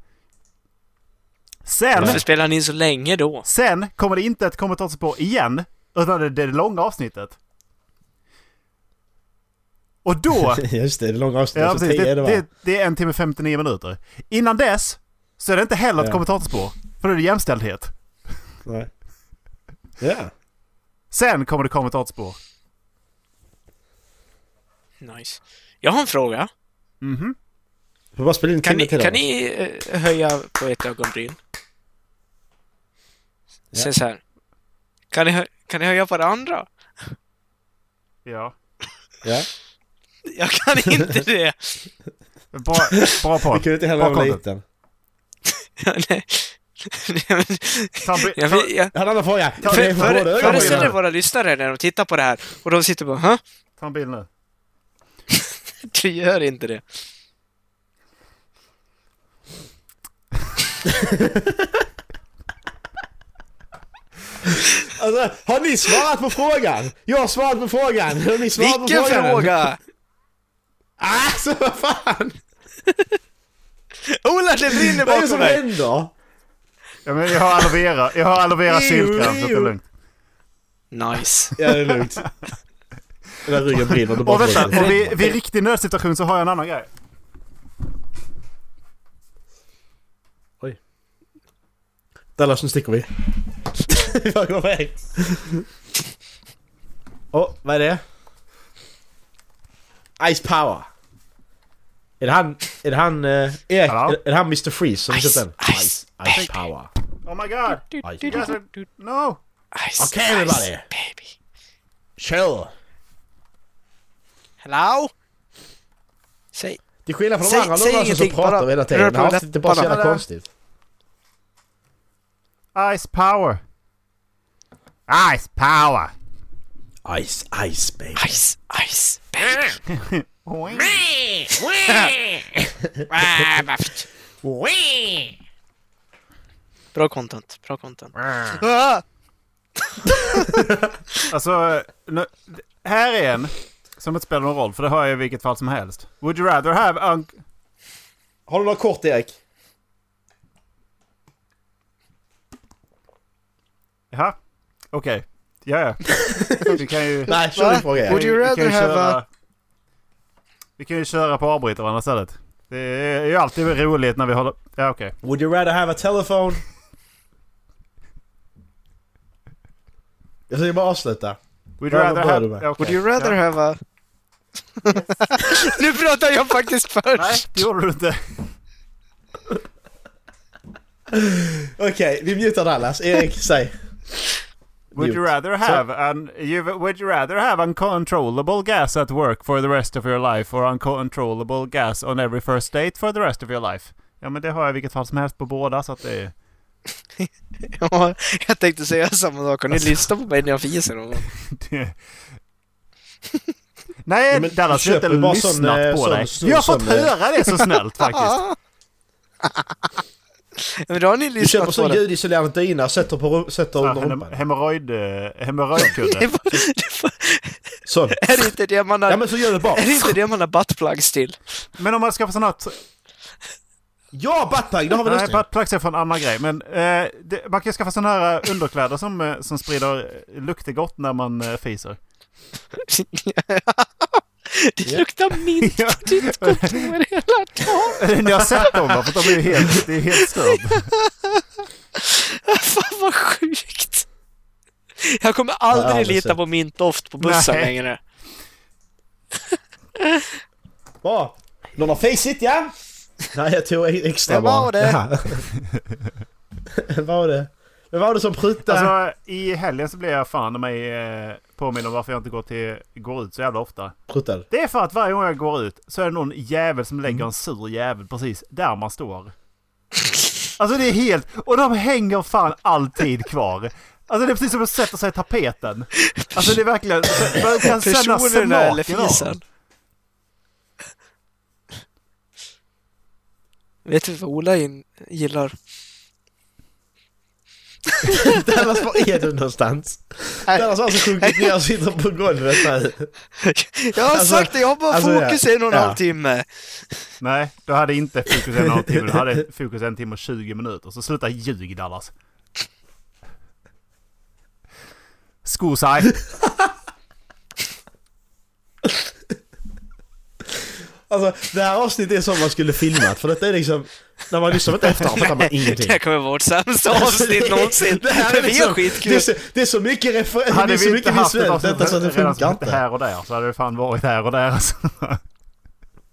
[SPEAKER 7] Sen
[SPEAKER 8] Varför spelar ni in så länge då?
[SPEAKER 7] Sen kommer det inte ett kommentatorspår igen, utan det är det långa avsnittet. Och
[SPEAKER 6] [laughs]
[SPEAKER 7] då...
[SPEAKER 6] Just det, det är långa avsnitt.
[SPEAKER 7] ja,
[SPEAKER 6] Ja,
[SPEAKER 7] precis,
[SPEAKER 6] det,
[SPEAKER 7] det,
[SPEAKER 6] det,
[SPEAKER 7] det, det är en timme 59 minuter. Innan dess så är det inte heller ett
[SPEAKER 6] Ja.
[SPEAKER 7] kommentatorspår, för då är det jämställdhet.
[SPEAKER 6] Nej. Ja.
[SPEAKER 7] Sen kommer det kommentatorspår.
[SPEAKER 8] Nice. Jag har en fråga.
[SPEAKER 7] Mhm.
[SPEAKER 6] Får bara spela in en
[SPEAKER 8] Kan
[SPEAKER 6] timme
[SPEAKER 8] ni,
[SPEAKER 6] till.
[SPEAKER 8] kan
[SPEAKER 6] då.
[SPEAKER 8] ni eh, höja på ett ögonbryn?
[SPEAKER 6] Ja.
[SPEAKER 8] Sen så här. Kan ni, hö- kan ni höja på det andra?
[SPEAKER 7] Ja.
[SPEAKER 6] Ja.
[SPEAKER 7] [laughs]
[SPEAKER 8] Jag kan inte det!
[SPEAKER 7] Bra, bra
[SPEAKER 6] Vi
[SPEAKER 7] podd.
[SPEAKER 6] kunde inte heller
[SPEAKER 7] Bra
[SPEAKER 6] vara
[SPEAKER 7] content.
[SPEAKER 6] liten.
[SPEAKER 8] Nej. Nej, men-
[SPEAKER 7] Ta en bi-
[SPEAKER 8] jag,
[SPEAKER 7] ta-
[SPEAKER 8] vet- jag,
[SPEAKER 6] Jag hade en annan fråga.
[SPEAKER 7] Ta-
[SPEAKER 6] Kan ni få
[SPEAKER 7] för-
[SPEAKER 6] båda
[SPEAKER 7] för-
[SPEAKER 6] ögonen?
[SPEAKER 7] för-
[SPEAKER 8] föreställ er våra lyssnare när de tittar på det här och de sitter bara Hä?
[SPEAKER 7] Ta en bild nu.
[SPEAKER 8] Du gör inte det.
[SPEAKER 6] Alltså, har ni svarat på frågan? Jag har svarat på frågan. Har ni svarat på
[SPEAKER 8] Vilken
[SPEAKER 6] frågan?
[SPEAKER 8] fråga!
[SPEAKER 6] [laughs] Alltså vad fan!
[SPEAKER 8] [laughs] Ola, det brinner
[SPEAKER 6] Vad är det
[SPEAKER 8] bakom
[SPEAKER 6] som
[SPEAKER 8] dig!
[SPEAKER 6] händer?
[SPEAKER 7] Ja, men jag har aloe vera. Jag har aloe vera
[SPEAKER 6] Ew,
[SPEAKER 7] syltkräm, så att det är
[SPEAKER 6] ew.
[SPEAKER 7] lugnt.
[SPEAKER 8] Nice.
[SPEAKER 6] Ja, det är lugnt. [laughs] Den där ryggen brinner. det bara
[SPEAKER 7] Och vänta,
[SPEAKER 6] brinner.
[SPEAKER 7] och vid, vid riktig nödsituation så har jag en annan grej.
[SPEAKER 6] Dallas, nu sticker [laughs] vi. Vi bara går iväg. Åh, vad är det? Ice Power. Är det han... Är det han... eh, Erik,
[SPEAKER 7] Hallå?
[SPEAKER 6] är, är det han Mr Freeze som
[SPEAKER 8] Ice,
[SPEAKER 6] köpte den?
[SPEAKER 8] ice,
[SPEAKER 6] ice, ice Power.
[SPEAKER 7] Oh my god!
[SPEAKER 6] Ice.
[SPEAKER 7] You guys are... No!
[SPEAKER 8] Ice,
[SPEAKER 6] Okay,
[SPEAKER 8] ice,
[SPEAKER 6] everybody.
[SPEAKER 8] baby.
[SPEAKER 6] Chill!
[SPEAKER 8] Hello? Säg.
[SPEAKER 6] Till skillnad från de
[SPEAKER 8] Säg-
[SPEAKER 6] andra
[SPEAKER 8] säg
[SPEAKER 6] låtarna som
[SPEAKER 8] ingenting,
[SPEAKER 6] pratar
[SPEAKER 8] bara
[SPEAKER 6] hela
[SPEAKER 8] rör
[SPEAKER 6] tiden.
[SPEAKER 8] på
[SPEAKER 6] Det här avsnittet är bara så jävla
[SPEAKER 7] läpparna.
[SPEAKER 6] konstigt.
[SPEAKER 7] Ice power! Ice power!
[SPEAKER 6] Ice, ice baby.
[SPEAKER 8] Ice, ice, baby. [laughs] Bra content, bra content. Ah!
[SPEAKER 7] Alltså, nu, här är en som inte spelar någon roll, för det hör jag i vilket fall som helst. Would you rather have unc-
[SPEAKER 6] Har du något kort Erik?
[SPEAKER 7] Jaha? Okej.
[SPEAKER 6] [laughs]
[SPEAKER 7] Ja, ja. Vi kan ju...
[SPEAKER 6] Nej, kör din fråga
[SPEAKER 8] Would
[SPEAKER 6] Erik.
[SPEAKER 8] you
[SPEAKER 7] vi kan
[SPEAKER 8] rather
[SPEAKER 7] ju
[SPEAKER 8] have
[SPEAKER 7] köra-
[SPEAKER 8] a...
[SPEAKER 7] Vi kan ju köra på avbryt varandra istället. Det är ju alltid roligt när vi håller... Ja, okej.
[SPEAKER 6] Would you rather have a telephone? Jag ska bara avsluta. Vad-
[SPEAKER 7] Would you
[SPEAKER 6] vad
[SPEAKER 7] rather
[SPEAKER 6] börjar
[SPEAKER 7] have...
[SPEAKER 6] du med?
[SPEAKER 7] Ja, okej.
[SPEAKER 8] Would you rather
[SPEAKER 7] ja.
[SPEAKER 8] have a... [laughs] nu pratar jag faktiskt
[SPEAKER 7] Nej,
[SPEAKER 8] först!
[SPEAKER 7] det gjorde du inte.
[SPEAKER 6] Okej, vi mutar Dallas.
[SPEAKER 8] [laughs]
[SPEAKER 6] Erik, säg.
[SPEAKER 7] Would you
[SPEAKER 6] Mute.
[SPEAKER 7] rather have an you would you rather have uncontrollable gas at work for the rest of your life or uncontrollable gas on every first date for the rest of your life? Ja men det har jag i vilket fall som helst på båda så att det är...
[SPEAKER 8] Ja, jag tänkte säga samma sak. Har ni lyssnat på mig när jag fiser någon gång?
[SPEAKER 6] [laughs]
[SPEAKER 7] det- Nej
[SPEAKER 6] men
[SPEAKER 7] Dallas,
[SPEAKER 6] du
[SPEAKER 7] jag har
[SPEAKER 6] köper
[SPEAKER 7] inte
[SPEAKER 6] bara
[SPEAKER 7] lyssnat
[SPEAKER 6] sån, eh,
[SPEAKER 7] på
[SPEAKER 6] sån-
[SPEAKER 7] dig.
[SPEAKER 6] sån-
[SPEAKER 7] Vi har fått
[SPEAKER 6] sån, eh,
[SPEAKER 7] höra det
[SPEAKER 6] [laughs]
[SPEAKER 7] så snällt faktiskt.
[SPEAKER 8] Men då har ni
[SPEAKER 6] Du köper
[SPEAKER 8] lyssnat på
[SPEAKER 6] sån
[SPEAKER 8] [laughs] det.
[SPEAKER 6] ljudisolerande dyna och sätter, på, ru- sätter
[SPEAKER 7] Fan,
[SPEAKER 6] under
[SPEAKER 7] hem-
[SPEAKER 6] rumpan.
[SPEAKER 7] Hemorrojd... eh,
[SPEAKER 6] [laughs]
[SPEAKER 7] Hemorrojdkudde.
[SPEAKER 6] Sån.
[SPEAKER 8] Är det inte det man har...
[SPEAKER 6] Ja men så gör du bara.
[SPEAKER 8] Är det inte det man har
[SPEAKER 6] [laughs]
[SPEAKER 8] buttplugs till?
[SPEAKER 7] Men om man skaffar sån här... t-
[SPEAKER 6] [laughs] Ja, buttplug! Det har vi
[SPEAKER 7] Nej,
[SPEAKER 6] lösningen.
[SPEAKER 7] buttplugs är från annan grej. Men eh, det, man kan ju skaffa såna här eh, underkläder som, eh,
[SPEAKER 6] [laughs]
[SPEAKER 7] som sprider eh, lukter gott när man eh, fiser.
[SPEAKER 8] Det luktar mint på ditt kontor hela dagen.
[SPEAKER 7] Ni har sett dem va? För de är ju helt, det är
[SPEAKER 6] [laughs]
[SPEAKER 7] helt stört.
[SPEAKER 8] Fan vad sjukt. Jag kommer aldrig
[SPEAKER 6] aldrig
[SPEAKER 8] lita
[SPEAKER 6] sett.
[SPEAKER 8] på mintdoft på bussen
[SPEAKER 7] Nej.
[SPEAKER 8] längre.
[SPEAKER 6] Bra!
[SPEAKER 9] Någon har facit ja?
[SPEAKER 6] Nej, jag tog e- extra
[SPEAKER 8] Vem var
[SPEAKER 6] bara.
[SPEAKER 8] det?
[SPEAKER 6] Ja. Vem var det? Vem var det som prutade?
[SPEAKER 7] Alltså i helgen så blev jag fan i mig eh, påminn om varför jag inte går, till, går ut så jävla ofta.
[SPEAKER 6] Pruttade?
[SPEAKER 7] Det är för att varje gång jag går ut så är det någon jävel som lägger en sur jävel precis där man står. Alltså det är helt... Och de hänger fan alltid kvar. Alltså det är precis som att sätta sig i tapeten. Alltså det är verkligen... Man kan känna
[SPEAKER 8] Personen där eller
[SPEAKER 7] smaken av
[SPEAKER 8] fisen? Vet du vad Ola in, gillar? [laughs]
[SPEAKER 6] Dallas, var är du någonstans? Dallas har alltså sjunkit ner och sitter på golvet nu.
[SPEAKER 8] Jag har
[SPEAKER 6] Alltså-
[SPEAKER 8] sagt det, jag har bara
[SPEAKER 6] alltså, ja.
[SPEAKER 8] fokus i en och en
[SPEAKER 6] Ja.
[SPEAKER 8] halv timme.
[SPEAKER 7] Nej, du hade inte fokus en halvtimme. Du hade fokus en timme och 20 minuter. Så sluta ljug Dallas. Skosaj.
[SPEAKER 6] Alltså, det här avsnittet är som man skulle filmat, för detta är liksom... När man lyssnar på det efterhand
[SPEAKER 7] [laughs]
[SPEAKER 6] fattar man
[SPEAKER 8] Det
[SPEAKER 6] ingenting.
[SPEAKER 8] här kommer vara vårt sämsta
[SPEAKER 6] Alltså, det-
[SPEAKER 8] avsnitt någonsin.
[SPEAKER 6] Det, här är
[SPEAKER 8] Men vi har
[SPEAKER 6] liksom, det, är
[SPEAKER 8] skitkul.
[SPEAKER 6] så, det är så mycket referenser, det
[SPEAKER 7] Hade
[SPEAKER 6] är så
[SPEAKER 7] vi inte
[SPEAKER 6] mycket
[SPEAKER 7] haft ett
[SPEAKER 6] visuellt detta så att det
[SPEAKER 7] avsnitt redan som
[SPEAKER 6] funkar
[SPEAKER 7] hette
[SPEAKER 6] inte.
[SPEAKER 7] här och där så hade det fan varit här och där.
[SPEAKER 8] [laughs]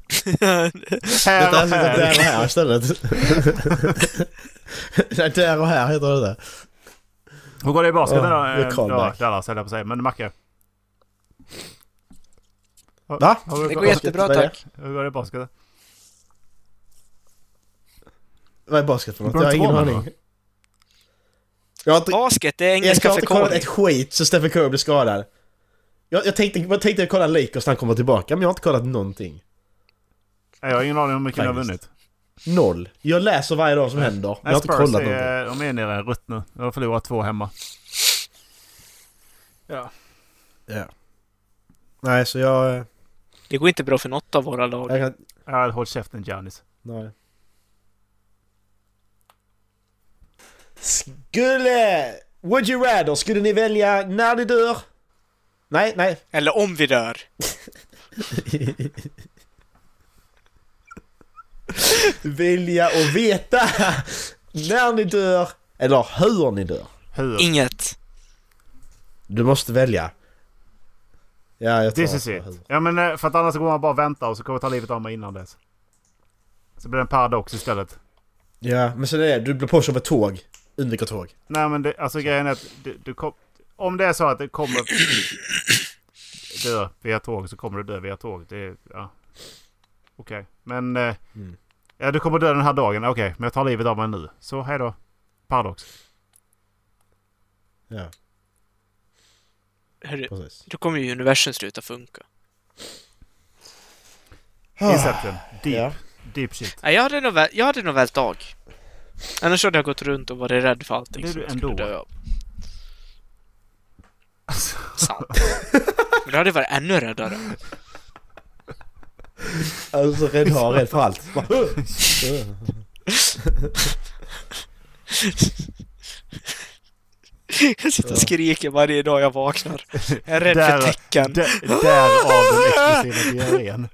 [SPEAKER 7] Alltså.
[SPEAKER 6] Detta är
[SPEAKER 7] här och
[SPEAKER 6] alltså där
[SPEAKER 7] här.
[SPEAKER 6] och här
[SPEAKER 7] [laughs]
[SPEAKER 6] istället. [laughs] Nej, där och här heter det där.
[SPEAKER 7] Hur går det i basket
[SPEAKER 6] Ja,
[SPEAKER 7] idag?
[SPEAKER 6] det är
[SPEAKER 7] Eh, Ja,
[SPEAKER 6] callback.
[SPEAKER 7] Dallas höll jag på att säga. Men Macke? Har-
[SPEAKER 6] Va?
[SPEAKER 7] har vi-
[SPEAKER 8] Det går jättebra
[SPEAKER 6] Vad är det?
[SPEAKER 8] tack.
[SPEAKER 7] Hur går det i basket?
[SPEAKER 6] Vad är basket för något?
[SPEAKER 7] Går
[SPEAKER 6] Jag
[SPEAKER 7] det
[SPEAKER 6] har
[SPEAKER 7] inte
[SPEAKER 6] ingen
[SPEAKER 7] bra med
[SPEAKER 6] aning. Jag har inte,
[SPEAKER 8] Basket, det är
[SPEAKER 6] jag
[SPEAKER 8] engelska
[SPEAKER 6] har
[SPEAKER 8] för
[SPEAKER 6] inte kollat
[SPEAKER 8] korv.
[SPEAKER 6] ett skit så Stephen Curry blir skadad. Jag, jag tänkte, jag tänkte kolla Lakers när han kommer tillbaka, men jag har inte kollat någonting.
[SPEAKER 7] Nej, Jag har ingen aning om hur mycket ni har
[SPEAKER 6] Faktiskt.
[SPEAKER 7] vunnit.
[SPEAKER 6] Noll. Jag läser varje dag som händer. Jag har inte
[SPEAKER 7] Spurs
[SPEAKER 6] kollat någonting.
[SPEAKER 7] är, de är nere i en rutt nu. De har förlorat två hemma. Ja.
[SPEAKER 6] Ja. Nej, så jag... eh,
[SPEAKER 8] Det går inte bra för något av våra lag.
[SPEAKER 6] jag kan,
[SPEAKER 7] Ja, håll käften Janis.
[SPEAKER 6] nej. Skulle... Would you rather? Skulle ni välja när ni dör? Nej, nej.
[SPEAKER 8] Eller om vi dör.
[SPEAKER 6] Välja och veta när ni dör eller hur ni dör.
[SPEAKER 7] Hur?
[SPEAKER 8] Inget.
[SPEAKER 6] Du måste välja. Ja, jag tar
[SPEAKER 7] This is it.
[SPEAKER 6] hur.
[SPEAKER 7] Ja men eh, för att annars så går man bara och väntar och så kommer ta livet av mig innan dess. Så blir det en paradox istället.
[SPEAKER 6] Ja, men sen är det, du blir påkörd av ett tåg. Undvik ett tåg.
[SPEAKER 7] Nej men det, alltså grejen är att du, du kom, om det är så att det kommer dö via tåg så kommer du dö via tåg. Det är, ja. Okej, men... eh, Ja, du kommer dö den här dagen. Okej, men jag tar livet av mig nu. Så hej då. Paradox.
[SPEAKER 6] Ja,
[SPEAKER 8] Hörru,
[SPEAKER 6] precis.
[SPEAKER 8] då kommer ju universum sluta funka.
[SPEAKER 7] Inception.
[SPEAKER 6] Ja.
[SPEAKER 7] Deep. Deep shit.
[SPEAKER 8] Nej, jag hade nog, väl, jag hade nog väl dag. Annars hade jag gått runt och varit rädd för allting
[SPEAKER 7] Det är
[SPEAKER 8] som
[SPEAKER 7] du
[SPEAKER 8] jag skulle
[SPEAKER 7] ändå. Alltså.
[SPEAKER 8] dö av. Sant. Men då hade jag varit ännu räddare.
[SPEAKER 6] Alltså rädd har rädd för allt. [laughs]
[SPEAKER 8] Jag sitter och skriker varje dag jag vaknar. Jag är rädd
[SPEAKER 7] Där-
[SPEAKER 8] för tecken.
[SPEAKER 7] Dä- Därav den explosiva diarrén.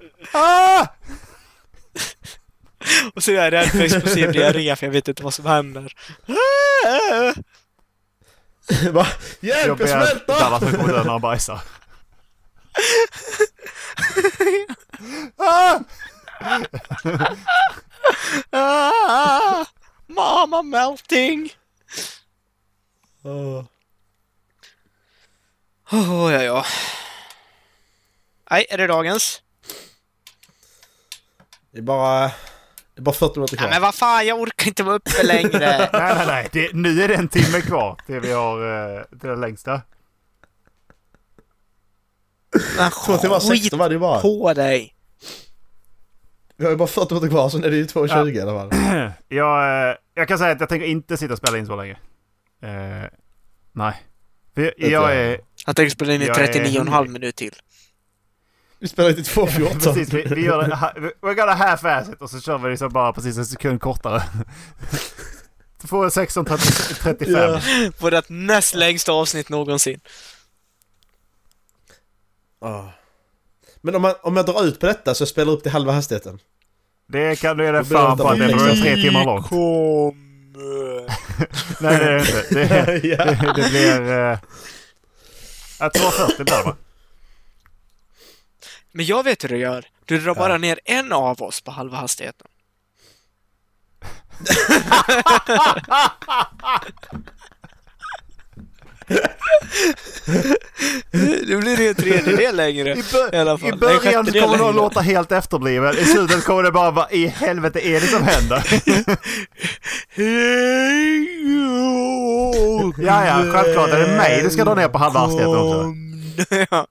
[SPEAKER 8] Och så är jag rädd för explosiv diarré för jag vet inte vad som händer.
[SPEAKER 6] Va? Hjälp, jag
[SPEAKER 7] Jobbiga Dallas
[SPEAKER 6] smälter!
[SPEAKER 7] som kommer dö när han bajsar.
[SPEAKER 8] Ah, mama melting!
[SPEAKER 6] Åh.
[SPEAKER 8] Åh Oh, ja, ja. Nej, är det dagens?
[SPEAKER 6] Det är bara... Det är bara 40 minuter
[SPEAKER 8] Nej, men
[SPEAKER 6] kvar.
[SPEAKER 8] vad fan, jag orkar inte vara uppe längre.
[SPEAKER 7] Nej, nej, nej. Det, nu är det en timme kvar till vi har eh, till den längsta.
[SPEAKER 8] Men
[SPEAKER 6] Från till var 16 var det ju bara.
[SPEAKER 8] på dig!
[SPEAKER 6] Vi har ju bara 40 minuter kvar, sen är det ju 2.20 i alla fall.
[SPEAKER 7] Jag, eh, jag kan säga att jag tänker inte sitta och spela in så länge. Eh, nej. För jag, jag är...
[SPEAKER 8] Jag tänker spela in i
[SPEAKER 7] Jag är
[SPEAKER 8] 39,5
[SPEAKER 7] hungrig.
[SPEAKER 8] minut till.
[SPEAKER 6] Vi spelar inte till
[SPEAKER 7] Precis,
[SPEAKER 6] 2.14.
[SPEAKER 7] vi, vi gör det... här- We're gonna half-ass it och så kör vi liksom bara precis en sekund kortare. [laughs] Du får 16.35.
[SPEAKER 6] Ja.
[SPEAKER 8] Vårt näst längsta avsnitt någonsin.
[SPEAKER 6] Ah. Men om, man, om jag drar ut på detta så jag spelar upp till halva
[SPEAKER 7] [laughs]
[SPEAKER 6] hastigheten.
[SPEAKER 7] Det kan du ge dig
[SPEAKER 6] Då blir det
[SPEAKER 7] fan på att det
[SPEAKER 6] inte
[SPEAKER 7] är tre timmar långt.
[SPEAKER 8] Kommer.
[SPEAKER 7] Nej det är det inte. Det, det, det blir... Eh, ja, 240 blir det va?
[SPEAKER 8] Men jag vet hur du gör. Du drar bara ner en av oss på halva hastigheten. Nu blir [laughs] det en tredjedel längre i alla fall.
[SPEAKER 7] I
[SPEAKER 8] Nej,
[SPEAKER 7] början
[SPEAKER 8] sjättedel
[SPEAKER 7] kommer du att
[SPEAKER 8] längre.
[SPEAKER 7] låta helt efterbliven. I slutet kommer det bara vara i helvete är det som händer? Ja, ja, självklart är det mig du ska dra ner på halva hastigheten också.
[SPEAKER 8] [laughs] Ja.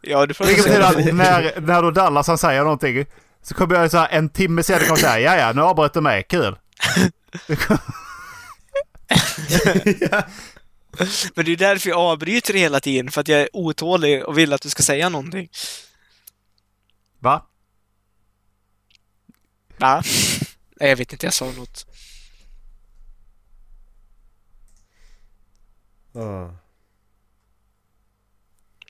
[SPEAKER 8] ja, du får
[SPEAKER 7] Vilket
[SPEAKER 8] se.
[SPEAKER 7] betyder att när, när då Dallas han säger någonting så kommer jag så här en timme senare kommer jag säga ja, ja, nu avbröt du mig, kul.
[SPEAKER 8] Men det är därför jag avbryter hela tiden, för att jag är otålig och vill att du ska säga någonting.
[SPEAKER 7] Va?
[SPEAKER 8] [laughs] Va? Nej, jag vet inte, jag sa något.
[SPEAKER 6] Ja.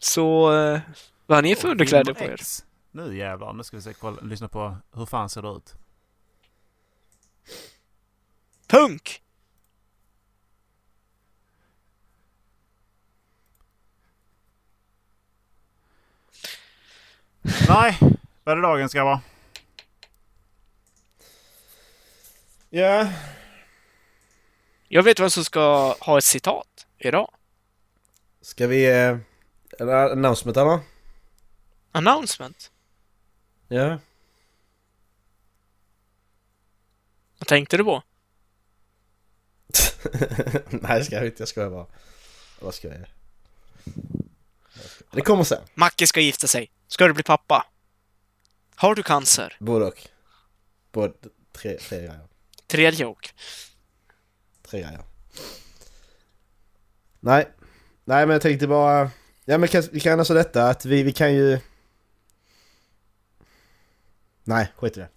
[SPEAKER 8] Så, eh, vad har ni för underkläder på er?
[SPEAKER 7] X. Nu jävlar, nu ska vi se, kolla, lyssna på hur fan ser det ut.
[SPEAKER 8] Punk!
[SPEAKER 7] Nej, vad är det dagens grabbar?
[SPEAKER 6] Ja.
[SPEAKER 8] Jag vet vem som ska ha ett citat idag.
[SPEAKER 6] Ska vi... Eh, en announcement eller?
[SPEAKER 8] Announcement.
[SPEAKER 6] Ja.
[SPEAKER 8] Vad tänkte du på?
[SPEAKER 6] [laughs] Nej det ska jag inte, jag skojar bara. Vad ska jag göra? Det kommer sen.
[SPEAKER 8] Macke ska gifta sig. Ska du bli pappa? Har du cancer?
[SPEAKER 6] Både och. Både, tre, tre grejer.
[SPEAKER 8] Tredje och.
[SPEAKER 6] Tre grejer. Nej. Nej men jag tänkte bara... Ja men kan, vi kan alltså detta att vi, vi kan ju... Nej, skit i det.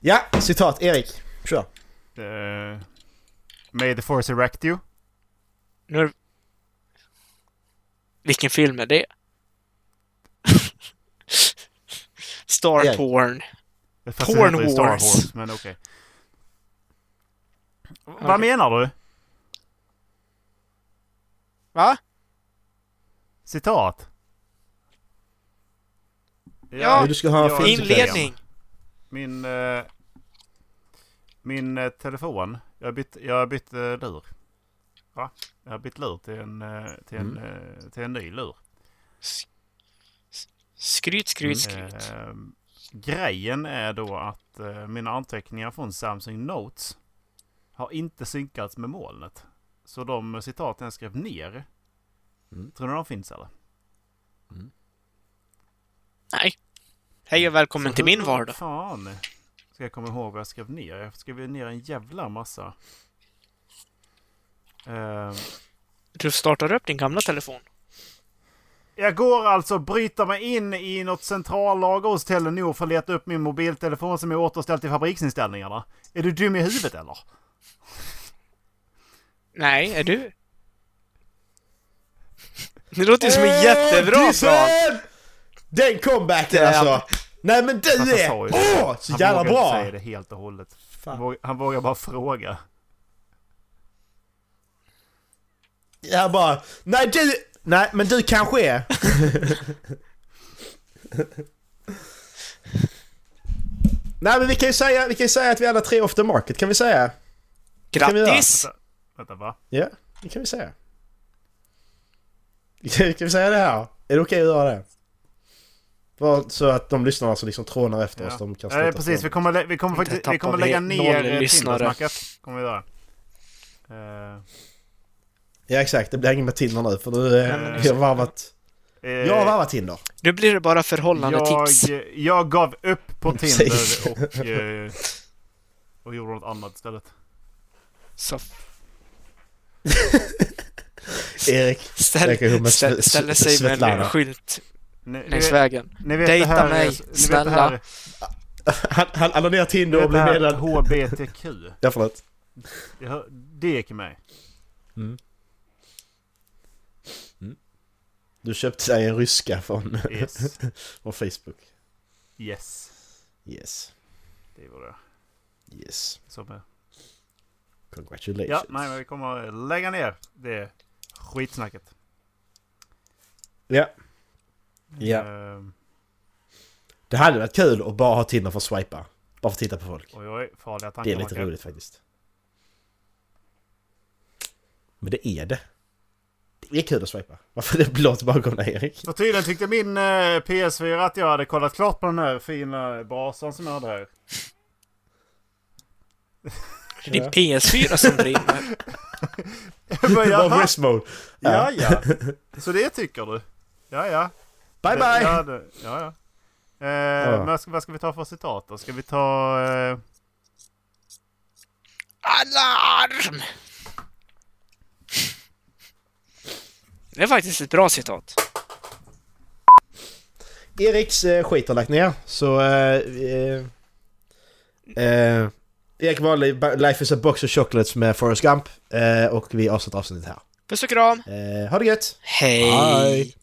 [SPEAKER 6] Ja, citat. Erik, kör.
[SPEAKER 7] Eh, may the force erect you.
[SPEAKER 8] Nu är... Vilken film är det? [laughs] Star
[SPEAKER 6] Ja.
[SPEAKER 8] porn.
[SPEAKER 7] Fast
[SPEAKER 8] Porn
[SPEAKER 7] det heter ju Star
[SPEAKER 8] Wars.
[SPEAKER 7] Wars, Men okej.
[SPEAKER 8] Okej.
[SPEAKER 7] Vad menar du?
[SPEAKER 8] Va?
[SPEAKER 7] Citat?
[SPEAKER 8] Ja.
[SPEAKER 6] Du ska ha en
[SPEAKER 7] Ja,
[SPEAKER 6] fin
[SPEAKER 8] Inledning.
[SPEAKER 7] Min... eh, min eh, telefon. Jag har bytt, jag har bytt eh, lur. Va? Jag har bytt lur till en, eh, till en,
[SPEAKER 8] Mm.
[SPEAKER 7] eh, till en ny lur.
[SPEAKER 8] Skryt, skryt, skryt.
[SPEAKER 7] Eh, grejen är då att eh, mina anteckningar från Samsung Notes har inte synkats med molnet. Så de citaten jag skrev ner,
[SPEAKER 8] Mm.
[SPEAKER 7] tror ni de finns eller?
[SPEAKER 8] Nej. Hej och välkommen till min vardag.
[SPEAKER 7] Fan! Ska jag komma ihåg vad jag skrev ner? Jag skrev ju ner en jävla massa. Eh,
[SPEAKER 8] Du startar upp din gamla telefon.
[SPEAKER 7] jag går alltså och bryter mig in i något centrallager hos Telenor för att leta upp min mobiltelefon som är återställd till fabriksinställningarna. Är du dum i huvudet eller?
[SPEAKER 8] Nej, är du? Det låter ju som
[SPEAKER 6] Eh,
[SPEAKER 8] en jättebra plan.
[SPEAKER 6] Dissen! Den comebacken alltså! Nej men
[SPEAKER 7] Fast
[SPEAKER 6] du
[SPEAKER 7] han
[SPEAKER 6] är...
[SPEAKER 7] Alltså, sa ju det.
[SPEAKER 6] Åh! Så
[SPEAKER 7] Han
[SPEAKER 6] jävla
[SPEAKER 7] vågar inte
[SPEAKER 6] bra!
[SPEAKER 7] säga det helt och hållet.
[SPEAKER 6] Fan.
[SPEAKER 7] Han vågar, han vågar bara fråga.
[SPEAKER 6] Jag bara... Nej du... Nej men du kanske är... [laughs] Nej men vi kan ju säga, vi kan ju säga att vi alla tre är off the market, kan vi säga? kan vi göra.
[SPEAKER 8] Grattis!
[SPEAKER 7] Vänta va?
[SPEAKER 6] Ja, det kan vi säga. [laughs] kan vi säga det här? Är det okej att göra det? Bara Så att de lyssnarna som liksom trånar efter oss, de kan
[SPEAKER 7] Ja, det är
[SPEAKER 6] sluta
[SPEAKER 7] precis.
[SPEAKER 6] tråna.
[SPEAKER 7] Vi kommer, lä- vi kommer, faktiskt, vi
[SPEAKER 8] tappar
[SPEAKER 7] kommer
[SPEAKER 8] vi
[SPEAKER 7] lägga
[SPEAKER 8] noll
[SPEAKER 7] ner eh,
[SPEAKER 8] lyssnare.
[SPEAKER 7] Tindersnacket. Kommer vi göra. Eh,
[SPEAKER 6] Ja exakt, det blir inget med Tinder nu för nu eh, vi har varvat...
[SPEAKER 7] eh,
[SPEAKER 6] Jag har varvat Tinder.
[SPEAKER 8] Nu blir det bara förhållandetips.
[SPEAKER 7] jag, jag gav upp på
[SPEAKER 6] [laughs] Precis.
[SPEAKER 7] Tinder och, eh, och gjorde något annat istället.
[SPEAKER 8] Så
[SPEAKER 6] Erik.
[SPEAKER 8] ställ,
[SPEAKER 6] Lägger ihop med Sve-
[SPEAKER 8] ställ,
[SPEAKER 6] Sve-
[SPEAKER 8] ställer sig med en
[SPEAKER 6] Svetlana.
[SPEAKER 8] skylt
[SPEAKER 7] Ni,
[SPEAKER 6] Eh,
[SPEAKER 7] ni,
[SPEAKER 8] längs
[SPEAKER 7] vet-
[SPEAKER 8] vägen.
[SPEAKER 7] ni vet
[SPEAKER 8] Dejta
[SPEAKER 7] det här,
[SPEAKER 8] mig,
[SPEAKER 7] ni vet det
[SPEAKER 8] snälla.
[SPEAKER 7] här,
[SPEAKER 6] Han, han, han la ner
[SPEAKER 7] ni
[SPEAKER 6] Tinder och
[SPEAKER 7] vet det
[SPEAKER 6] blev
[SPEAKER 7] här
[SPEAKER 6] medlem.
[SPEAKER 7] HBTQ.
[SPEAKER 6] Ja förlåt.
[SPEAKER 7] Det, hör- det gick med.
[SPEAKER 6] Du köpte dig en ryska från, [laughs]
[SPEAKER 7] Yes.
[SPEAKER 6] från Facebook.
[SPEAKER 7] Yes.
[SPEAKER 6] Yes.
[SPEAKER 7] Det var det.
[SPEAKER 6] Yes.
[SPEAKER 7] Som, eh,
[SPEAKER 6] Congratulations.
[SPEAKER 7] ja, nej, men vi kommer lägga ner det skitsnacket.
[SPEAKER 6] ja. Ja.
[SPEAKER 7] Eh,
[SPEAKER 6] Det hade varit kul att bara ha Tinder för att swipa. Bara för att titta på folk.
[SPEAKER 7] oj, oj, farliga tankar.
[SPEAKER 6] Det är lite
[SPEAKER 7] Mackan.
[SPEAKER 6] roligt faktiskt. Men det är det. Det är kul att swipa. Varför det blått bakom dig Erik?
[SPEAKER 7] Så tydligen tyckte min eh, PS4 att jag hade kollat klart på den här fina brasan som jag hade
[SPEAKER 6] [laughs]
[SPEAKER 7] här.
[SPEAKER 8] Det är din
[SPEAKER 6] [laughs]
[SPEAKER 8] PS4 som brinner.
[SPEAKER 7] Men
[SPEAKER 6] Det
[SPEAKER 7] jag-
[SPEAKER 6] var rest mode. [laughs]
[SPEAKER 7] ja, ja. Så det tycker du? Ja, ja.
[SPEAKER 6] Bye
[SPEAKER 7] Det-
[SPEAKER 6] bye!
[SPEAKER 7] Ja, det, ja, ja. Eh, Men vad ska, vad ska vi ta för citat då? Ska vi ta... Eh,
[SPEAKER 8] Alarm! Det är faktiskt ett bra citat.
[SPEAKER 6] Eriks eh, skit har lagt ner, så... Eh, eh, eh, Erik valde Ba- Life is a box of chocolates med Forrest Gump eh, och vi avslutar avsnittet här.
[SPEAKER 8] Puss och kram!
[SPEAKER 6] Eh, ha det gött!
[SPEAKER 8] Hej!
[SPEAKER 6] Hej.